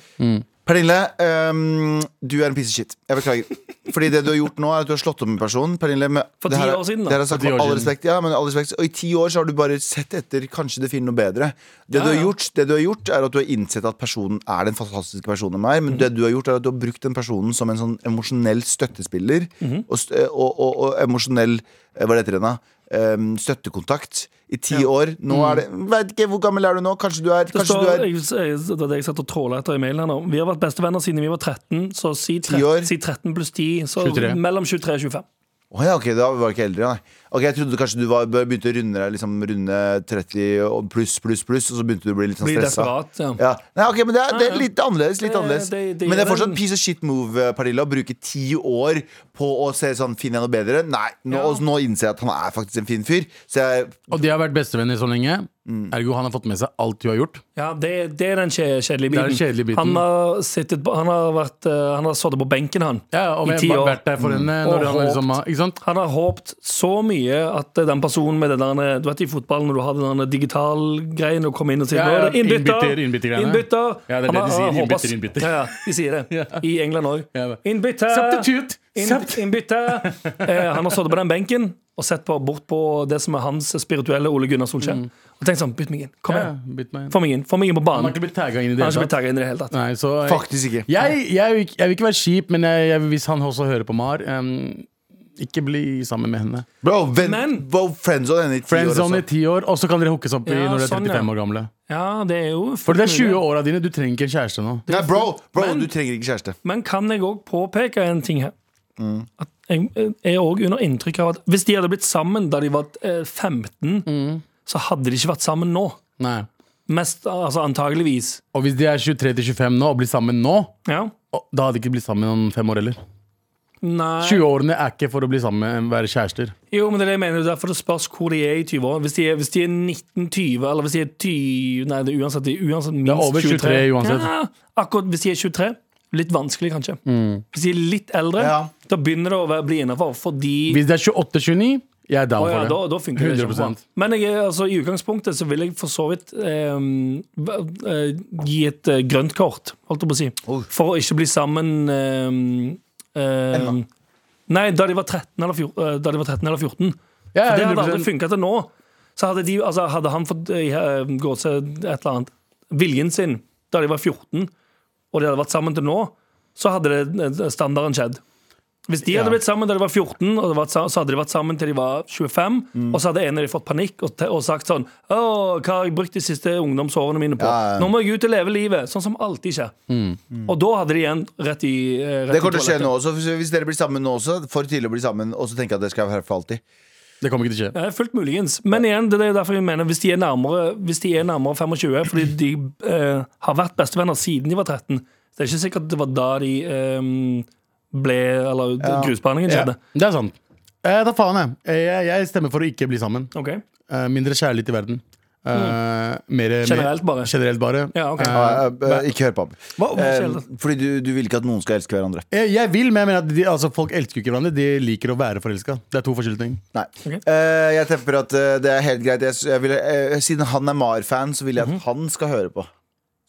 [SPEAKER 3] Pernille, ehm, du er en piece of shit. Jeg beklager. Fordi det du har gjort nå, er at du har slått opp en person. Pernille, med,
[SPEAKER 2] For
[SPEAKER 3] det
[SPEAKER 2] ti
[SPEAKER 3] her er-
[SPEAKER 2] år siden, da.
[SPEAKER 3] Det her er sagt
[SPEAKER 4] For ti
[SPEAKER 3] med
[SPEAKER 4] år
[SPEAKER 3] all
[SPEAKER 4] siden.
[SPEAKER 3] respekt, ja, men all respekt. Og i ti år så har du bare sett etter Kanskje det finner noe bedre. Det,
[SPEAKER 2] Ja,
[SPEAKER 3] du har
[SPEAKER 2] ja.
[SPEAKER 3] gjort, det du har gjort, er at du har innsett at personen er den fantastiske personen de er.
[SPEAKER 2] Mhm.
[SPEAKER 3] Men det du har gjort, er at du har brukt den personen som en sånn emosjonell støttespiller.
[SPEAKER 2] Mhm.
[SPEAKER 3] og, st- eh, og, og, og emosjonell eh, Hva heter det da? Ehm, støttekontakt i ti år. Nå er det Veit ikke, hvor gammel er du nå? Kanskje du er,
[SPEAKER 2] Mm. Det,
[SPEAKER 3] kanskje
[SPEAKER 2] står,
[SPEAKER 3] du er
[SPEAKER 2] jeg, jeg, det var det jeg satt og tråla etter i mailen her nå. Vi har vært bestevenner siden vi var 13, så si, tre-
[SPEAKER 3] 10 år.
[SPEAKER 2] si 13 pluss 10. Så
[SPEAKER 4] 23.
[SPEAKER 2] mellom 23 og 25.
[SPEAKER 3] Å ja, ok, da var jeg ikke eldre, nei. Ok, Jeg trodde kanskje du var, begynte å runde deg liksom, runde 30 og pluss, pluss, pluss, og så begynte du å bli litt sånn
[SPEAKER 2] Blir
[SPEAKER 3] stressa.
[SPEAKER 2] desperat. Ja.
[SPEAKER 3] Ja. Nei, ok, men det er, det
[SPEAKER 2] Ja,
[SPEAKER 3] er
[SPEAKER 2] ja.
[SPEAKER 3] litt annerledes. Litt
[SPEAKER 2] Det-
[SPEAKER 3] annerledes.
[SPEAKER 2] det- det
[SPEAKER 3] men det
[SPEAKER 2] gjør
[SPEAKER 3] er fortsatt
[SPEAKER 2] en-
[SPEAKER 3] piece of shit move, eh, Pernille, å bruke ti år på å se sånn Finner jeg noe bedre? Nei. Nå,
[SPEAKER 2] Ja.
[SPEAKER 3] og nå innser jeg at han er faktisk en fin fyr. Så jeg
[SPEAKER 4] Og de har vært bestevenner så lenge. Ergo han har fått med seg alt du har gjort.
[SPEAKER 2] Ja, det, det er den kje- kjedelige
[SPEAKER 4] Det
[SPEAKER 2] biten.
[SPEAKER 4] er den kjedelige biten.
[SPEAKER 2] Han har, sittet, på- han har, vært, eh, han har sittet på benken, han.
[SPEAKER 4] Ja, og
[SPEAKER 2] I
[SPEAKER 4] jeg
[SPEAKER 2] ti
[SPEAKER 4] har
[SPEAKER 2] år. Mm.
[SPEAKER 4] vært der for henne. Når
[SPEAKER 2] Og
[SPEAKER 4] han liksom, har- ikke sant?
[SPEAKER 2] Han har håpt så mye at eh, den personen med det der eh, Du vet i fotballen når du har den der digitalgreien og kommer inn og sier
[SPEAKER 4] Ja,
[SPEAKER 2] «Nå er det
[SPEAKER 4] ja,
[SPEAKER 2] innbytter!
[SPEAKER 4] innbytter, innbytter-greiene.
[SPEAKER 2] innbytter!»
[SPEAKER 4] Ja, det er det
[SPEAKER 2] Han har-
[SPEAKER 4] de sier,
[SPEAKER 2] han har
[SPEAKER 4] innbytter,
[SPEAKER 2] håpet-
[SPEAKER 4] innbytter.
[SPEAKER 2] Ja, ja, de sier
[SPEAKER 4] *laughs*
[SPEAKER 2] det. I England òg.
[SPEAKER 4] Ja, det.
[SPEAKER 2] Innbytter!
[SPEAKER 4] Substitute!
[SPEAKER 2] Inn-
[SPEAKER 4] Substitute!
[SPEAKER 2] innbytter!
[SPEAKER 4] *laughs*
[SPEAKER 2] Eh, han har sittet på den benken og sett på, bort på det som er hans spirituelle Ole Gunnar Solskjær. Og tenkt sånn Bytt meg inn. Kom
[SPEAKER 4] Mm. Ja,
[SPEAKER 2] igjen.
[SPEAKER 4] bytt meg inn.
[SPEAKER 2] Få meg inn. Få meg inn på banen.
[SPEAKER 4] Han har ikke blitt tagga inn i det
[SPEAKER 2] Han har ikke
[SPEAKER 4] hele
[SPEAKER 2] blitt
[SPEAKER 4] tatt.
[SPEAKER 2] tagget inn i det hele tatt.
[SPEAKER 4] Nei, så-
[SPEAKER 3] Faktisk ikke.
[SPEAKER 4] Jeg, jeg, vil ikke- jeg vil ikke være kjip, men jeg, jeg, hvis han også hører på Mar em, Ikke bli sammen med henne.
[SPEAKER 3] Bro, venn,
[SPEAKER 2] Men-
[SPEAKER 3] bro friendzone henne i ti år
[SPEAKER 4] Friendzone i
[SPEAKER 3] også.
[SPEAKER 4] ti år, og så kan dere hookes opp i
[SPEAKER 2] Ja,
[SPEAKER 4] når dere er
[SPEAKER 2] sånn,
[SPEAKER 4] 35
[SPEAKER 2] ja.
[SPEAKER 4] år gamle.
[SPEAKER 2] Ja, det er jo
[SPEAKER 4] For det er
[SPEAKER 2] fullt
[SPEAKER 4] 20
[SPEAKER 2] mulig.
[SPEAKER 4] åra dine, du trenger ikke en kjæreste nå.
[SPEAKER 3] Nei, bro, bro
[SPEAKER 2] Men-
[SPEAKER 3] du trenger ikke kjæreste.
[SPEAKER 2] Men kan jeg òg påpeke en ting her? At jeg jeg er òg under inntrykk av at hvis de hadde blitt sammen da de var eh, 15, så hadde de ikke vært sammen nå.
[SPEAKER 4] Nei.
[SPEAKER 2] Mest altså antageligvis.
[SPEAKER 4] Og hvis de er 23 til 25 nå og blir sammen nå,
[SPEAKER 2] Ja.
[SPEAKER 4] å, da hadde de ikke blitt sammen om fem år heller.
[SPEAKER 2] Nei.
[SPEAKER 4] 20-årene er ikke for å bli sammen, være kjærester.
[SPEAKER 2] Jo, men det er det jeg mener. Det er Derfor det spørs hvor de er i 20 år. Hvis de er, hvis de er 19-20, eller hvis de er 20 Nei, det er uansett, det er uansett minst
[SPEAKER 4] over 23 uansett.
[SPEAKER 2] Ja, akkurat hvis de er 23. Litt vanskelig, kanskje. Hvis de er litt eldre,
[SPEAKER 3] Ja.
[SPEAKER 2] da begynner det å være- bli innafor. Fordi
[SPEAKER 4] Hvis det er 28-29, jeg er down
[SPEAKER 2] Å ja,
[SPEAKER 4] for det.
[SPEAKER 2] da, da funker det
[SPEAKER 4] 100%.
[SPEAKER 2] kjempebra. Men jeg, er- altså, i utgangspunktet så vil jeg for så vidt eh, v- eh, gi et eh, grønt kort, holdt jeg på å si,
[SPEAKER 3] Oi.
[SPEAKER 2] for å ikke bli sammen eh, eh,
[SPEAKER 3] Ennå.
[SPEAKER 2] Nei, da de var 13 eller 14. eh, Da de var 13 eller 14
[SPEAKER 4] Ja,
[SPEAKER 2] for det hadde
[SPEAKER 4] 100%.
[SPEAKER 2] aldri funka til nå. Så hadde, de, altså, hadde han fått eh, gå til et eller annet viljen sin da de var 14, og de hadde vært sammen til nå, så hadde det, eh, standarden skjedd. Hvis de hadde
[SPEAKER 4] Ja.
[SPEAKER 2] blitt sammen da de var 14, og det var, så hadde de vært sammen til de var 25,
[SPEAKER 3] Mm.
[SPEAKER 2] og så hadde en av de fått panikk og, te- og sagt sånn Å, hva har jeg brukt de siste ungdomsårene mine på?
[SPEAKER 3] Ja, ja.
[SPEAKER 2] Nå må jeg ut og leve livet! Sånn som alltid skjer. Og da hadde de igjen rett i eh, rett
[SPEAKER 3] Det
[SPEAKER 2] i
[SPEAKER 3] kommer til å skje
[SPEAKER 2] toalettet.
[SPEAKER 3] nå også. Hvis- Hvis dere blir sammen nå også, for tidlig å bli sammen, og så tenker jeg at det skal være her for alltid.
[SPEAKER 4] Det kommer ikke til å skje.
[SPEAKER 2] Ja, Fullt muligens. Men igjen, det er derfor jeg mener hvis de er nærmere, hvis de er nærmere 25, fordi de eh, har vært bestevenner siden de var 13 Det er ikke sikkert det var da de eh, ble Eller grusbehandlingen
[SPEAKER 4] Ja,
[SPEAKER 2] skjedde.
[SPEAKER 4] det er sant. Eh, da faen, jeg. Eh, Jeg, jeg stemmer for å ikke bli sammen.
[SPEAKER 2] Ok.
[SPEAKER 4] Eh, mindre kjærlighet i verden. Eh, mere,
[SPEAKER 2] Mm. Generelt bare.
[SPEAKER 4] Generelt bare.
[SPEAKER 2] Ja, ok.
[SPEAKER 4] Eh,
[SPEAKER 3] Ja, eh, eh, ikke hør på ham.
[SPEAKER 2] Hva, hva
[SPEAKER 3] Eh,
[SPEAKER 2] skjedde?
[SPEAKER 3] Fordi du, du vil ikke at noen skal elske hverandre.
[SPEAKER 4] jeg, jeg vil, men jeg mener at de, altså, folk elsker jo ikke hverandre. De liker å være forelska. Det er to forskjellige ting.
[SPEAKER 3] Nei.
[SPEAKER 2] Ok.
[SPEAKER 3] Eh, jeg tenker at eh, det er helt greit. Jeg, s- jeg vil, eh, siden han er Mar-fan, så vil jeg
[SPEAKER 2] Mhm.
[SPEAKER 3] at han skal høre på.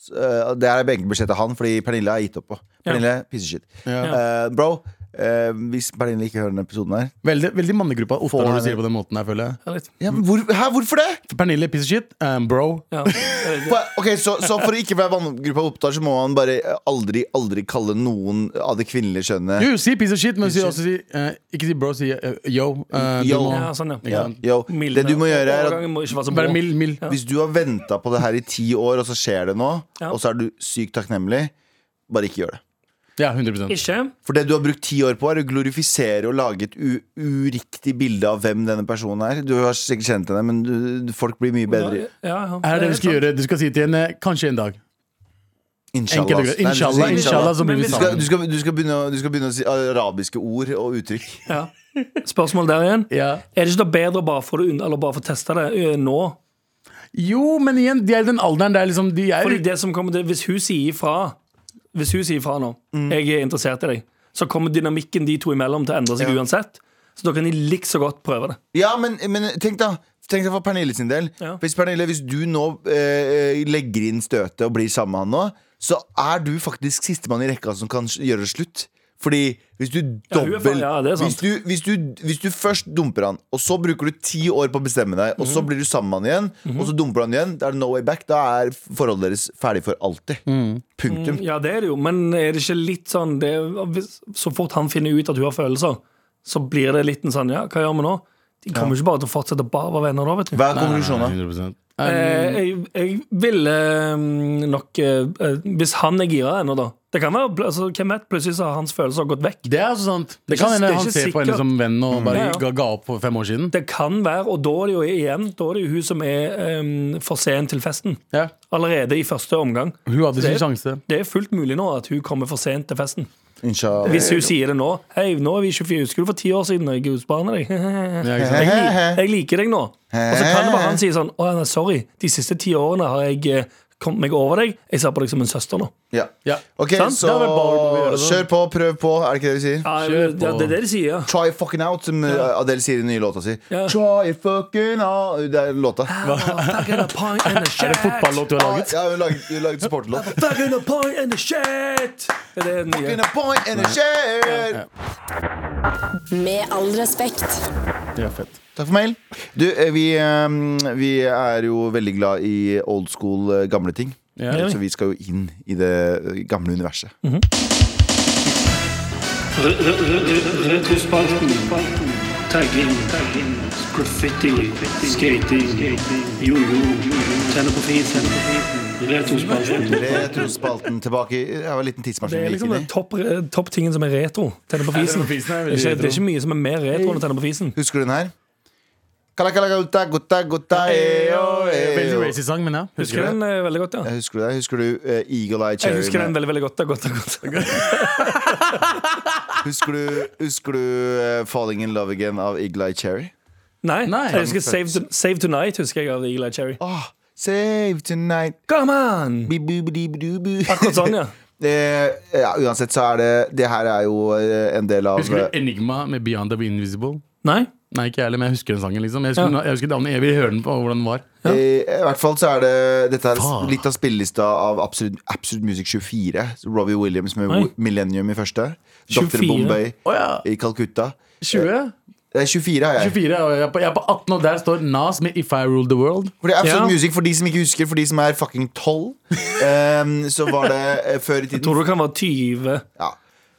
[SPEAKER 3] Så, eh, det er benkebudsjettet han, fordi Pernille har gitt opp på. Pernille, piece of shit.
[SPEAKER 4] Ja.
[SPEAKER 3] Eh, bro, eh, eh, hvis Berlin ikke hører denne episoden her
[SPEAKER 4] Veldig, veldig mannegruppa ofte
[SPEAKER 3] Får
[SPEAKER 4] når
[SPEAKER 3] han-
[SPEAKER 4] du sier det på den måten her, føler jeg.
[SPEAKER 2] Jeg vet.
[SPEAKER 3] ja, men hvor, Hæ, hvorfor det?
[SPEAKER 4] Pernille, piece of shit. Um, bro.
[SPEAKER 2] Ja, jeg vet.
[SPEAKER 3] For- Ok, så, så for å ikke være vanngruppa opptatt, så må man bare eh, aldri, aldri kalle noen av det kvinnelige kjønnet
[SPEAKER 4] Jo, si piece of shit, men si også si eh, Ikke si bro, si eh, yo. eh, du
[SPEAKER 3] Yo.
[SPEAKER 4] må-
[SPEAKER 2] Ja, sånn, ja.
[SPEAKER 4] Ja.
[SPEAKER 3] Yo, det du må gjøre er at
[SPEAKER 2] Overgangen må ikke være så
[SPEAKER 4] Bare
[SPEAKER 2] brå.
[SPEAKER 4] mild, mild.
[SPEAKER 3] hvis du har venta på det her i ti år, og så skjer det nå,
[SPEAKER 2] Ja.
[SPEAKER 3] og så er du sykt takknemlig, bare ikke gjør det.
[SPEAKER 4] Ja, 100
[SPEAKER 2] Ikke?
[SPEAKER 3] For det du har brukt ti år på, er å glorifisere og lage et u uriktig bilde av hvem denne personen er. Du har sikkert kjent henne, men du, du- folk blir mye bedre.
[SPEAKER 2] Ja, ja.
[SPEAKER 4] Her er det du skal
[SPEAKER 2] sant.
[SPEAKER 4] gjøre. Du skal si til henne kanskje en dag.
[SPEAKER 3] Inshallah.
[SPEAKER 4] Enkelt og greit.
[SPEAKER 3] Nei, du skal si
[SPEAKER 4] Inshallah, inshallah, så blir sånn.
[SPEAKER 2] Men
[SPEAKER 4] vi
[SPEAKER 2] hvis-
[SPEAKER 3] Du skal,
[SPEAKER 4] sammen.
[SPEAKER 3] du, skal, du, skal begynne, å- du skal begynne å si arabiske ord og uttrykk.
[SPEAKER 2] Ja. Spørsmål der igjen.
[SPEAKER 4] Ja.
[SPEAKER 2] Er det ikke da bedre å bare få det unna, eller bare få testa det ø, nå?
[SPEAKER 4] Jo, men igjen, de er i den alderen der liksom de er
[SPEAKER 2] Fordi det som kommer til, Hvis hun sier ifra Hvis hun sier ifra nå, jeg er interessert i deg, så kommer dynamikken de to imellom til å endre seg
[SPEAKER 3] Ja.
[SPEAKER 2] uansett. Så da kan de like så godt prøve det.
[SPEAKER 3] Ja, men, men tenk da Tenk deg for Pernille sin del
[SPEAKER 2] Ja.
[SPEAKER 3] hvis, Pernille, hvis du nå eh, legger inn støtet Og blir sammen med han nå Så er du faktisk sistemann i rekka som kan s- gjøre det slutt Fordi hvis du
[SPEAKER 2] Ja, hun er
[SPEAKER 3] dobbelt
[SPEAKER 2] faen- ja, det er sant.
[SPEAKER 3] hvis, du, hvis, du, hvis du først dumper han Og så bruker du ti år på å bestemme deg Og så
[SPEAKER 2] Mhm.
[SPEAKER 3] blir du sammen med han igjen Og så dumper han igjen, da er det no way back Da er forholdet deres ferdig for alltid Punktum
[SPEAKER 2] Ja, det er det jo, men er det ikke litt sånn det, er- hvis, Så fort han finner ut at hun har følelser, så blir det litt en sånn Ja, hva gjør vi nå? De kommer ikke bare til å fortsette å bare være venner nå, vet du.
[SPEAKER 3] Hva er konklusjonen?
[SPEAKER 4] 100
[SPEAKER 2] Eh, jeg, jeg ville mm, nok eh, eh, Hvis han er gira ennå, da Det kan være, pl- altså, Hvem vet? Plutselig så har hans følelser gått vekk.
[SPEAKER 4] Det er altså sant. Det,
[SPEAKER 2] Det er
[SPEAKER 4] kan
[SPEAKER 2] ikke-
[SPEAKER 4] hende
[SPEAKER 2] det er
[SPEAKER 4] han
[SPEAKER 2] ikke
[SPEAKER 4] ser på henne
[SPEAKER 2] sikkert. Mm.
[SPEAKER 4] som venn og bare
[SPEAKER 2] Ja, ja.
[SPEAKER 4] Ga, ga opp for fem år siden.
[SPEAKER 2] Det kan være, og da er det jo igjen Da er det jo hun som er eh, for sen til festen.
[SPEAKER 4] Ja.
[SPEAKER 2] Allerede i første omgang.
[SPEAKER 4] Hun hadde sin
[SPEAKER 2] Det- *laughs*
[SPEAKER 4] sjanse.
[SPEAKER 2] Det er fullt mulig nå at hun kommer for sent til festen.
[SPEAKER 3] Inshallah
[SPEAKER 2] Hvis hun sier det nå. Hei, nå er vi 24, husker du for ti år siden da jeg gudsbarnet deg?
[SPEAKER 4] Ja, ikke sant?
[SPEAKER 2] Jeg, lik- jeg liker deg nå. Og så kan det være han sier sånn Å, nei, sorry, de siste ti årene har jeg eh, kommet meg over deg. Jeg ser på deg som en søster nå.
[SPEAKER 3] ja.
[SPEAKER 4] Ja.
[SPEAKER 3] Ok,
[SPEAKER 4] Sant?
[SPEAKER 3] så
[SPEAKER 4] Det er vel bare å gjøre det.
[SPEAKER 3] kjør på, prøv på Er det ikke det vi sier?
[SPEAKER 2] Ja,
[SPEAKER 4] Kjør
[SPEAKER 2] det-
[SPEAKER 4] på.
[SPEAKER 2] ja, det er det de sier, ja.
[SPEAKER 3] Try fucking out, som eh, Adele sier i den nye låta si.
[SPEAKER 2] Ja.
[SPEAKER 3] Try fucking out Det er låta.
[SPEAKER 2] Fucking a pint and a
[SPEAKER 4] Er det
[SPEAKER 2] shit.
[SPEAKER 4] fotballåt du har laget?
[SPEAKER 3] Ja, hun laget, hun laget supporterlåt.
[SPEAKER 2] *laughs* Fucking a pint and a shit. Det er det nye.
[SPEAKER 3] Fucking a point and a share.
[SPEAKER 6] Med all respekt.
[SPEAKER 4] Ja, fett.
[SPEAKER 3] Takk for mail. Du, eh, vi, eh, vi er jo veldig glad i old school eh, gamle ting.
[SPEAKER 4] Ja.
[SPEAKER 3] Så vi skal jo inn i det eh, gamle universet.
[SPEAKER 2] Mhm.
[SPEAKER 7] Retrospalten. Tagging. Graffiti. Skating. Jojo. Tenne på fisen. Retrospalten.
[SPEAKER 3] Retrospalten tilbake. i- Det var en liten tidsmaskin
[SPEAKER 2] Det er
[SPEAKER 3] vi
[SPEAKER 2] liksom
[SPEAKER 3] gikk
[SPEAKER 2] den
[SPEAKER 3] inn i.
[SPEAKER 2] topp, topp tingen som er retro. Tenne på fisen.
[SPEAKER 4] på fisen er veldig
[SPEAKER 2] Det er ikke, det er
[SPEAKER 4] retro.
[SPEAKER 2] ikke mye som er mer retro enn å tenne på fisen.
[SPEAKER 3] Husker du den her? Kala, kala, gutta, gutta, gutta, eh, eyo,
[SPEAKER 2] oh, eh,
[SPEAKER 4] Veldig
[SPEAKER 3] eyo.
[SPEAKER 4] racist sang, men ja.
[SPEAKER 2] Husker
[SPEAKER 4] Husker du det?
[SPEAKER 2] den eh, veldig godt, ja.
[SPEAKER 3] Husker du det? Husker du eh, Eagle Eye Cherry?
[SPEAKER 2] Jeg husker
[SPEAKER 3] med-
[SPEAKER 2] den veldig, veldig godt. Det er godt, det er godt. Det er godt.
[SPEAKER 3] Husker du, husker du eh, Falling in Love Again av Igla Cherry?
[SPEAKER 2] Nei,
[SPEAKER 4] Nei.
[SPEAKER 2] jeg husker Save, to, Save Tonight husker jeg av Eagle Eye Cherry.
[SPEAKER 3] Ah, save tonight
[SPEAKER 2] Come on!
[SPEAKER 3] Bi-bu-bu-di-bu-du-bu.
[SPEAKER 2] Akkurat sånn,
[SPEAKER 3] *laughs*
[SPEAKER 2] ja.
[SPEAKER 3] Eh, ja, uansett så er det Det her er jo eh, en del av
[SPEAKER 4] Husker du Enigma med Beyond the Invisible?
[SPEAKER 2] Nei?
[SPEAKER 4] Nei, ikke jeg heller, men jeg husker den sangen. liksom Jeg husker,
[SPEAKER 2] Ja.
[SPEAKER 4] jeg husker navnet, jeg vil høre den på hvordan den var.
[SPEAKER 3] eh, I hvert fall så er det Dette er
[SPEAKER 4] Faen.
[SPEAKER 3] litt av spillelista av Absolute, Absolute Music 24. Robbie Williams med
[SPEAKER 2] Oi.
[SPEAKER 3] Millennium i første.
[SPEAKER 2] 24?
[SPEAKER 3] Dr. Bombay
[SPEAKER 4] Å ja,
[SPEAKER 3] i Calcutta.
[SPEAKER 4] 20?
[SPEAKER 3] Det er 24 har jeg.
[SPEAKER 4] 24, og jeg er, på, jeg er på 18, og der står Nas med If I Rule the World.
[SPEAKER 3] For det er Absolute
[SPEAKER 2] Ja.
[SPEAKER 3] Music for de som ikke husker, for de som er fucking 12. *laughs* eh, så var det eh, før i tiden
[SPEAKER 2] Tror du det kan være 20?
[SPEAKER 3] ja.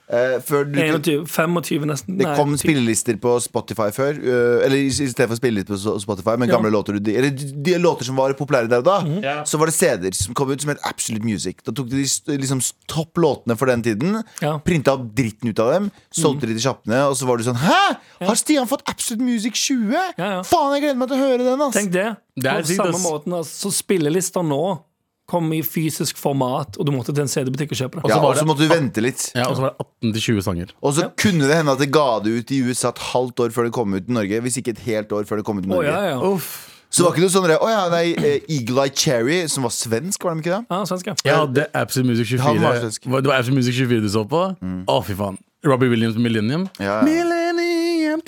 [SPEAKER 3] Eh, før du,
[SPEAKER 2] 21, 25 nesten?
[SPEAKER 3] Det
[SPEAKER 2] Nei,
[SPEAKER 3] kom
[SPEAKER 2] ti-
[SPEAKER 3] spillelister på Spotify før. øh, Eller i i stedet for spillelister på so- Spotify, men gamle låter du- Eller de låter som var populære der og da.
[SPEAKER 4] Mhm.
[SPEAKER 3] Så var det CD-er som kom ut som het Absolute Music. Da tok de de s- liksom s- topp låtene for den tiden,
[SPEAKER 2] Ja. Mhm.
[SPEAKER 3] printa opp dritten ut av dem, solgte de til sjappene, og så var du sånn Hæ! Har Stian fått Absolute Music 20?
[SPEAKER 2] Ja, ja.
[SPEAKER 3] Faen, jeg gleder meg til å høre den, ass!
[SPEAKER 2] Tenk det.
[SPEAKER 4] Det er
[SPEAKER 2] på
[SPEAKER 4] sykt,
[SPEAKER 2] samme
[SPEAKER 4] ass.
[SPEAKER 2] måten altså, Så spillelister nå kom i fysisk format, og du måtte til en CD-butikk og kjøpe det.
[SPEAKER 3] ja,
[SPEAKER 4] så var
[SPEAKER 3] og så
[SPEAKER 4] det-
[SPEAKER 3] måtte du vente litt.
[SPEAKER 4] Ja, Og så var det 18 til 20 sanger.
[SPEAKER 3] Og så kunne det hende at det ga det ut i USA et halvt år før det kom ut i Norge. Hvis ikke et helt år før det kom ut
[SPEAKER 2] Å,
[SPEAKER 3] i Norge.
[SPEAKER 2] ja, ja.
[SPEAKER 4] Uff.
[SPEAKER 3] Så det var ikke noe sånn der, Å ja, nei, eh, Eagle Eye Cherry, som var svensk, var de ikke det?
[SPEAKER 2] ja svenske.
[SPEAKER 4] Jeg hadde Absolute Music
[SPEAKER 3] Han
[SPEAKER 4] 24.
[SPEAKER 3] var svensk.
[SPEAKER 4] Hva- Det var Absolute Music 24 du så på? Å, fy faen. Robbie Williams med Millennium.
[SPEAKER 3] Mm. Ja, ja.
[SPEAKER 4] Millennium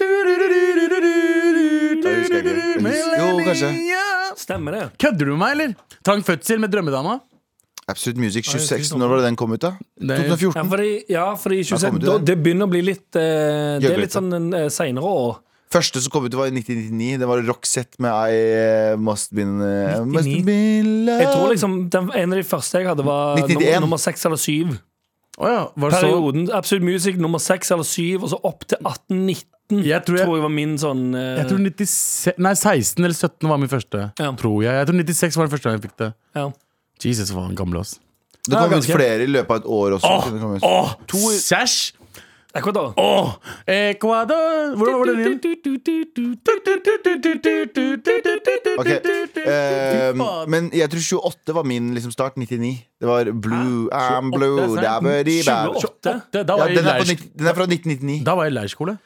[SPEAKER 3] Det husker jeg ikke. Jeg husker- Jo, kanskje.
[SPEAKER 4] Millennium.
[SPEAKER 2] Stemmer det.
[SPEAKER 4] Kødder du med meg, eller? Trang fødsel med drømmedama?
[SPEAKER 3] Absolute Music
[SPEAKER 2] jeg husker
[SPEAKER 3] 26.
[SPEAKER 2] ikke
[SPEAKER 3] Når var det den kom ut, da?
[SPEAKER 4] Nei.
[SPEAKER 3] 2014?
[SPEAKER 2] Ja, fordi, ja, fordi
[SPEAKER 3] kom
[SPEAKER 2] 26,
[SPEAKER 3] du
[SPEAKER 2] da,
[SPEAKER 3] der.
[SPEAKER 2] det begynner å bli litt eh, Det er litt
[SPEAKER 3] Gjørmete.
[SPEAKER 2] sånn eh, seinere år.
[SPEAKER 3] Første som kom ut, var i 1999. Det var Roxette med I uh, Must Been uh, Must
[SPEAKER 2] 99.
[SPEAKER 3] Been Love.
[SPEAKER 2] Jeg tror liksom den, En av de første jeg hadde, var
[SPEAKER 3] 91.
[SPEAKER 2] nummer, nummer 6 eller 7.
[SPEAKER 4] Å ja, var det så?
[SPEAKER 2] Perioden Absolute Music nummer 6 eller 7, og så opp til 18-19.
[SPEAKER 4] Jeg tror jeg-
[SPEAKER 2] var min sånn eh,
[SPEAKER 4] Jeg tror 96, nei, 16 eller 17 var min første.
[SPEAKER 2] Ja.
[SPEAKER 4] Tror jeg. Jeg tror 96 var den første gang jeg fikk det.
[SPEAKER 2] ja.
[SPEAKER 4] Jesus, hva han gamle oss.
[SPEAKER 3] Det
[SPEAKER 2] Ja,
[SPEAKER 3] kom ut
[SPEAKER 2] ganske.
[SPEAKER 3] flere i løpet av et år også.
[SPEAKER 4] Åh,
[SPEAKER 3] Det kom ut.
[SPEAKER 4] åh, Sash!
[SPEAKER 2] Akkurat da.
[SPEAKER 4] Åh, Ecuador! Hvordan var den igjen?
[SPEAKER 3] Ok, eh, men jeg tror 28 var min liksom, start. 99. Det var Blue I'm Blue.
[SPEAKER 4] 28,
[SPEAKER 3] dabbedi, bab.
[SPEAKER 2] 28?
[SPEAKER 4] Det, da,
[SPEAKER 3] Ja,
[SPEAKER 4] var jeg i
[SPEAKER 3] den, er på,
[SPEAKER 4] leir-
[SPEAKER 3] nitt- den er fra 1999.
[SPEAKER 4] da var jeg i leirskole.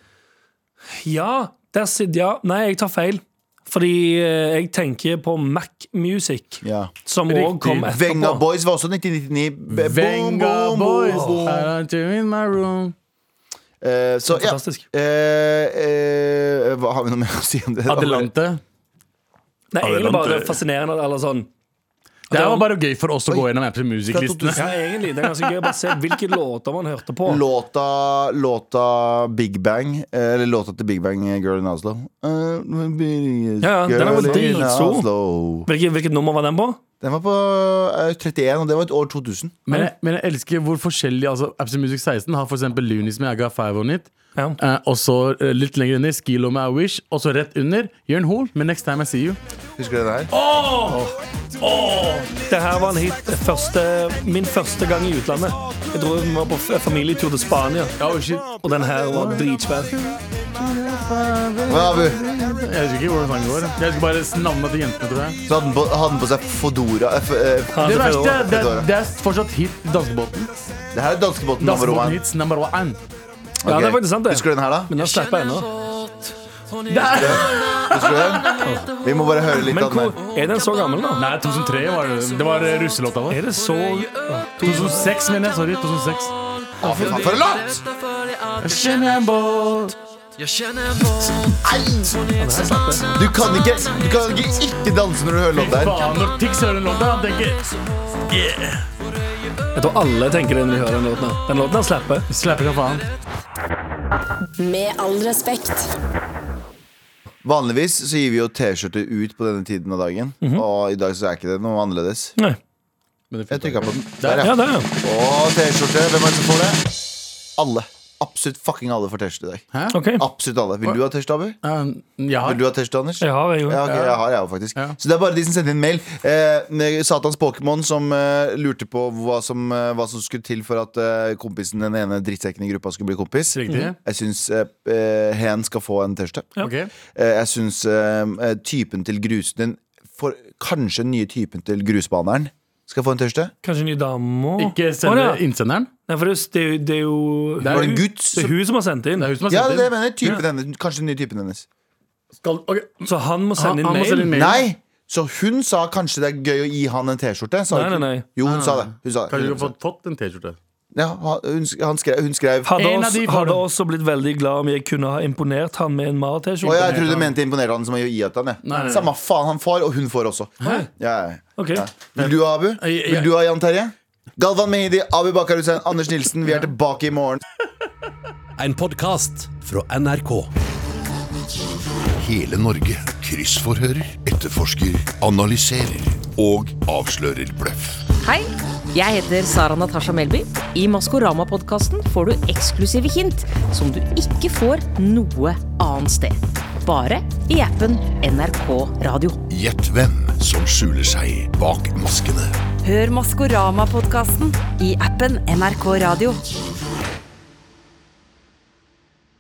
[SPEAKER 2] Ja, der sitter ja. Nei, jeg tar feil. Fordi eh, jeg tenker på Mac Music,
[SPEAKER 3] Ja.
[SPEAKER 2] som òg
[SPEAKER 4] Riktig.
[SPEAKER 2] kom
[SPEAKER 3] Venga
[SPEAKER 2] etterpå.
[SPEAKER 3] Boys var også 1999. Be- boom,
[SPEAKER 4] Venga
[SPEAKER 3] boom, boom,
[SPEAKER 4] boys,
[SPEAKER 3] boom.
[SPEAKER 4] aren't you in my room?
[SPEAKER 3] Eh, så ja.
[SPEAKER 2] Fantastisk.
[SPEAKER 3] Eh, eh, hva har vi noe mer å si om det?
[SPEAKER 4] Adelante.
[SPEAKER 2] Nei, egentlig bare
[SPEAKER 4] Adelante.
[SPEAKER 2] fascinerende. Eller sånn.
[SPEAKER 4] Det her var bare gøy for oss å gå gjennom Apple Music-listene.
[SPEAKER 2] Ja, egentlig. Det er ganske gøy å bare se hvilke *laughs* låter man hørte på.
[SPEAKER 3] Låta, låta Big Bang eh, Eller låta til Big Bang eh, Girl in Oslo Eh,
[SPEAKER 2] Ja, ja, den er jo
[SPEAKER 3] Girl in
[SPEAKER 2] dritstor.
[SPEAKER 3] Oslo.
[SPEAKER 2] Hvilket, hvilket nummer var den på?
[SPEAKER 3] Den var på eh, 31 Og det var et år 2000
[SPEAKER 4] Men jeg, men jeg elsker hvor forskjellig altså, Apple Music 16 har for eksempel Lunis med I Got Five On It.
[SPEAKER 2] Ja.
[SPEAKER 4] Eh, og så eh, litt lenger under Skilo med I Wish. Og så rett under Jørn Hoel med Next Time I See You.
[SPEAKER 3] Husker du den her?
[SPEAKER 2] Det her var en hit første, min første gang i utlandet. Jeg dro vi var på f- familietur til Spania,
[SPEAKER 4] Oh, shit.
[SPEAKER 2] og den her var dritsvær.
[SPEAKER 3] Hva har vi?
[SPEAKER 4] Jeg husker ikke hvordan sangen går. Jeg husker bare navnet til jentene. tror jeg
[SPEAKER 3] Så hadde den på, hadde den på seg Fodora eh,
[SPEAKER 2] Ja,
[SPEAKER 3] f- eh,
[SPEAKER 4] Det
[SPEAKER 2] det
[SPEAKER 4] verste er-
[SPEAKER 2] var-
[SPEAKER 4] det er, det er fortsatt hit i danskebåten.
[SPEAKER 3] Det her er danskebåten nummer
[SPEAKER 4] Danskebåten
[SPEAKER 3] 1
[SPEAKER 4] hits number one.
[SPEAKER 2] Ja, det er faktisk sant, det.
[SPEAKER 3] Husker du den her da?
[SPEAKER 2] Men den slipper jeg ennå.
[SPEAKER 3] Husker du den? Vi må bare høre litt
[SPEAKER 2] Men
[SPEAKER 3] av den
[SPEAKER 2] hvor,
[SPEAKER 3] her
[SPEAKER 2] er den så gammel, da?
[SPEAKER 4] Nei, 2003 var det. Det var eh, russelåta vår.
[SPEAKER 2] Er det så
[SPEAKER 4] 2006, mener jeg. Sorry. 2006.
[SPEAKER 3] Å, fy faen, for en låt!
[SPEAKER 4] Jeg kjenner en båt
[SPEAKER 3] Du kan ikke, du kan ikke ikke danse når du hører låta her
[SPEAKER 4] Faen, når Tix hører den låta, han tenker
[SPEAKER 2] Jeg tror alle tenker det når de hører den låten. her. Den låten her slipper.
[SPEAKER 4] Slapper av faen.
[SPEAKER 6] Med all respekt.
[SPEAKER 3] Vanligvis så gir vi jo t-skjørter ut på denne tiden av dagen Og i dag så er ikke det noe annerledes
[SPEAKER 2] Nei.
[SPEAKER 3] Jeg trykka på den.
[SPEAKER 4] Der,
[SPEAKER 3] Der,
[SPEAKER 2] Ja,
[SPEAKER 3] ja.
[SPEAKER 2] det er den.
[SPEAKER 3] Og T-skjorte. Hvem er det som får det? Alle. Absolutt fucking alle får T-skjorte i dag.
[SPEAKER 4] Hæ?
[SPEAKER 2] OK.
[SPEAKER 3] Absolutt alle. Vil du ha T-skjorte, Abu?
[SPEAKER 4] Eh, jeg har
[SPEAKER 3] Vil du ha T-skjorte, Anders?
[SPEAKER 2] Jeg har, jeg jo.
[SPEAKER 3] Ja, ok, jeg har jeg òg, faktisk.
[SPEAKER 4] Ja.
[SPEAKER 3] Så det er bare de som sender inn mail. Eh, med Satans Pokémon som eh, lurte på hva som, eh, hva som skulle til for at eh, kompisen, den ene drittsekken i gruppa skulle bli kompis.
[SPEAKER 4] Riktig.
[SPEAKER 3] Jeg syns eh, eh, hen skal få en T-skjorte.
[SPEAKER 4] Ok.
[SPEAKER 3] Eh, jeg syns eh, eh, typen til grus... Den for, kanskje den nye typen til grusbaneren skal få en T-skjorte.
[SPEAKER 2] Kanskje en ny dame òg?
[SPEAKER 4] Ikke sende
[SPEAKER 2] Å, ja.
[SPEAKER 4] innsenderen.
[SPEAKER 2] Nei, for det er jo- det er jo Det
[SPEAKER 4] er
[SPEAKER 3] Var det en
[SPEAKER 2] hun-
[SPEAKER 3] gutt?
[SPEAKER 2] det er hun som har sendt inn.
[SPEAKER 4] Det er hun som har
[SPEAKER 3] Ja, det er
[SPEAKER 4] sendt
[SPEAKER 3] det
[SPEAKER 4] inn.
[SPEAKER 3] jeg mener. Typen hennes. Kanskje den nye typen hennes.
[SPEAKER 4] Skal, ok.
[SPEAKER 2] Så han må
[SPEAKER 4] Han,
[SPEAKER 2] sende inn
[SPEAKER 4] han må sende
[SPEAKER 2] mail.
[SPEAKER 4] inn mail.
[SPEAKER 3] Nei! Så hun sa kanskje det er gøy å gi han en T-skjorte? sa hun
[SPEAKER 2] Nei,
[SPEAKER 3] ikke?
[SPEAKER 2] nei, nei.
[SPEAKER 3] Jo, hun sa det. Hun, sa det.
[SPEAKER 4] Kanskje du har fått, fått en T-skjorte.
[SPEAKER 3] Ja, hun, han skrev, hun skrev
[SPEAKER 2] Hadde,
[SPEAKER 4] En av
[SPEAKER 2] også,
[SPEAKER 4] de får
[SPEAKER 2] hadde
[SPEAKER 4] den.
[SPEAKER 2] også blitt veldig glad om jeg kunne ha imponert han med en
[SPEAKER 3] Å,
[SPEAKER 2] Mar-T-skjorte.
[SPEAKER 3] ja, jeg trodde du mente imponerte han som å gi at han, jeg.
[SPEAKER 4] nei, nei.
[SPEAKER 3] Samme faen, han får, og hun får også. Ja, ja,
[SPEAKER 2] Ok.
[SPEAKER 3] ja. Vil du ha Abu?
[SPEAKER 4] jeg-
[SPEAKER 3] Vil du ha Jan Terje? Galvan Mehidi, Abu Bakar Hussein, Anders Nilsen. Vi er tilbake i morgen.
[SPEAKER 8] En podkast fra NRK.
[SPEAKER 9] Hele Norge kryssforhører, etterforsker, analyserer og avslører bløff.
[SPEAKER 10] Hei, jeg heter Sara Natasha Melby. I Maskorama-podkasten får du eksklusive hint som du ikke får noe annet sted. Bare i appen NRK Radio.
[SPEAKER 9] Gjett hvem som skjuler seg bak maskene.
[SPEAKER 1] Hør Maskorama-podkasten i appen NRK Radio.